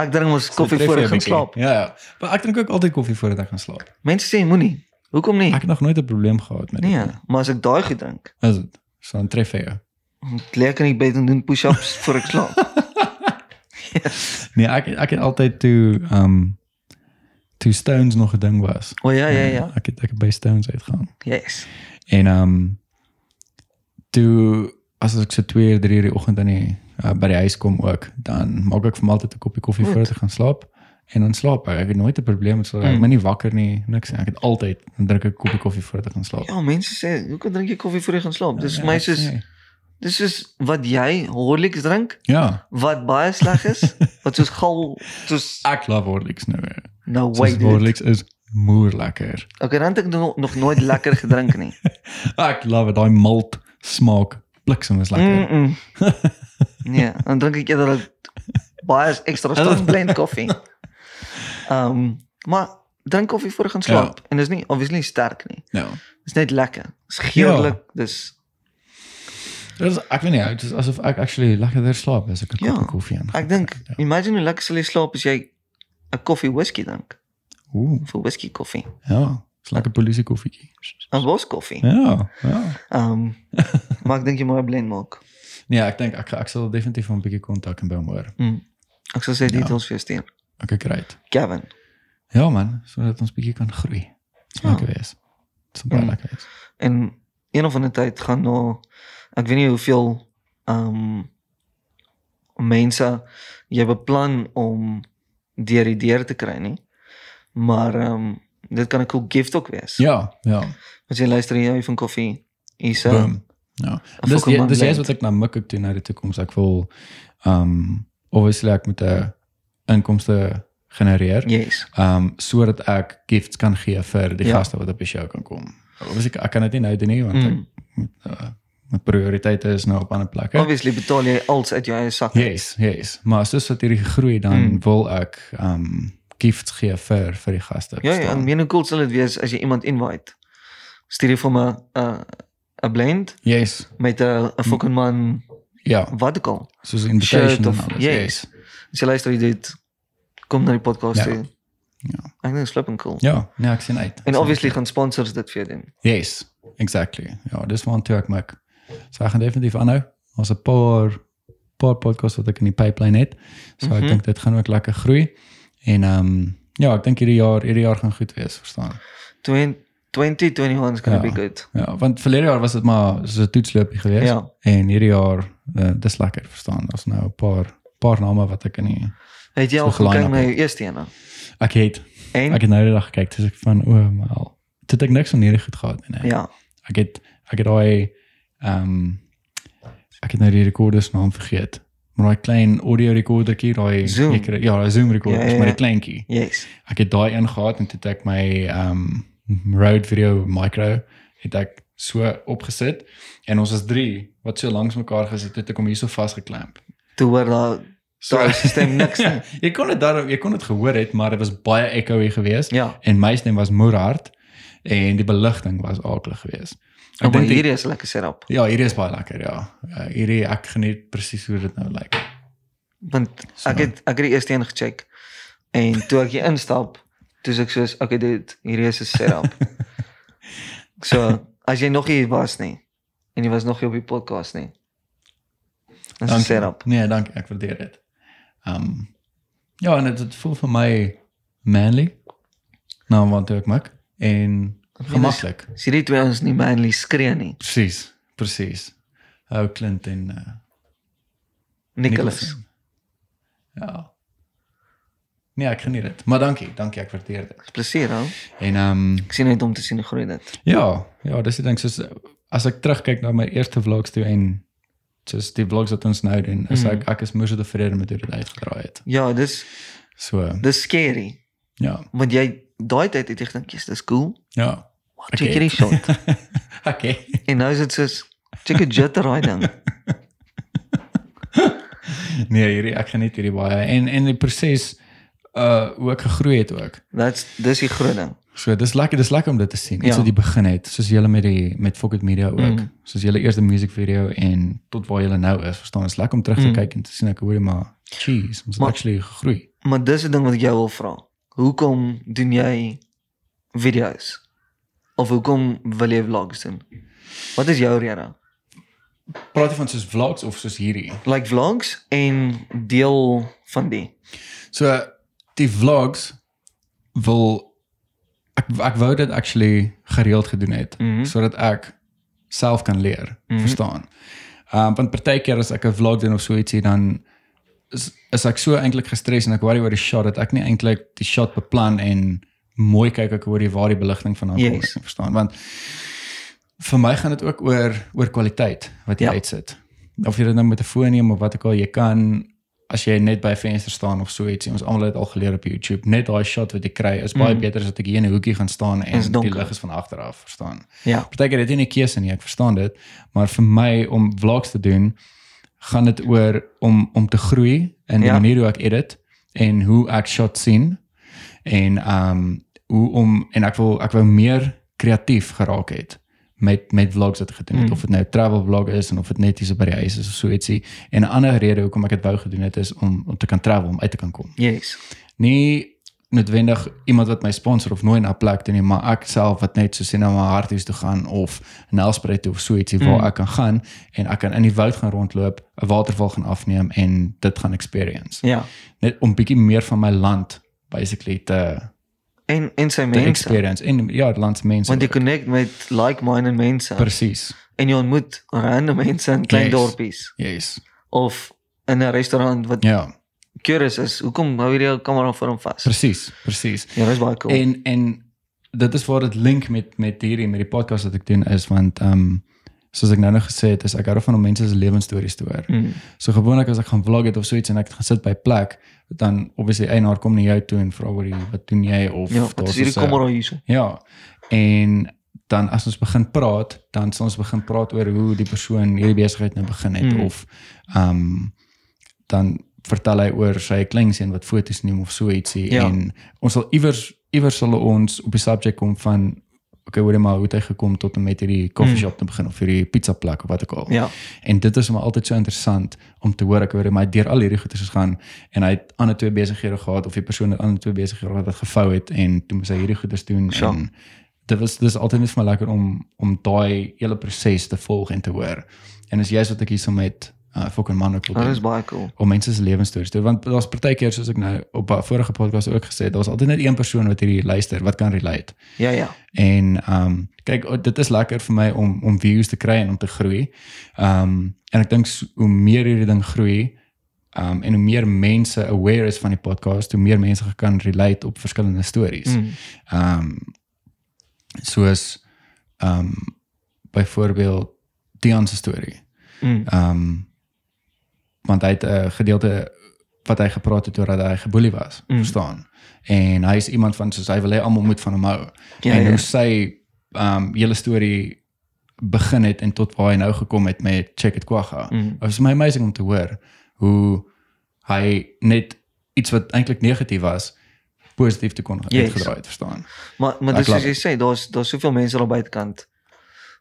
ek drink mos koffie
Dit tref
voor
jou
ek gaan
bietjie.
slaap.
Ja ja. Maar ek drink ook altyd koffie voordat ek gaan slaap.
Mense sê moenie. Hoekom nie?
<laughs> Ek het nog nooit 'n probleem gehad met dit.
Nee, maar as ek daai gedink
Is dit? So dan tref hy jou.
Lekker in die bed en doen push-ups voor ek
<laughs>
slaap.
Nee, ek ek het altyd toe um toe Stones nog 'n ding was.
O ja, ja, ja.
Ek het ek het by Stones uitgaan.
Yes.
En um toe as ek so 2 uur 3 uur die oggend aan die uh, by die huis kom ook, dan maak ek vir my altyd 'n koppie koffie
Goed.
voor te gaan slaap. En dan slaap ek. Ek het nooit 'n probleem met slaap. Ek
Mm.
ben nie wakker nie, niks nie. Ek het altyd dan drink ek 'n koppie koffie voor te gaan slaap.
Ja, mense sê, "Hoekom drink jy koffie voor jy gaan slaap?" Dis
Ja,
vir my
ek
soos
sê.
dis soos wat jy Horlicks drink
Ja,
wat baie sleg
<laughs>
is, wat soos gal soos
ek love Horlicks nou. eh.
nou
Soos
wait. Horlicks.
Horlicks is moer lekker.
Okay, dan het ek nog, nog nooit lekker gedrink nie.
Ek love dit. Daai malt smaak bliksem is lekker.
Mm
<laughs>
-mm. Nee, dan drink ek eerder een baie
<laughs>
ekstra strong blend koffie. Ehm, maar drink koffie voor jy gaan slaap en dis nie obviously sterk nie.
Ja.
Dis net lekker. dus Dis geurlik, dis
Dit is ek weet nie, dit is asof ek actually lekkerder slaap as ek 'n
Ja,
koppie koffie aan.
Ek dink, imagine hoe lekker sal jy slaap as jy 'n koffie whisky drink,
Ooh,
of 'n whisky koffie,
ja, is lekker polisie koffietjie.
'n bos koffie.
Ja, ja.
Ehm maar ek dink jy moet 'n blend maak.
Nee, ek dink ek ek sal definitief van 'n bietjie kontak en by hom hoor.
Mm. Ek sal sê details vir jou stuur.
Okay, great.
Gavin.
Ja man, sodat ons bietjie kan groei. Dis
Ja. Mm.
lekker wees. Dis baie
Ja.
lekker wees.
En een of ander tyd gaan daar ek weet nie hoeveel ehm mense jy beplan om deur die deur te kry nie. Maar ehm dit kan 'n cool gift ook wees.
Ja, ja.
As jy luister en jy hou van koffie, hier's 'n
Boom. Dus Ja. Dis
fucking
jy- dis
blend.
jy's wat ek nou mik ek toe na die toekoms. Ek wil um obviously ek moet eh, 'n inkomste genereer.
Yes.
Ehm sodat ek gifts kan gee vir die
Ja.
gaste wat op die show kan kom. Obviously ek, ek kan dit nie nou doen nie want
Mm.
ek uh, my prioriteite is nou op ander plekke.
Obviously betaal jy alles uit jou eie sak.
Yes, yes. Maar soos dat hierdie groei dan
Mm.
wil ek ehm gifts gee vir vir die gaste.
Ja, ja,
verstaan?
en meen hoe cool sal dit wees as jy iemand invite. Stuur jy vir my 'n 'n blend
Yes.
met 'n 'n fucking man
Ja,
wat ook al.
soos 'n invitation
Shirt
en
of-
alles.
yes. As jy luister jy dit kom na die podcast
Ja.
toe.
Ja.
Ek dink dit is flipping cool.
Ja, nee, ek sien uit. Ek
En
sien
obviously gaan sponsors dit vir jou doen.
Yes, exactly. Ja, dis waartoe ek maak. So ek gaan definitief aanhou. Ons 'n paar paar podcasts wat ek in die pipeline het. So mm -hmm. ek
Mhm.
dink dit gaan ook lekker groei. En ehm um, ja, ek dink hierdie jaar hierdie jaar gaan goed wees, verstaan.
20 2021 is going to
Ja.
be good.
Ja, want verlede jaar was dit maar so 'n toetsloopie geweest.
Ja.
En hierdie jaar uh, dis lekker, verstaan. Daar's nou 'n paar paar name wat ek in die
Het jy al
Soos een
gekyk
line-up
na jou eerste een? dan?
ek het
En
ek het nou die dag gekyk, dis ek van o, oh, maar al. Dit het ek niks van hierdie goed gehad nie. nee.
ja,
Ek het ek het daai ehm ek het nou die rekorder se naam vergeet. Maar daai klein audio rekordertjie, daai
Zoom.
jy kry- ja, daai Zoom rekorder,
Ja, ja,
maar
ja.
die kleintjie.
yes.
Ek het daai ingehaat en toe het ek my ehm Rode Video Micro het ek so opgesit en ons was 3 wat so langs mekaar gesit het, het ek hom hierso vasgeklamp.
<laughs> Toe hoor daar
So
Daai stem niks nie.
<laughs> ja, jy kon dit daar jy kon dit gehoor het, maar dit was baie echoey geweest
ja,
en my stem was moerhard en die beligting was aaklig geweest. Ek
Oh, maar
dink die-
hierdie is lekker setup.
Ja, hierdie is baie lekker, ja. Uh, hierdie ek geniet presies hoe dit nou lyk.
Want
So.
ek het ek het die eerste een gecheck en toe ek hier instap, toe is ek soos okay dude, hierdie is 'n setup. so, as jy nog hier was nie en jy was nog nie op die podcast nie. Dis 'n
Dankie.
setup.
Nee, dankie, ek waardeer dit. Ehm um, ja, en dit, dit voel vir my manly. Nou want ek maak en gemaklik.
As hierdie twee ons nie manly skree nie.
Presies, presies. Ou Clint en uh,
Nicholas.
Nicholson. Ja. Nee, ek geniet dit. Maar dankie, dankie, ek waardeer dit.
Plesier hou.
En ehm um,
Ek sien net om te sien hoe groei dit.
Ja, ja, dis die ding soos as ek terugkyk na my eerste vlogs toe en soos die vlogs wat ons nou doen, is
Mm.
ek ek is moeite tevrede met hoe dit uitgedraai het.
Ja, dis
So,
dis scary.
ja,
Want jy daai tyd het jy gedink, "Jesus, dis cool."
ja.
Wat check hierdie
<laughs>
shot.
okay.
En nou is dit soos check 'n jitter daai ding.
Nee, hierdie ek geniet hierdie baie en en die proses uh hoe ek gegroei het ook.
Dat's dis die groot ding.
So dis lekker, dis lekker om dit te sien.
Ja.
Iets ja. wat jy begin het, soos julle met die met Focket Media ook,
Mm.
soos julle eerste musiekvideo en tot waar julle nou is, verstaan, is lekker om terug te
Mm.
kyk en te sien ek hoor jy maar, jeez, ons het
Maar-
actually gegroei.
Maar dis 'n ding wat ek jou wil vra. Hoekom doen jy video's? Of hoekom wil jy vlogs doen? Wat is jou rede?
Praat jy van soos vlogs of soos hierdie?
Like vlogs en deel van die.
So die vlogs wil ek ek wou dit actually gereeld gedoen het mm
Mhm.
-hmm. sodat ek self kan leer, mm -hmm. verstaan. Ehm um, want partykeer as ek 'n vlog doen of so ietsie dan is, is ek so eintlik gestres en ek worry oor die shot dat ek nie eintlik die shot beplan en mooi kyk ek oor die waar die beligting vandaan kom,
Yes.
yes. verstaan? Want vir my gaan dit ook oor oor kwaliteit wat jy
Ja.
ja. uitsit. Of jy dit nou met 'n foon neem of wat ook al jy kan as jy net by 'n venster staan of so ietsie. Ons almal het al geleer op YouTube, net daai shot wat jy kry is baie
Mm.
mm. beter as dat ek hier in 'n hoekie gaan staan
Is
en die
donker.
lig is van agter af, verstaan?
Ja.
Partykeer het jy nie 'n keuse nie, ek verstaan dit, maar vir my om vlogs te doen, gaan dit oor om om te groei in die
Ja.
ja. manier hoe ek edit en hoe ek shots sien en ehm um, hoe om en ek wil ek wou meer kreatief geraak het met met vlogs wat ek gedoen het
Mm.
mm. of dit nou 'n travel vlog is en of dit net hier so by die huis is of so ietsie en 'n ander rede hoekom ek dit wou gedoen het is om om te kan travel om uit te kan kom
Yes.
nie noodwendig iemand wat my sponsor of nooit na 'n plek toe nie, maar ek self wat net so sien na my harties toe gaan of na Nelspruit toe of so ietsie waar
Mm.
ek kan gaan en ek kan in die woud gaan rondloop, 'n waterval gaan afneem en dit gaan experience.
Ja.
Net om bietjie meer van my land basically te,
En en sy
te
mense.
experience en ja, het land se mense.
Want jy
ook.
connect met like-minded mense
presies.
en jy ontmoet random mense in klein
Yes.
dorpies
Yes.
of in 'n restaurant wat
Ja,
curious is. Hoekom hou jy jou kamera voor hom vas?
presies, presies.
Ja, dis baie cool.
En en dit is waar dit link met met hierdie met die podcast wat ek doen is want ehm um, soos ek nou nog gesê het, is ek hou daarvan om mense se lewensstories te hoor.
Mm.
So gewoonlik as ek gaan vlog het of so iets en ek het gaan sit by 'n plek, dan obviously eienaar kom na jou toe en vra oor die wat doen jy of
Ja, wat
daar
is hierdie
soos 'n-
kamera hierso?
Ja. En dan as ons begin praat, dan sal ons begin praat oor hoe die persoon hierdie besigheid nou begin het
Mm.
mm. of ehm um, dan vertel hy oor sy kleinseun wat foto's neem of so ietsie
Ja.
en ons sal iewers iewers sal ons op die subjek kom van okay, hoor jy maar hoe het hy gekom tot en met hierdie koffieshop te begin of hierdie pizza plek of wat ook al.
Hmm. Ja.
En dit is maar altyd so interessant om te hoor ek hoor my deur al hierdie goeders gegaan en hy het ander twee besighede gehad of die persoon het ander twee besighede gehad wat gefou het en toe moes hy hierdie goeders doen
Ja.
en dit was dis altyd net vir my lekker om om daai hele proses te volg en te hoor. En is juist wat ek hierso met uh, fucking man ook wil
Dit
doen
is baie cool.
om mense se lewensstories te hoor. want daar's partykeer soos ek nou op 'n vorige podcast ook gesê het, daar's altyd net een persoon wat hierdie luister wat kan relate.
Ja, ja.
En ehm um, kyk, o- dit is lekker vir my om om views te kry en om te groei. Ehm um, en ek dink s- hoe meer hierdie ding groei, ehm um, en hoe meer mense aware is van die podcast, hoe meer mense kan relate op verskillende stories.
Mm.
Ehm soos ehm byvoorbeeld Dion se storie.
Mm.
Ehm want hy het 'n gedeelte wat hy gepraat het oor dat hy geboelie was,
Mm.
verstaan. En hy is iemand van soos hy wil hê almal moet van hom hou.
Ja,
en
ja.
hoe sy ehm hele storie begin het en tot waar hy nou gekom het met Check It Quagga.
Mm.
Dit was my amazing om te hoor hoe hy net iets wat eintlik negatief was positief te kon
Yes.
uitgedraai het, verstaan.
Maar maar
Ek
dis soos
love
jy sê, daar's daar's soveel mense daar buitekant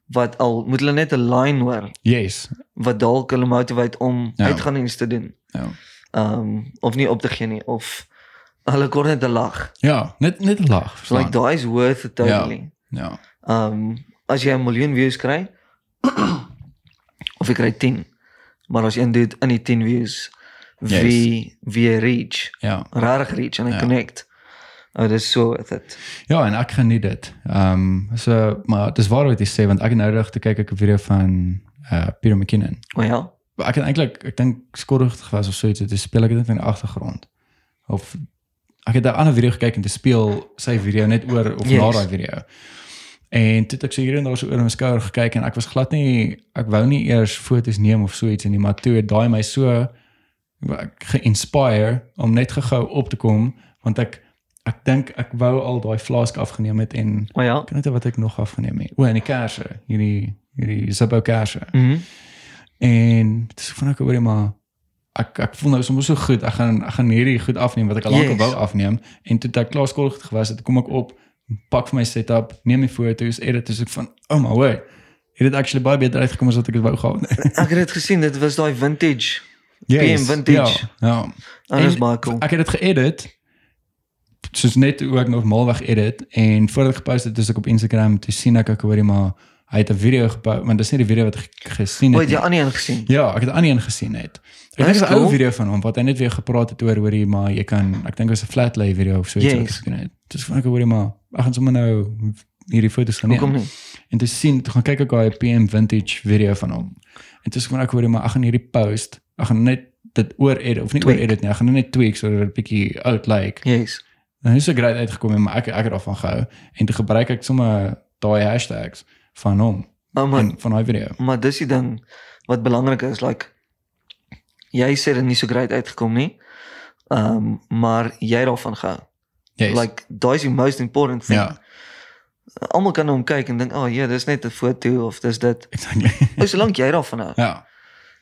wat al moet hulle net 'n line hoor
Yes.
wat dalk hulle motiveer om
Ja.
uitgaan en iets te doen.
Ja.
Ehm of nie op te gee nie of hulle kon net 'n lag.
Ja, net net 'n lag, verstaan.
Like daai is worth it totally.
ja.
Ehm as jy 'n miljoen views kry of jy kry 10, maar as jy een dude in die 10 views
Yes.
wie wie reach,
Ja.
rarig reach en hy
Ja.
connect. Oh, dis so worth it.
Ja, en ek geniet dit. Ehm so maar dis waar wat jy sê want ek het nou eendag te kyk ek 'n video van uh Peter McKinnon.
Maar ja,
Maar ek het eintlik ek dink skorrig gewas of so iets. Dit speel ek dit net in die agtergrond. Of ek het 'n ander video gekyk en dit speel sy video net oor of yes. na
Yes.
daai video. En toe het ek so hier en daar so oor my skouer gekyk en ek was glad nie ek wou nie eers foto's neem of so iets en nie maar toe het daai my so ek geïnspire om net gou op te kom want ek ek dink ek wou al daai flask afgeneem het en
maar ja.
Ek weet nie wat ek nog afgeneem het. O, en die kaarse, hierdie hierdie Zippo kaarse.
Mhm.
En dit is van ek oor maar ek ek voel nou soms so goed. Ek gaan ek gaan hierdie goed afneem wat ek al lank yes.
Yes.
wou afneem en toe het ek klaar skool gewas het, kom ek op, pak vir my setup, neem my foto's, edit dus ek van, oh my word. Dit het actually baie beter uitgekom as wat ek dit wou <laughs> gehad het.
Ek het dit gesien, dit was daai vintage. PM vintage.
Ja. ja.
En dis
En
baie cool.
Ek het dit geëdit. Soos net hoe ek normaalweg edit en voordat ek gepost het, dis ek op Instagram toe sien ek ek hoorie maar hy het 'n video gepost, want dis nie die video wat ek ge- gesien het.
Wat
nie.
jy aan die een gesien.
Ja, ek het aan een gesien net. Ek
Dis
dink dis 'n ou
cool.
video van hom wat hy net weer gepraat het oor hoorie maar jy kan ek dink dit was 'n flat lay video of so iets wat ek
Yes.
gedoen het. Dis van ek hoorie maar ek gaan sommer nou hierdie foto's gaan
Hoekom
neem.
nie?
En toe sien, toe gaan kyk ek daai PM vintage video van hom. En toe sê ek van ek hoor jy, maar ek gaan hierdie post, ek gaan net dit oor edit of nie oor
Tweak.
edit nie, ek gaan dit net tweak sodat dit 'n bietjie oud lyk.
Yes.
Nou is so great uitgekom, maar ek ek het daarvan gehou en toe gebruik ek sommer daai hashtags van hom
Maar maar,
van van daai video.
maar dis die ding wat belangrik is, like jy sê dit nie so great uitgekom nie. Ehm um, maar jy het daarvan gehou.
Yes.
Like daai's die most important thing.
ja,
Almal kan na hom kyk en dink, "O oh, ja, dis net 'n foto of dis dit."
exactly. <laughs>
Ou solank jy daarvan hou.
ja.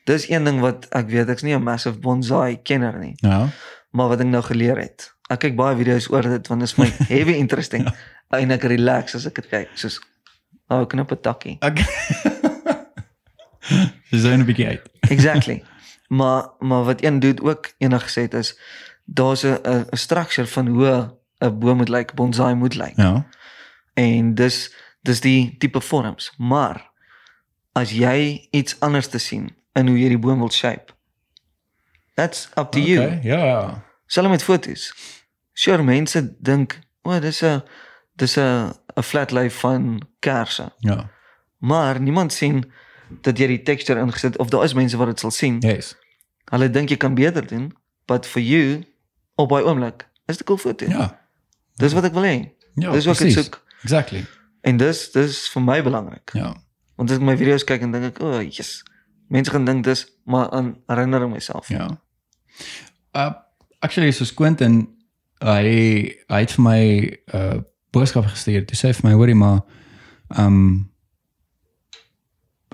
Dis een ding wat ek weet, ek's nie 'n massive bonsai kenner nie,
Ja.
maar wat ek nou geleer het. Ek kyk baie video's oor dit want dit is vir my heavy interesting en ek relax as ek dit kyk. Soos ou oh, knip 'n takkie.
Ek <laughs> Dis nou 'n bietjie uit.
Exactly. maar maar wat een dude ook eendag gesê het is daar's 'n 'n 'n structure van hoe 'n boom moet lyk, bonsai moet lyk.
Ja.
En dis dis die tipe vorms. Maar as jy iets anders te sien in hoe jy die boom wil shape. That's up to okay. you.
Okay, ja, ja.
Selfs met fotos. Sure mense dink, "O, oh, dis 'n dis 'n 'n flat lyf van kersse."
Ja.
Maar niemand sien dat jy die texture ingesit of daar is mense wat dit sal sien.
Yes.
Hulle dink jy kan beter doen, but for you op by oomblik is dit 'n cool foto.
Ja.
Dis wat ek wil hê.
Ja.
dis wat ek
precies.
soek.
Exactly.
En dis dis vir my belangrik.
Ja.
Want as ek my video's kyk en dink ek, o, oh, yes. Mense gaan dink dis maar aan herinnering myself.
Ja. Uh actually so Quentin hy hy het vir my uh boodskap gestuur. Toe sê hy vir my hoorie maar um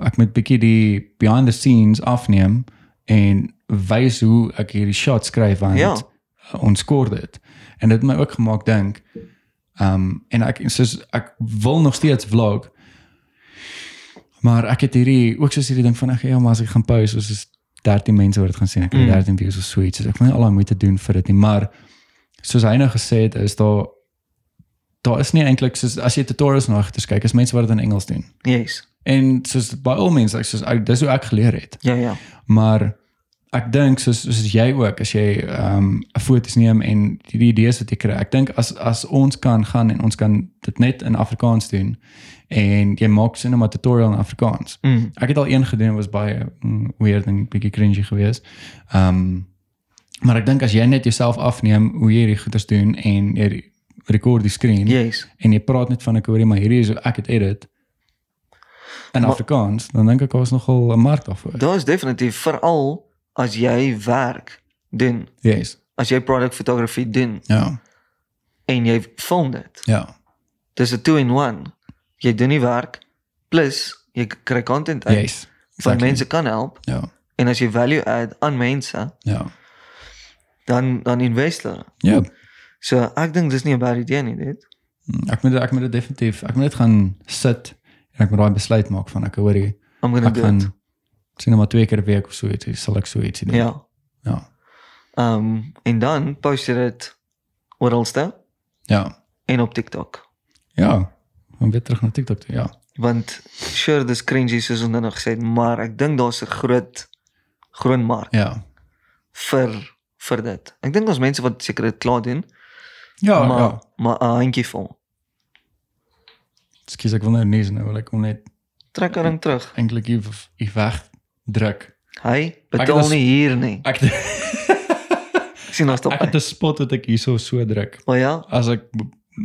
ek moet bietjie die behind the scenes afneem en wys hoe ek hierdie shots skryf want
Ja.
ons kort dit. En dit het my ook gemaak dink Um en ek soos ek wil nog steeds vlog. Maar ek het hierdie ook soos hierdie ding van ek ja, maar as ek gaan post, soos is 13 mense wat dit gaan sien. Ek het
Mm.
13 views of so iets. So ek wil nie al daai moeite doen vir dit nie, maar soos hy nou gesê het, is daar daar is nie eintlik soos as jy tutorials na agter kyk, is mense wat dit in Engels doen.
Yes.
En soos by al mense, ek soos ek, dis hoe ek geleer het.
Ja ja.
Maar ek dink soos soos jy ook as jy ehm 'n foto's neem en die, die idees wat jy kry. Ek dink as as ons kan gaan en ons kan dit net in Afrikaans doen en jy maak sin om 'n tutorial in Afrikaans.
Mm.
Ek het al een gedoen was baie mm, weird en bietjie cringy geweest. Ehm maar ek dink as jy net jouself afneem hoe jy hierdie goeders doen en jy re- rekord die skerm
Yes.
en jy praat net van ek hoor jy maar hierdie is hoe ek dit edit in
Maar-
Afrikaans, dan dink ek daar's nogal 'n mark daarvoor.
Daar's definitief veral as jy werk doen,
Yes.
as jy product photography doen
Ja.
en jy film dit.
Ja.
Dis 'n two in one. Jy doen die werk plus jy k- kry content uit
Yes.
wat
exactly.
mense kan help
Ja.
en as jy value add aan mense,
Ja.
dan dan invest hulle.
Ja.
So ek dink dis nie 'n bad idee nie dit.
Ek moet ek moet dit definitief ek moet net gaan sit en ek moet daai besluit maak van ek hoor jy
I'm going to
ek
do
gaan
it.
sien nou maar twee keer 'n week of so iets sal ek so iets doen.
Ja.
Ja.
Ehm en dan post jy dit oralste
Ja.
en op TikTok.
Ja. Kom weer terug na TikTok toe. Ja.
Want sure dis cringy soos ons nou nog gesê het, maar ek dink daar's 'n groot groot mark
Ja.
vir vir dit. Ek dink ons mense wat seker dit klaar doen,
Ja,
maar
ja.
maar 'n handjie vol.
Skus ek wil nou nie nou wil ek om net
Trek hom terug.
eintlik hier hier weg druk.
Hy
het
betaal
als-
nie hier nie.
Ek <laughs>
Ek sien ons
ek het
dop.
'n spot wat ek hierso so druk.
Maar ja,
As ek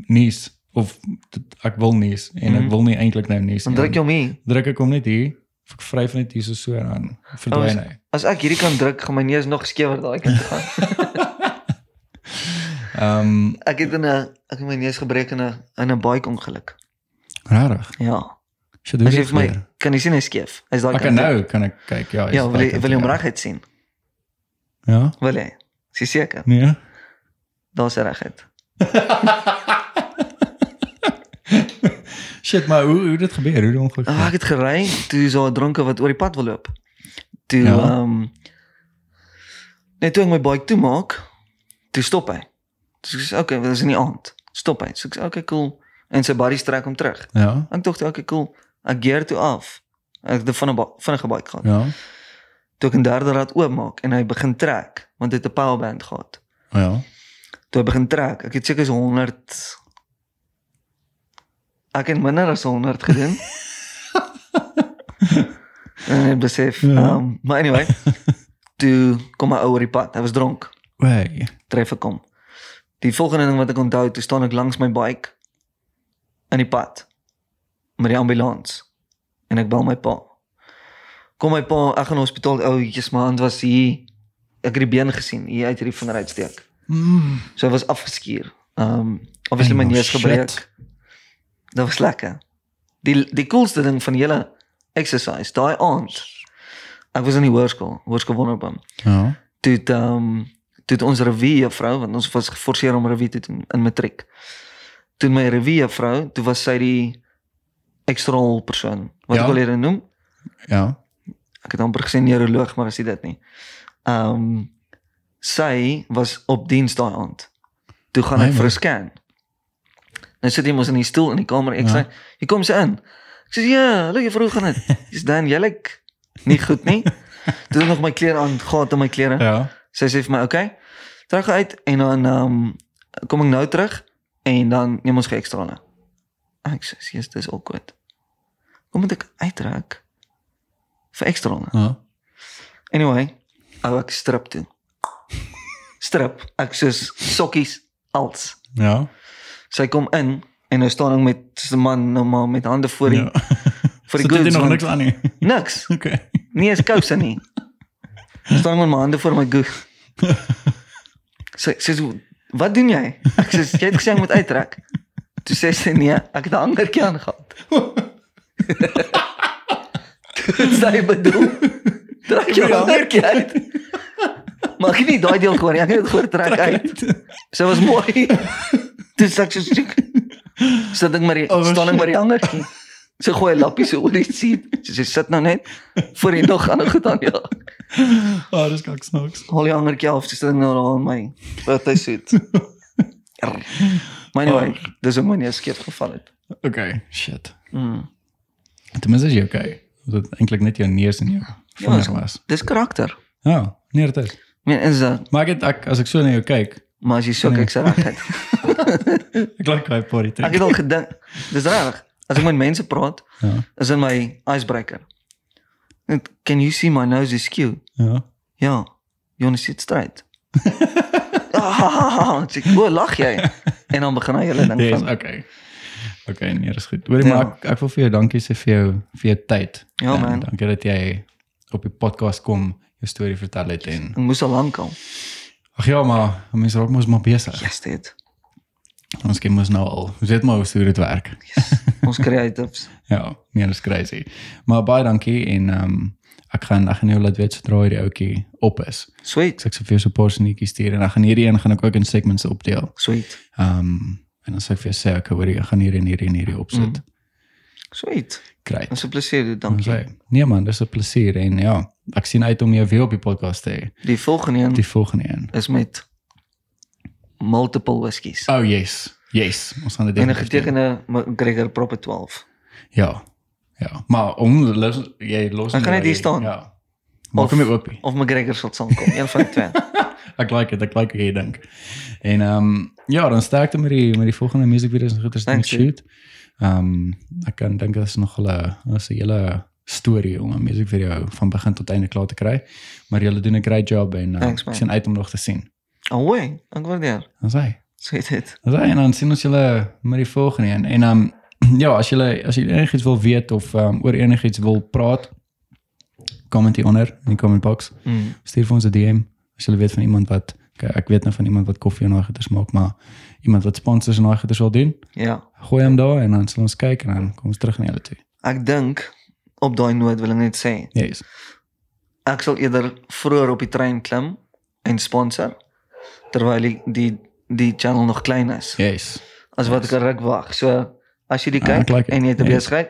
nies of dit- ek wil nies en
Mhm.
ek wil nie eintlik nou nies
dan
nie.
druk jy hom hier.
druk ek hom net hier, of ek vryf net hier so so en dan verdwyn hy.
As ek hierdie kan druk, gaan my neus nog skewer daai kant toe
<laughs>
gaan.
Ehm um,
Ek het in 'n ek het my neus gebreek in 'n in 'n bike ongeluk.
rarig.
Ja.
Sy doen
As jy
dit
vir my
vir my.
kan jy sien hy skeef. Hy's daai
Ek kan nou kan ek kyk. Ja,
Ja,
is
wil jy
daai
wil jy hom
kant,
reguit sien?
Ja.
Wil jy? Is jy seker?
Ja? Nee.
Daar's hy reguit.
Shit, maar hoe hoe dit gebeur? Hoe dit ongeluk?
Ah,
gebeur?
ek het gery, toe is daar 'n dronke wat oor die pad wil loop. Toe ehm
Ja.
ja. um, net toe ek my bike toe maak, toe stop hy. Toe sê ek, okay, dit is in die aand. Stop hy. So ek sê, okay, cool. En sy buddy trek hom terug.
Ja.
Ek dink, okay, cool. Ek gear toe af. Ek het van 'n ba- vinnige bike gehad. Ja.
Ja.
Toe ek 'n derde raad oopmaak en hy begin trek, want hy het 'n powerband gehad.
Oh, ja.
Toe hy begin trek, ek het seker so 100 Ek het minder as 100 gedoen. en ek besef, ehm
Ja.
um, maar anyway, toe kom 'n ou oor die pad. Hy was dronk.
Wei.
Tref ek hom. Die volgende ding wat ek onthou, toe staan ek langs my bike in die pad met die ambulans en ek bel my pa. Kom my pa, ek gaan na hospitaal. Ou, jy's my hand was hier. Ek het die been gesien hier uit hierdie van uitsteek.
Mm.
So hy was afgeskuur. Ehm um, obviously my
Ai, maar
neus gebreek.
shit.
Dit was lekker. Die die coolste ding van die hele exercise daai aand. Ek was in die hoërskool, hoërskool Wonderboom.
Ja.
Toe het, ehm um, toe het ons revue juffrou want ons was geforseer om revue te doen in matriek. Toe my revue juffrou, toe was sy die ekstra hol persoon wat ja.
Ja.
ek al hier noem.
Ja.
Ek het amper gesê neuroloog, maar as jy dit nie. Ehm um, sy was op diens daai aand. Toe gaan
Nee,
ek vir
maar-
'n scan. Nou sit jy mos in die stoel in die kamer. Ek
Ja.
sê, "Jy kom sy in." Ek sê, "Ja, hallo juffrou, hoe gaan
<laughs>
dit?" Dis dan jy lyk nie goed nie. Toe het ek nog my klere aan, gehad in my klere.
Ja.
Sy sê vir my, "Oké, okay, trek jou uit en dan ehm kom ek nou terug en dan neem ons gee ekstra na." Ek sê, "Jesus, dis awkward." Kom moet ek uittrek vir ekstra na?
Ja.
Anyway, ou ek strip toe. Strip, ek soos sokkies als.
Ja.
Sy kom in en nou staan ek met so 'n man nou maar met hande voor die
Ja. <laughs>
vir die
So dit
goods.
doen nog
want-
niks aan nie.
Niks.
Okay.
Nee, is kouse nie. Staan met my hande voor my goog. Sy sê so, "Wat doen jy?" Ek sê, "Jy het gesê ek moet uittrek." Toe sê sy, "Nee, ek het 'n hangertjie aangehad." Toe sê bedoel, "Trek jou
Ja.
hangertjie uit." Maar ek het
<laughs>
nie daai deel gehoor nie. Ek het dit gehoor trek uit. Sy was mooi. Toe sê ek so, "Sjoek." Is dat ding maar die,
Oh,
staan ding
shit.
maar die hangertjie. Sy gooi 'n lappie so oor die seat. Sy sê sit nou net voor jy nog ander goed aan ja.
Oh, dis kak snaaks.
Haal die hangertjie af, dis ding nou daar aan my. Wat hy sê.
<laughs>
Maar anyway,
Oh.
dis 'n manier skeef geval het.
Okay, shit.
Mm.
Ten minste is jy okay. Want dit eintlik net jou neus en jou
Ja,
vinger was.
dis karakter.
Ja, oh, nee, dit is.
Ek meen is dat,
Maar ek, het, ek as ek so na jou kyk,
maar as jy so
Nee.
kyk se regheid.
ek like daai party
Ek
trick.
het al gedink, dis reg. As ek met mense praat,
Ja.
is in my icebreaker. Net, Can you see my nose is skew?
Ja.
Ja. You want to sit straight? ah, ek sê, "O, lag jy?" En dan begin hy hele ding
Dis
van.
okay. Okay, nee, dis goed. Hoorie maar
Ja.
ek, ek wil vir jou dankie sê vir jou vir jou tyd.
Ja,
En
man.
Dankie dat jy op die podcast kom, jou storie vertel het en
Ek moes al lank al.
Ag ja, maar mense raak mos maar besig.
Yes, dit.
Ons ken mos nou al. Ons weet maar hoe dit werk.
Yes. Ons creatives.
Ja, nee, dis crazy. Maar baie dankie en ehm um, ek gaan ek gaan jou laat weet sodra hierdie ouetjie op is.
Sweet.
So ek sal vir jou so 'n paar sneakies stuur en ek gaan hierdie een gaan ek ook in segments opdeel.
Sweet.
Ehm um, en dan sê ek vir jou sê ek hoor ek gaan hierdie en hierdie en hierdie opsit. Mm.
Sweet.
Great.
Ons plesier, dit,
Dan
Mhm. dankie.
sê nee man, dis 'n plesier en ja, ek sien uit om jou weer op die podcast te hê.
Die volgende een
Die volgende een.
is met multiple whiskies.
Oh yes. Yes, ons gaan dit
En 'n
definitief doen.
getekende McGregor proper 12.
Ja. Ja, maar om los, jy los
Dan kan
nie
hy hier
daai-
staan.
Ja. Maar kom jy ook nie.
Of McGregor sal saamkom, een van die twee.
Ek like dit, ek like hoe jy dink. En ehm um, ja, dan sterkte met die met die volgende music video's en goeders net
Thanks,
shoot. Ehm um, ek kan dink dit is nog 'n is 'n hele storie om 'n music video van begin tot einde klaar te kry. Maar julle doen 'n great job en uh,
Thanks,
ek
man.
sien uit om nog te sien.
Ahoy, ek waardeer.
Dan sê
Sweet dit.
Dis en dan sien ons julle met die volgende een. En ehm <clears throat> ja, as julle as julle enigiets wil weet of ehm oor enigiets wil praat, comment hieronder in die comment box.
Mm.
Stuur vir ons 'n DM as jy weet van iemand wat ek, ek weet nou van iemand wat koffie en daai goeders maak, maar iemand wat sponsors en daai goeders wil doen.
Ja.
Gooi hom daar en dan sal ons kyk en dan kom ons terug na julle toe.
Ek dink op daai noot wil ek net sê,
Yes.
ek sal eerder vroeër op die trein klim en sponsor terwyl die die, die channel nog klein is
Yes.
as wat ek 'n ruk wag. So as jy die
Ja. Ah,
kyk
ek like it.
en jy het 'n
Ja.
besigheid,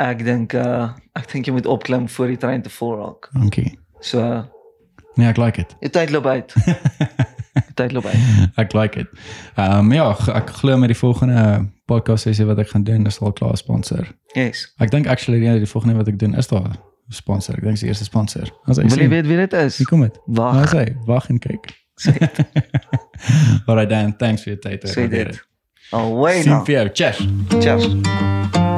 ek dink uh ek dink jy moet opklim voor die trein te vol raak.
Dankie.
So uh,
Nee, ek like dit.
die tyd loop
<laughs>
uit. Die tyd loop uit.
Ek like dit. Ehm um, ja, g- ek glo met die volgende podcast sessie wat ek gaan doen, is al klaar sponsor.
Yes.
Ek dink actually die, die volgende wat ek doen is daar 'n sponsor. Ek dink dis die eerste sponsor. As ek
Wil jy
sien,
weet wie dit is?
hier kom dit. Nou
Wag.
sê, wag en kyk. <laughs> Alright Dan, thanks vir jou tyd. ek
Sê
waardeer
dit. Always.
Sien vir jou. Cheers.
Cheers.